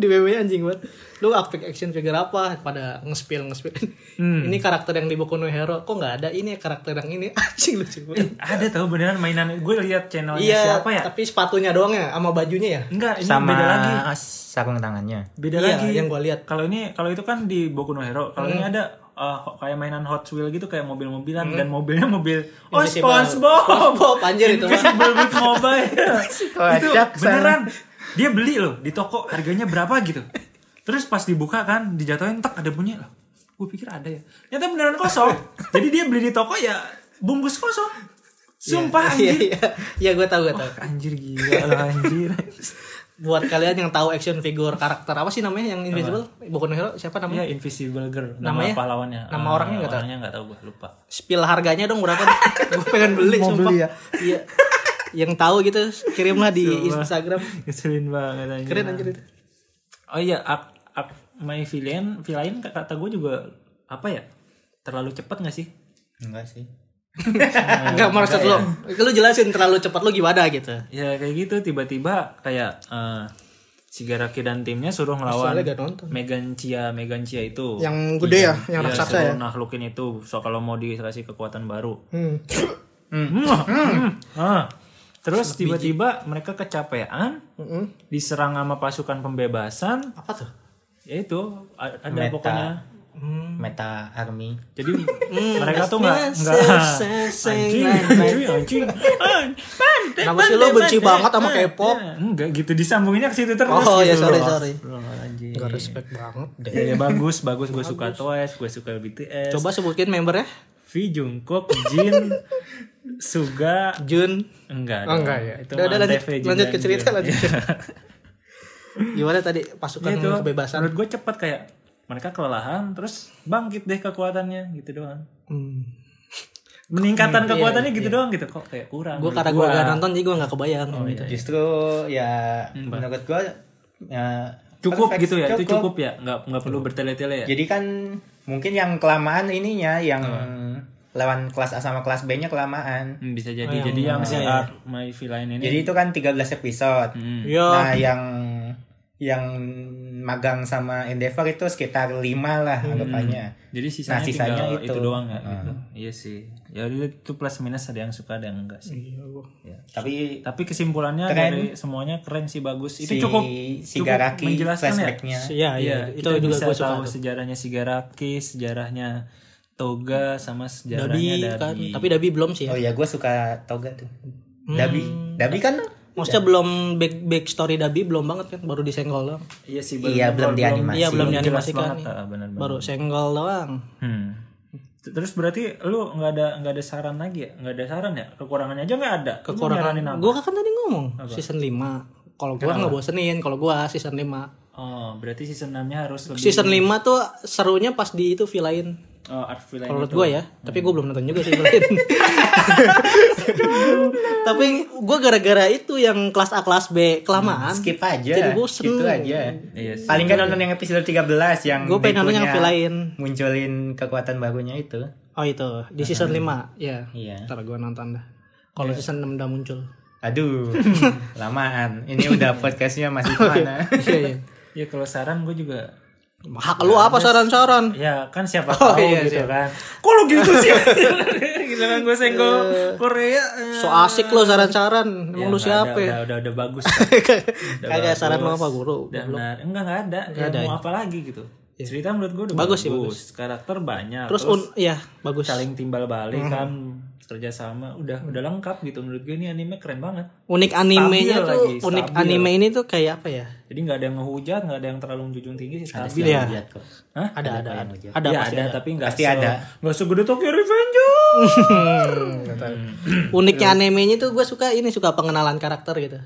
Speaker 2: *laughs* di meme-nya anjing banget. Lu apa action figure apa pada nge-spill nge-spill.
Speaker 1: Hmm.
Speaker 2: Ini karakter yang di Boku no Hero kok nggak ada ini karakter yang ini *laughs* anjing lucu banget.
Speaker 1: Ada tahu beneran mainan. Gue lihat channelnya
Speaker 2: Iya,
Speaker 1: siapa ya?
Speaker 2: tapi sepatunya doang ya sama bajunya ya?
Speaker 1: Enggak, ini
Speaker 3: sama
Speaker 1: beda lagi.
Speaker 3: sarung tangannya.
Speaker 1: Beda
Speaker 2: Iya,
Speaker 1: lagi.
Speaker 2: yang gua lihat. Hmm.
Speaker 1: Kalau ini kalau itu kan di Boku no Hero. Kalau ini ada eh, ho- kayak mainan Hot Wheels gitu kayak mobil-mobilan dan mobilnya mobil oh
Speaker 2: Invisible.
Speaker 1: SpongeBob.
Speaker 2: SpongeBob, anjir itu mah.
Speaker 1: Invisible
Speaker 2: *laughs*
Speaker 1: with mobile. itu
Speaker 3: Kocak, San.
Speaker 1: beneran. Dia beli loh di toko harganya berapa gitu. Terus pas dibuka kan dijatuhin tek ada bunyi loh. Gue pikir ada ya. Ternyata beneran kosong. Jadi dia beli di toko ya bungkus kosong. Sumpah Oh,
Speaker 2: Iya,
Speaker 1: anjir.
Speaker 2: iya. Iya, gue tahu, gue tahu.
Speaker 1: Anjir gila loh anjir.
Speaker 2: Buat kalian yang tahu action figure karakter apa sih namanya yang Invisible? Boku no Hero siapa namanya?
Speaker 1: Iya Invisible Girl.
Speaker 2: Namanya?
Speaker 1: Nama pahlawannya.
Speaker 2: Nama
Speaker 1: Ah,
Speaker 2: orangnya nggak tahu?
Speaker 1: Orangnya nggak tahu gue lupa.
Speaker 2: spill harganya dong berapa *laughs* gue pengen beli
Speaker 3: Mau
Speaker 2: sumpah
Speaker 3: beli ya?
Speaker 2: iya yang tahu gitu kirimlah di Instagram
Speaker 1: Keselin banget anjir.
Speaker 2: keren anjir itu
Speaker 1: Oh iya, ak, ak, my villain, villain kata gue juga apa ya? Terlalu cepat nggak sih?
Speaker 3: Enggak sih.
Speaker 2: nggak maksud lo lu jelasin terlalu cepat lu gimana gitu
Speaker 1: Ya kayak gitu tiba-tiba kayak eh, si Garaki dan timnya suruh ngelawan
Speaker 2: Soalnya gak nonton.
Speaker 1: Megan Chia, Megan Chia itu.
Speaker 2: yang gede ya yang
Speaker 1: Iya,
Speaker 2: raksasa
Speaker 1: suruh
Speaker 2: ya
Speaker 1: nakhlukin itu so kalau mau dikasih kekuatan baru. Hmm.
Speaker 2: hmm.
Speaker 1: Ah. Terus tiba-tiba mereka kecapean, diserang sama pasukan pembebasan,
Speaker 2: apa tuh
Speaker 1: ya itu a- ada
Speaker 3: Meta.
Speaker 1: pokoknya.
Speaker 3: Meta Army.
Speaker 2: *laughs*
Speaker 1: Jadi mereka tuh nggak nggak anjing, anjing, anjing,
Speaker 2: kenapa sih lo benci banget sama K-pop
Speaker 1: Enggak gitu disambunginnya ke situ terus.
Speaker 2: oh ya
Speaker 1: gitu
Speaker 2: sorry
Speaker 1: loh.
Speaker 2: sorry
Speaker 1: Loh, anjing.
Speaker 2: nggak respect banget
Speaker 1: Ya, bagus, bagus. Gue suka Twice, gue suka BTS.
Speaker 2: coba sebutin membernya
Speaker 1: V Jungkook, Jin, Suga,
Speaker 2: Jun
Speaker 1: enggak.
Speaker 2: Oh,
Speaker 1: dong.
Speaker 2: enggak ya.
Speaker 1: Itu
Speaker 2: Udah, udah,
Speaker 1: mah
Speaker 2: lanjut,
Speaker 1: Dev ya, Jin
Speaker 2: lanjut
Speaker 1: dan
Speaker 2: ke cerita,
Speaker 1: Jin.
Speaker 2: lanjut.
Speaker 1: Iya.
Speaker 2: gimana tadi pasukan
Speaker 1: Itu
Speaker 2: kebebasan
Speaker 1: menurut gue cepet kayak mereka kelelahan terus bangkit deh kekuatannya gitu doang.
Speaker 2: hmm.
Speaker 1: Meningkatan kekuatannya gitu doang gitu kok kayak kurang.
Speaker 2: gue
Speaker 1: menurut
Speaker 2: iya, karena gue
Speaker 1: gua. Oh, iya.
Speaker 2: gak nonton jadi gue gak kebayang gitu.
Speaker 3: Justru ya menurut gua ya,
Speaker 1: Hmm, cukup
Speaker 3: perfect,
Speaker 1: gitu ya itu cukup ya nggak nggak perlu bertele-tele ya
Speaker 3: Jadi kan mungkin yang kelamaan ininya yang lawan kelas A sama kelas B-nya kelamaan.
Speaker 1: Hmm, bisa jadi jadi yang si Art My Villain ini
Speaker 3: Jadi itu kan 13 episode.
Speaker 1: Hmm.
Speaker 2: Iya.
Speaker 3: Nah, yang yang magang sama Endeavor itu sekitar 5 lah anggapannya.
Speaker 1: Hmm. jadi sisanya,
Speaker 3: Nah, sisanya
Speaker 1: tinggal itu.
Speaker 3: itu.
Speaker 1: doang ya gitu iya sih ya itu plus minus ada yang suka ada yang enggak
Speaker 2: Hmm.
Speaker 1: sih Ya.
Speaker 3: Tapi
Speaker 1: tapi kesimpulannya
Speaker 3: Keren.
Speaker 1: dari semuanya keren sih bagus itu cukup
Speaker 3: si Iya,
Speaker 1: cukup
Speaker 3: Garaki
Speaker 1: menjelaskan ya?
Speaker 3: flashback-nya.
Speaker 2: Iya, iya,
Speaker 1: Iya,
Speaker 2: itu
Speaker 1: kita
Speaker 2: juga
Speaker 1: bisa
Speaker 2: gue suka.
Speaker 1: tahu sejarahnya Sigaraki, sejarahnya Toga sama
Speaker 2: Dabi,
Speaker 1: sejarahnya
Speaker 2: kan,
Speaker 1: Dabi. iya.
Speaker 2: tapi Dabi belum sih ya.
Speaker 3: Oh ya, gue suka toga tuh. Dabi. Dabi kan
Speaker 2: Maksudnya
Speaker 1: Ya.
Speaker 2: belum back back story Dabi belum banget kan, baru disenggol doang.
Speaker 1: Iya sih
Speaker 3: Iya, belum dianimasi.
Speaker 2: Iya, belum
Speaker 1: jelas
Speaker 2: dianimasikan
Speaker 1: banget,
Speaker 2: nih.
Speaker 1: ah, benar-benar.
Speaker 2: Baru senggol doang.
Speaker 1: Hmm. Terus berarti lu nggak ada nggak ada saran lagi ya? Nggak ada saran ya? Kekurangannya aja nggak ada. Lu mau
Speaker 2: Kekurangan
Speaker 1: nyaranin apa?
Speaker 2: gua kan tadi ngomong season 5. Kalau gua nggak bosenin, kalau gua season 5.
Speaker 1: Oh, berarti season 6-nya harus lebih
Speaker 2: Season 5 tuh serunya pas di itu villain.
Speaker 1: oh, art villain.
Speaker 2: Menurut gua ya, tapi
Speaker 1: Hmm.
Speaker 2: gua belum nonton juga sih
Speaker 1: *laughs*
Speaker 2: villain. tapi gua gara-gara itu yang kelas A kelas B kelamaan.
Speaker 1: Hmm,
Speaker 3: skip aja.
Speaker 2: Jadi bosen.
Speaker 3: Gitu aja.
Speaker 1: Iya sih.
Speaker 3: Paling kan nonton yang episode 13 yang
Speaker 2: Gua pengen nonton yang
Speaker 3: Dekunya
Speaker 2: villain.
Speaker 3: munculin kekuatan barunya itu.
Speaker 2: Oh itu di
Speaker 1: Nah,
Speaker 2: season 5 ya.
Speaker 3: Iya.
Speaker 2: Ntar gue nonton dah. Kalau
Speaker 1: Iya.
Speaker 2: season 6 udah
Speaker 1: *laughs*
Speaker 2: muncul.
Speaker 3: Aduh, *laughs* lamaan. Ini udah podcastnya ah. masih mana?
Speaker 2: Iya iya.
Speaker 1: Ya kalau saran gua juga
Speaker 2: Hak lu
Speaker 1: Nah,
Speaker 2: apa saran-saran?
Speaker 1: ya kan siapa
Speaker 2: Oh,
Speaker 1: tahu
Speaker 2: iya, siap.
Speaker 1: gitu kan. Kok lu gitu *laughs* sih? gitu kan gua senggol Korea. eh.
Speaker 2: So asik lu saran-saran. Emang
Speaker 1: Ya,
Speaker 2: lu
Speaker 1: nggak
Speaker 2: siapa?
Speaker 1: ada,
Speaker 2: ya? *laughs*
Speaker 1: Udah udah udah bagus. Udah
Speaker 2: Kagak saran lu
Speaker 1: bagus.
Speaker 2: apa guru?
Speaker 1: Udah benar. Enggak enggak ada. Ya,
Speaker 2: ada Iya.
Speaker 1: mau apa lagi gitu. Cerita menurut gua udah
Speaker 2: Bagus sih,
Speaker 1: Karakter banyak.
Speaker 2: Terus un Hmm. ya bagus.
Speaker 1: saling timbal balik kan kerjasama udah udah lengkap gitu menurut gue ini anime keren banget
Speaker 2: Unik animenya
Speaker 1: Stabil
Speaker 2: tuh
Speaker 1: lagi,
Speaker 2: unik
Speaker 1: stabil.
Speaker 2: anime ini tuh kayak apa
Speaker 1: *clears throat*
Speaker 2: ya?
Speaker 1: jadi nggak ada yang ngehujat nggak ada yang terlalu menjunjung tinggi sih stabil
Speaker 2: Iya.
Speaker 3: Lihat kok.
Speaker 1: Hah?
Speaker 2: Ada ada ada. Ada
Speaker 1: ada ya,
Speaker 2: pasti
Speaker 1: ada,
Speaker 2: ada.
Speaker 1: tapi nggak
Speaker 3: Pasti
Speaker 1: se-
Speaker 3: ada.
Speaker 1: nggak segede Tokyo Revenger
Speaker 2: Uniknya
Speaker 1: Iya.
Speaker 2: animenya tuh gue suka ini suka pengenalan karakter gitu.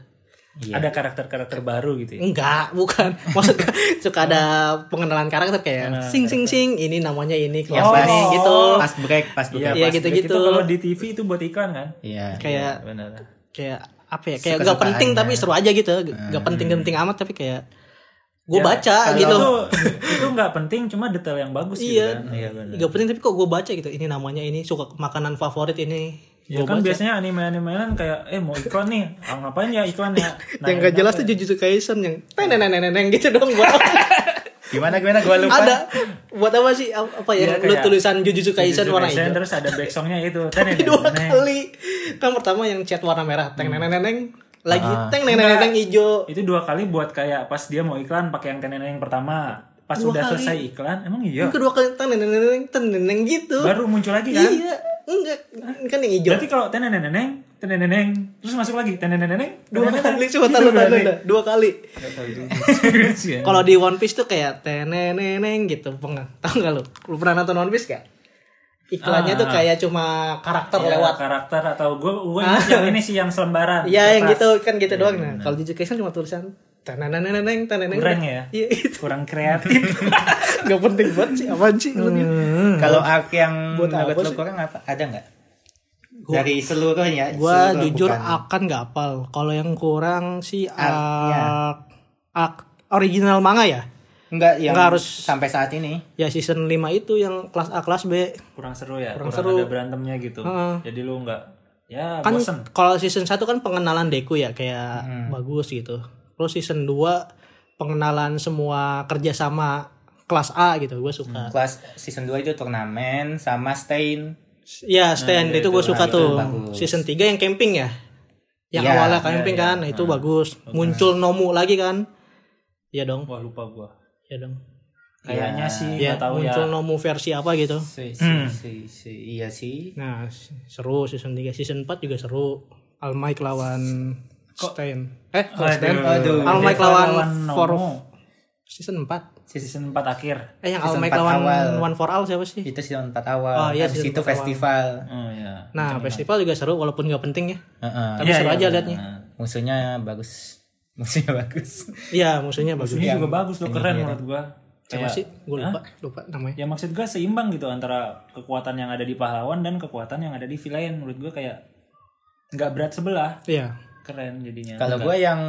Speaker 1: ada karakter-karakter baru
Speaker 2: Iya,
Speaker 1: gitu ya
Speaker 2: Enggak,
Speaker 1: *laughs*
Speaker 2: bukan. Maksud gua, suka ada pengenalan karakter
Speaker 1: Nah,
Speaker 2: kayak sing sing sing ini namanya ini kelas
Speaker 3: Oh.
Speaker 2: ini gitu.
Speaker 3: Pas break, pas
Speaker 1: Iya,
Speaker 3: break.
Speaker 2: Iya,
Speaker 1: pas
Speaker 2: gitu-gitu.
Speaker 1: break Itu kalau di TV itu buat iklan kan?
Speaker 3: Iya.
Speaker 2: Kayak
Speaker 1: Benar.
Speaker 2: ya. kayak apa Hmm. ya kayak gak penting tapi seru aja gitu gak penting penting amat tapi kayak gue baca
Speaker 1: Kalau
Speaker 2: gitu
Speaker 1: itu itu nggak penting cuma detail yang bagus gitu
Speaker 2: Iya.
Speaker 1: kan iya benar
Speaker 2: Gak penting tapi kok gue baca gitu ini namanya ini suka makanan favorit ini Gua
Speaker 1: Ya kan
Speaker 2: baca.
Speaker 1: biasanya anime-animean kayak eh mau iklan nih, ah, ngapain ya
Speaker 2: *laughs*
Speaker 1: iklannya? Nah,
Speaker 2: yang gak jelas tuh Jujutsu Kaisen yang neneng gitu dong buat apa?
Speaker 3: Gimana gimana gua
Speaker 2: *laughs*
Speaker 3: lupa.
Speaker 2: ada buat apa sih apa ya,
Speaker 1: Iya,
Speaker 2: lu
Speaker 1: kayak
Speaker 2: tulisan Jujutsu Kaisen
Speaker 1: Jujutsu
Speaker 2: warna
Speaker 1: Kaisen,
Speaker 2: hijau
Speaker 1: terus ada back songnya itu.
Speaker 2: *laughs* Tapi dua kali kan pertama yang cat warna
Speaker 1: Hmm.
Speaker 2: merah teng neneng neneng lagi teng neneng neneng hijau
Speaker 1: Itu dua kali buat kayak pas dia mau iklan pakai yang tenen yang pertama. Pas
Speaker 2: Dua
Speaker 1: udah
Speaker 2: kali.
Speaker 1: selesai iklan, emang
Speaker 2: yang
Speaker 1: iya.
Speaker 2: kedua kali teng neneng neneng teng neneng gitu
Speaker 1: Baru muncul lagi kan?
Speaker 2: iya enggak kan yang hijau
Speaker 1: Berarti kalau tenen neneng, tenen neneng, terus masuk lagi tenen neneng,
Speaker 2: dua kali coba taruh taruh dah, dua kali
Speaker 1: ya.
Speaker 2: kalau di One Piece tuh kayak teneneneng gitu peng tau nggak lu lu pernah nonton One Piece gak iklannya
Speaker 1: Ah.
Speaker 2: tuh kayak cuma karakter lewat Ah.
Speaker 1: lewat Iya, karakter atau gue gue yang ini sih yang selembaran.
Speaker 2: Iya yang
Speaker 1: kertas.
Speaker 2: gitu kan gitu doang nah kalau Jujutsu Kaisen cuma tulisan teneneneneng teneneng
Speaker 1: Kurang ya?
Speaker 2: iya itu
Speaker 1: Kurang
Speaker 2: *laughs*
Speaker 1: kreatif.
Speaker 2: nggak penting banget sih apaan sih lu nih?
Speaker 3: Kalau arc yang
Speaker 2: Buat
Speaker 3: menurut
Speaker 2: apa
Speaker 3: lu
Speaker 2: sih?
Speaker 3: kurang apa? Ada nggak?
Speaker 2: Gua-
Speaker 3: Dari seluruhnya.
Speaker 2: gue
Speaker 3: seluruh,
Speaker 2: jujur
Speaker 3: bukan.
Speaker 2: akan nggak hafal kalau yang kurang sih
Speaker 1: iya.
Speaker 3: Artnya.
Speaker 2: arc, arc original manga ya
Speaker 3: Enggak, yang
Speaker 2: Nggak harus-
Speaker 3: sampai saat ini.
Speaker 2: ya season 5 itu yang kelas A kelas B
Speaker 1: kurang seru ya
Speaker 2: Kurang
Speaker 1: kurang,
Speaker 2: seru.
Speaker 1: ada berantemnya gitu
Speaker 2: Heeh.
Speaker 1: jadi lu nggak ya
Speaker 2: kan
Speaker 1: bosen
Speaker 2: kalau season 1 kan pengenalan Deku ya kayak bagus gitu terus season 2 pengenalan semua kerjasama kelas A gitu gue suka
Speaker 3: Kelas season 2 itu turnamen sama stain.
Speaker 2: ya stand
Speaker 1: iya,
Speaker 2: itu gue
Speaker 1: itu
Speaker 2: suka
Speaker 3: bagus,
Speaker 2: tuh
Speaker 3: bagus.
Speaker 2: season 3 yang camping ya yang
Speaker 3: Iya,
Speaker 2: awalnya
Speaker 1: iya,
Speaker 2: camping
Speaker 1: iya.
Speaker 2: kan nah, itu bagus muncul Nomu lagi kan ya dong
Speaker 1: wah lupa gua
Speaker 2: ya dong
Speaker 1: kayaknya
Speaker 3: Ya.
Speaker 1: sih
Speaker 2: ya
Speaker 1: nggak tahu ya
Speaker 2: muncul Nomu versi apa gitu
Speaker 3: Si, si, si, Hmm. iya sih.
Speaker 2: Nah, s- seru season 3, season 4 juga seru. All Might lawan Stein. Eh, kok Stein?
Speaker 3: aduh.
Speaker 2: All Might
Speaker 1: Dia
Speaker 2: lawan
Speaker 1: Nomo.
Speaker 2: For season 4.
Speaker 1: season 4 akhir
Speaker 2: Eh, yang
Speaker 3: Season
Speaker 2: All Might
Speaker 3: 4
Speaker 2: lawan
Speaker 3: awal.
Speaker 2: One for All siapa sih?
Speaker 3: Itu season 4 awal.
Speaker 2: Oh, iya,
Speaker 3: Habis
Speaker 2: season
Speaker 3: itu
Speaker 2: empat awal.
Speaker 3: festival.
Speaker 1: oh ya
Speaker 2: Nah, festival juga seru walaupun nggak penting ya.
Speaker 3: Heeh.
Speaker 1: Iya,
Speaker 2: Tapi seru aja liatnya.
Speaker 3: Musuhnya bagus. *laughs* Musuhnya bagus.
Speaker 2: Iya, musuhnya bagus.
Speaker 1: ini juga bagus loh keren menurut gua
Speaker 2: Siapa
Speaker 1: Kayak-
Speaker 2: sih? Gue lupa, lupa namanya.
Speaker 1: ya maksud gua seimbang gitu antara kekuatan yang ada di pahlawan dan kekuatan yang ada di villain menurut gua kayak nggak berat sebelah
Speaker 2: Iya.
Speaker 1: keren jadinya
Speaker 3: Kalau gue yang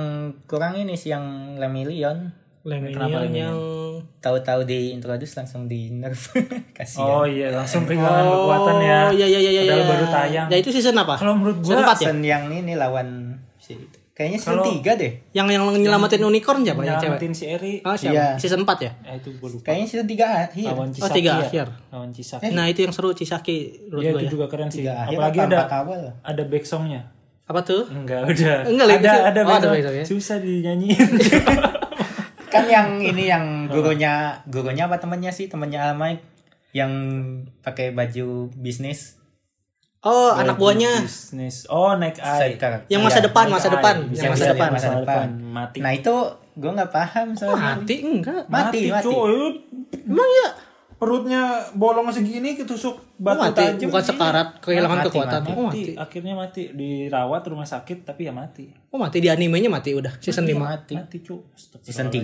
Speaker 3: kurang ini sih yang Lemillion.
Speaker 2: Lemillion yang
Speaker 3: Tahu-tahu di introduce langsung di nerf. *laughs* Kasihan.
Speaker 1: oh iya langsung kehilangan kekuatan ya
Speaker 2: Oh, iya iya iya iya.
Speaker 1: Padahal
Speaker 2: iya.
Speaker 1: baru tayang.
Speaker 2: Ya itu season apa?
Speaker 1: kalau menurut gua
Speaker 2: season 4 ya.
Speaker 3: season yang ini lawan si Kayaknya season
Speaker 1: Kalau-
Speaker 3: 3 deh.
Speaker 2: Yang yang nyelamatin unicorn siapa ya cewek?
Speaker 1: nyelamatin si Eri
Speaker 2: Ah, siapa?
Speaker 3: Iya.
Speaker 2: Season 4 ya?
Speaker 1: eh, itu gua lupa
Speaker 3: Kayaknya season 3 akhir.
Speaker 1: lawan
Speaker 2: Oh,
Speaker 1: Cisaki
Speaker 2: tiga
Speaker 1: ya?
Speaker 2: akhir.
Speaker 1: lawan Cisaki
Speaker 2: Nah, itu yang seru Cisaki menurut
Speaker 1: Iya
Speaker 2: gua
Speaker 1: itu
Speaker 2: ya.
Speaker 1: juga keren sih.
Speaker 3: 3 akhir
Speaker 1: Apalagi
Speaker 3: apa
Speaker 1: ada
Speaker 3: empat awal.
Speaker 1: ada back songnya.
Speaker 2: Apa tuh?
Speaker 1: Enggak udah.
Speaker 2: Enggak lah, itu
Speaker 1: ada
Speaker 2: sih.
Speaker 1: ada
Speaker 2: Oh,
Speaker 1: back
Speaker 2: ada
Speaker 1: song.
Speaker 2: back song ya.
Speaker 1: Susah dinyanyiin.
Speaker 3: kan yang ini yang gurunya gurunya apa temennya sih temennya Almai yang pakai baju bisnis
Speaker 2: Oh, *laughs*
Speaker 1: Iya,
Speaker 2: anak buahnya
Speaker 1: Bisnis. Oh naik ai.
Speaker 3: side character.
Speaker 2: yang masa
Speaker 3: Iya.
Speaker 2: depan, masa
Speaker 1: Naik
Speaker 2: depan,
Speaker 1: ai.
Speaker 2: yang
Speaker 1: Yang
Speaker 2: masa
Speaker 3: bisa,
Speaker 2: depan.
Speaker 3: yang masa depan.
Speaker 1: Mati.
Speaker 3: nah itu gue nggak paham soalnya
Speaker 2: Mati enggak?
Speaker 3: mati mati,
Speaker 1: cuy.
Speaker 2: Emang ya
Speaker 1: Perutnya bolong segini ketusuk batu
Speaker 2: mati,
Speaker 1: tajam.
Speaker 2: bukan
Speaker 1: Iya.
Speaker 2: sekarat kehilangan
Speaker 3: Mati,
Speaker 2: kekuatan.
Speaker 3: mati.
Speaker 2: Oh,
Speaker 1: Mati.
Speaker 2: mati.
Speaker 1: Akhirnya mati dirawat rumah sakit tapi ya mati.
Speaker 2: Oh, mati di animenya mati udah season 5.
Speaker 3: mati
Speaker 1: Mati cuy.
Speaker 3: season 3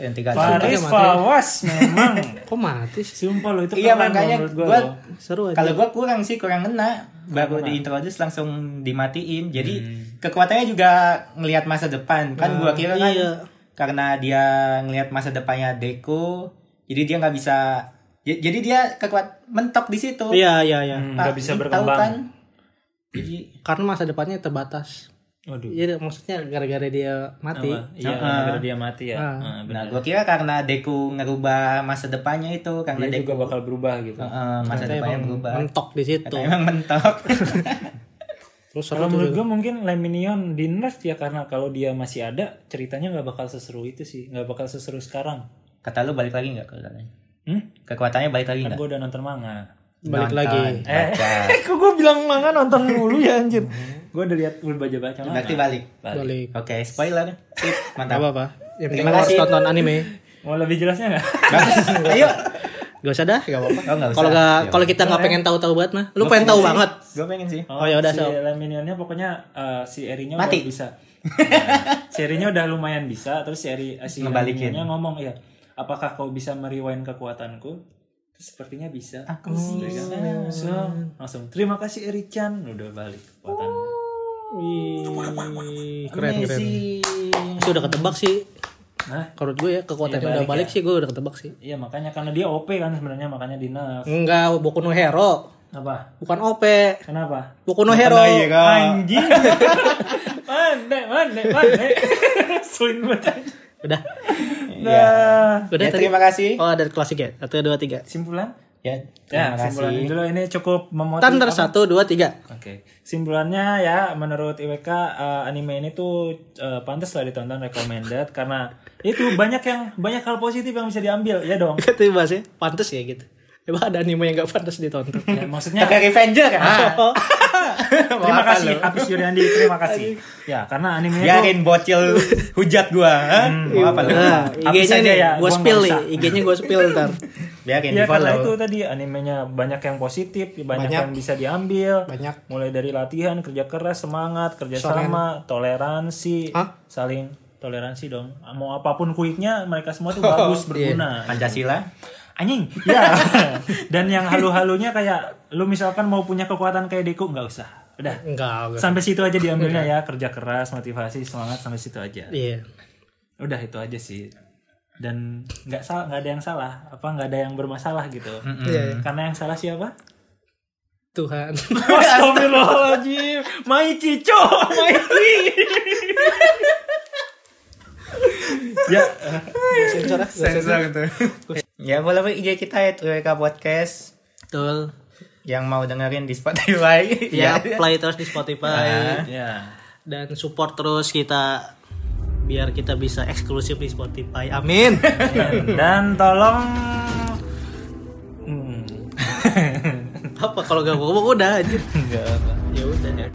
Speaker 3: season 3
Speaker 1: Faris
Speaker 2: mati.
Speaker 1: Fawas memang.
Speaker 2: Kok mati sih?
Speaker 1: *laughs* Sumpah lo itu
Speaker 3: iya
Speaker 1: keren loh
Speaker 3: makanya
Speaker 1: menurut gua.
Speaker 3: gue
Speaker 1: loh.
Speaker 2: Seru aja.
Speaker 3: kalau gue kurang sih kurang kena baru diintroduce langsung dimatiin jadi kekuatannya juga ngelihat masa depan kan gue kira kan
Speaker 2: iya.
Speaker 3: karena dia ngelihat masa depannya Deko jadi dia nggak bisa j- jadi dia kekuat mentok di situ
Speaker 2: Iya, iya, iya.
Speaker 1: Hmm,
Speaker 3: Ah,
Speaker 1: nggak bisa
Speaker 3: tahu
Speaker 1: berkembang.
Speaker 3: kan? jadi
Speaker 2: Karena masa depannya terbatas.
Speaker 1: Waduh.
Speaker 2: Iya, maksudnya gara-gara dia mati.
Speaker 1: Apa? Iya,
Speaker 3: Heeh.
Speaker 1: gara-gara dia mati ya.
Speaker 2: Heeh.
Speaker 1: Heeh, benar.
Speaker 3: nah gue kira karena Deku ngerubah masa depannya itu karena
Speaker 1: dia
Speaker 3: Deku
Speaker 1: juga bakal berubah gitu.
Speaker 3: Heeh, masa
Speaker 2: Ternyata
Speaker 3: depannya
Speaker 2: Iya emang
Speaker 3: berubah
Speaker 2: mentok di situ.
Speaker 3: Ternyata emang
Speaker 2: *laughs*
Speaker 3: mentok
Speaker 2: Terus seru
Speaker 1: Kalau
Speaker 2: tuh.
Speaker 1: menurut gue mungkin Leminion di nerf ya karena kalau dia masih ada ceritanya nggak bakal seseru itu sih, nggak bakal seseru sekarang.
Speaker 3: kata lu balik lagi nggak kekuatannya
Speaker 1: Hmm?
Speaker 3: kekuatannya balik lagi
Speaker 1: Kan
Speaker 3: nggak
Speaker 1: gue udah nonton manga.
Speaker 2: Balik
Speaker 3: Nonton,
Speaker 2: lagi. Eh.
Speaker 3: baca.
Speaker 1: *laughs* Kok gue bilang manga nonton dulu ya anjir. gue udah lihat udah baca baca manga.
Speaker 3: berarti balik
Speaker 2: *laughs* Balik.
Speaker 3: oke spoiler Sip,
Speaker 2: Gak
Speaker 3: mantap
Speaker 2: apa-apa. Yang penting
Speaker 3: Terima
Speaker 2: lo harus
Speaker 3: kasih.
Speaker 2: tonton anime.
Speaker 1: Mau lebih jelasnya nggak?
Speaker 3: Bagus.
Speaker 2: *laughs*
Speaker 3: ayo
Speaker 2: Gak usah dah, gak apa-apa.
Speaker 3: Oh, nggak usah.
Speaker 2: *laughs* Kalau nggak,
Speaker 3: Ya
Speaker 2: kalau kita nggak pengen tahu-tahu banget mah, lu pengen tahu banget.
Speaker 3: gue pengen sih
Speaker 1: Oh,
Speaker 2: ya udah,
Speaker 1: si
Speaker 2: Sob.
Speaker 1: Leminionnya pokoknya eh, si Erinya udah
Speaker 3: Mati.
Speaker 1: bisa. serinya udah lumayan bisa, terus si Eri eh, si
Speaker 3: Ngebalikin.
Speaker 1: Leminionnya ngomong ya, apakah kau bisa merewind kekuatanku? Terus Sepertinya bisa.
Speaker 3: aku sih
Speaker 1: Udah kan? So, langsung terima kasih Eri Chan udah balik kekuatan.
Speaker 2: Wih, keren keren. Itu udah ketebak sih
Speaker 1: Hah?
Speaker 2: Kalau menurut gue ya kekuatannya udah balik sih gue udah ketebak sih.
Speaker 1: Iya makanya karena dia OP kan sebenarnya makanya di nerf.
Speaker 2: Enggak, Boku no Hero.
Speaker 1: Apa?
Speaker 2: Bukan OP.
Speaker 1: Kenapa?
Speaker 2: Boku no Hero.
Speaker 3: Nah, iya kak.
Speaker 1: Anjing. *laughs* mandek, mandek, mandek. Sulit banget. *laughs*
Speaker 2: Udah.
Speaker 1: Nah,
Speaker 2: Udah
Speaker 3: Ya,
Speaker 2: tadi.
Speaker 3: terima kasih.
Speaker 2: Oh, ada klasik ya. Satu, dua, tiga.
Speaker 1: simpulan?
Speaker 3: Ya,
Speaker 1: Ya,
Speaker 3: terima kasih.
Speaker 1: simpulan dulu ini cukup memotivasi.
Speaker 2: Tantar satu, dua, tiga.
Speaker 1: Oke, simpulannya ya menurut IWK eh, anime ini tuh eh, pantas lah ditonton recommended *laughs* karena itu banyak yang banyak hal positif yang bisa diambil ya dong.
Speaker 2: Itu bahasnya pantas ya gitu. Emang ada anime yang gak pantas ditonton. Oh, iya.
Speaker 1: Ya,
Speaker 3: *laughs*
Speaker 1: maksudnya
Speaker 3: Tokyo Revenger kan?
Speaker 1: Nah.
Speaker 2: *laughs*
Speaker 1: terima kasih Agus Yuriandi
Speaker 3: *laughs*
Speaker 1: terima kasih. Ya karena animenya tuh
Speaker 3: Biarin bocil hujat gua. ha?
Speaker 1: Hmm.
Speaker 3: Mau apa lu?
Speaker 2: Nah,
Speaker 1: Hapus
Speaker 2: IG-nya
Speaker 1: aja
Speaker 2: nih,
Speaker 1: ya,
Speaker 2: gue
Speaker 1: gua nggak
Speaker 2: spill nih.
Speaker 1: usah.
Speaker 2: IG-nya gue spill ntar.
Speaker 3: Biarin di
Speaker 1: Iya karena itu
Speaker 3: follow.
Speaker 1: tadi animenya banyak yang positif, banyak,
Speaker 6: Banyak.
Speaker 1: yang bisa diambil.
Speaker 6: Banyak.
Speaker 1: Mulai dari latihan, kerja keras, semangat,
Speaker 6: kan-
Speaker 1: kerjasama, toleransi,
Speaker 2: Hah?
Speaker 1: saling toleransi dong. Mau apapun kuitnya mereka semua tuh
Speaker 6: *laughs* Oh,
Speaker 1: bagus
Speaker 6: iya.
Speaker 1: berguna.
Speaker 3: Pancasila.
Speaker 1: Anjing, ya. *laughs* Dan yang halu-halunya kayak lu misalkan mau punya kekuatan kayak Deku *laughs* nggak usah. Udah.
Speaker 2: Enggak, enggak.
Speaker 1: Sampai situ aja diambilnya ya, kerja keras, motivasi, semangat sampai situ aja.
Speaker 2: Iya.
Speaker 1: Udah itu aja sih. Dan nggak salah, nggak ada yang salah, apa nggak ada yang bermasalah gitu.
Speaker 2: Iya. iya.
Speaker 1: Karena yang salah siapa?
Speaker 2: Tuhan.
Speaker 1: Astagfirullahaladzim Mikey co Mikey *laughs* Ya
Speaker 2: Sensor ah, gua *laughs* sensor.
Speaker 3: Ya, follow IG kita ya WK Podcast
Speaker 2: Betul.
Speaker 3: yang mau dengerin di Spotify.
Speaker 1: Iya.
Speaker 3: *laughs*
Speaker 2: Ya, play terus di Spotify.
Speaker 1: Ya
Speaker 2: dan support terus kita biar kita bisa eksklusif di Spotify.
Speaker 1: *laughs*
Speaker 2: Amin.
Speaker 1: Dan tolong hmm.
Speaker 2: Apa kalau gak mau udah aja.
Speaker 1: Enggak
Speaker 2: Ya udah.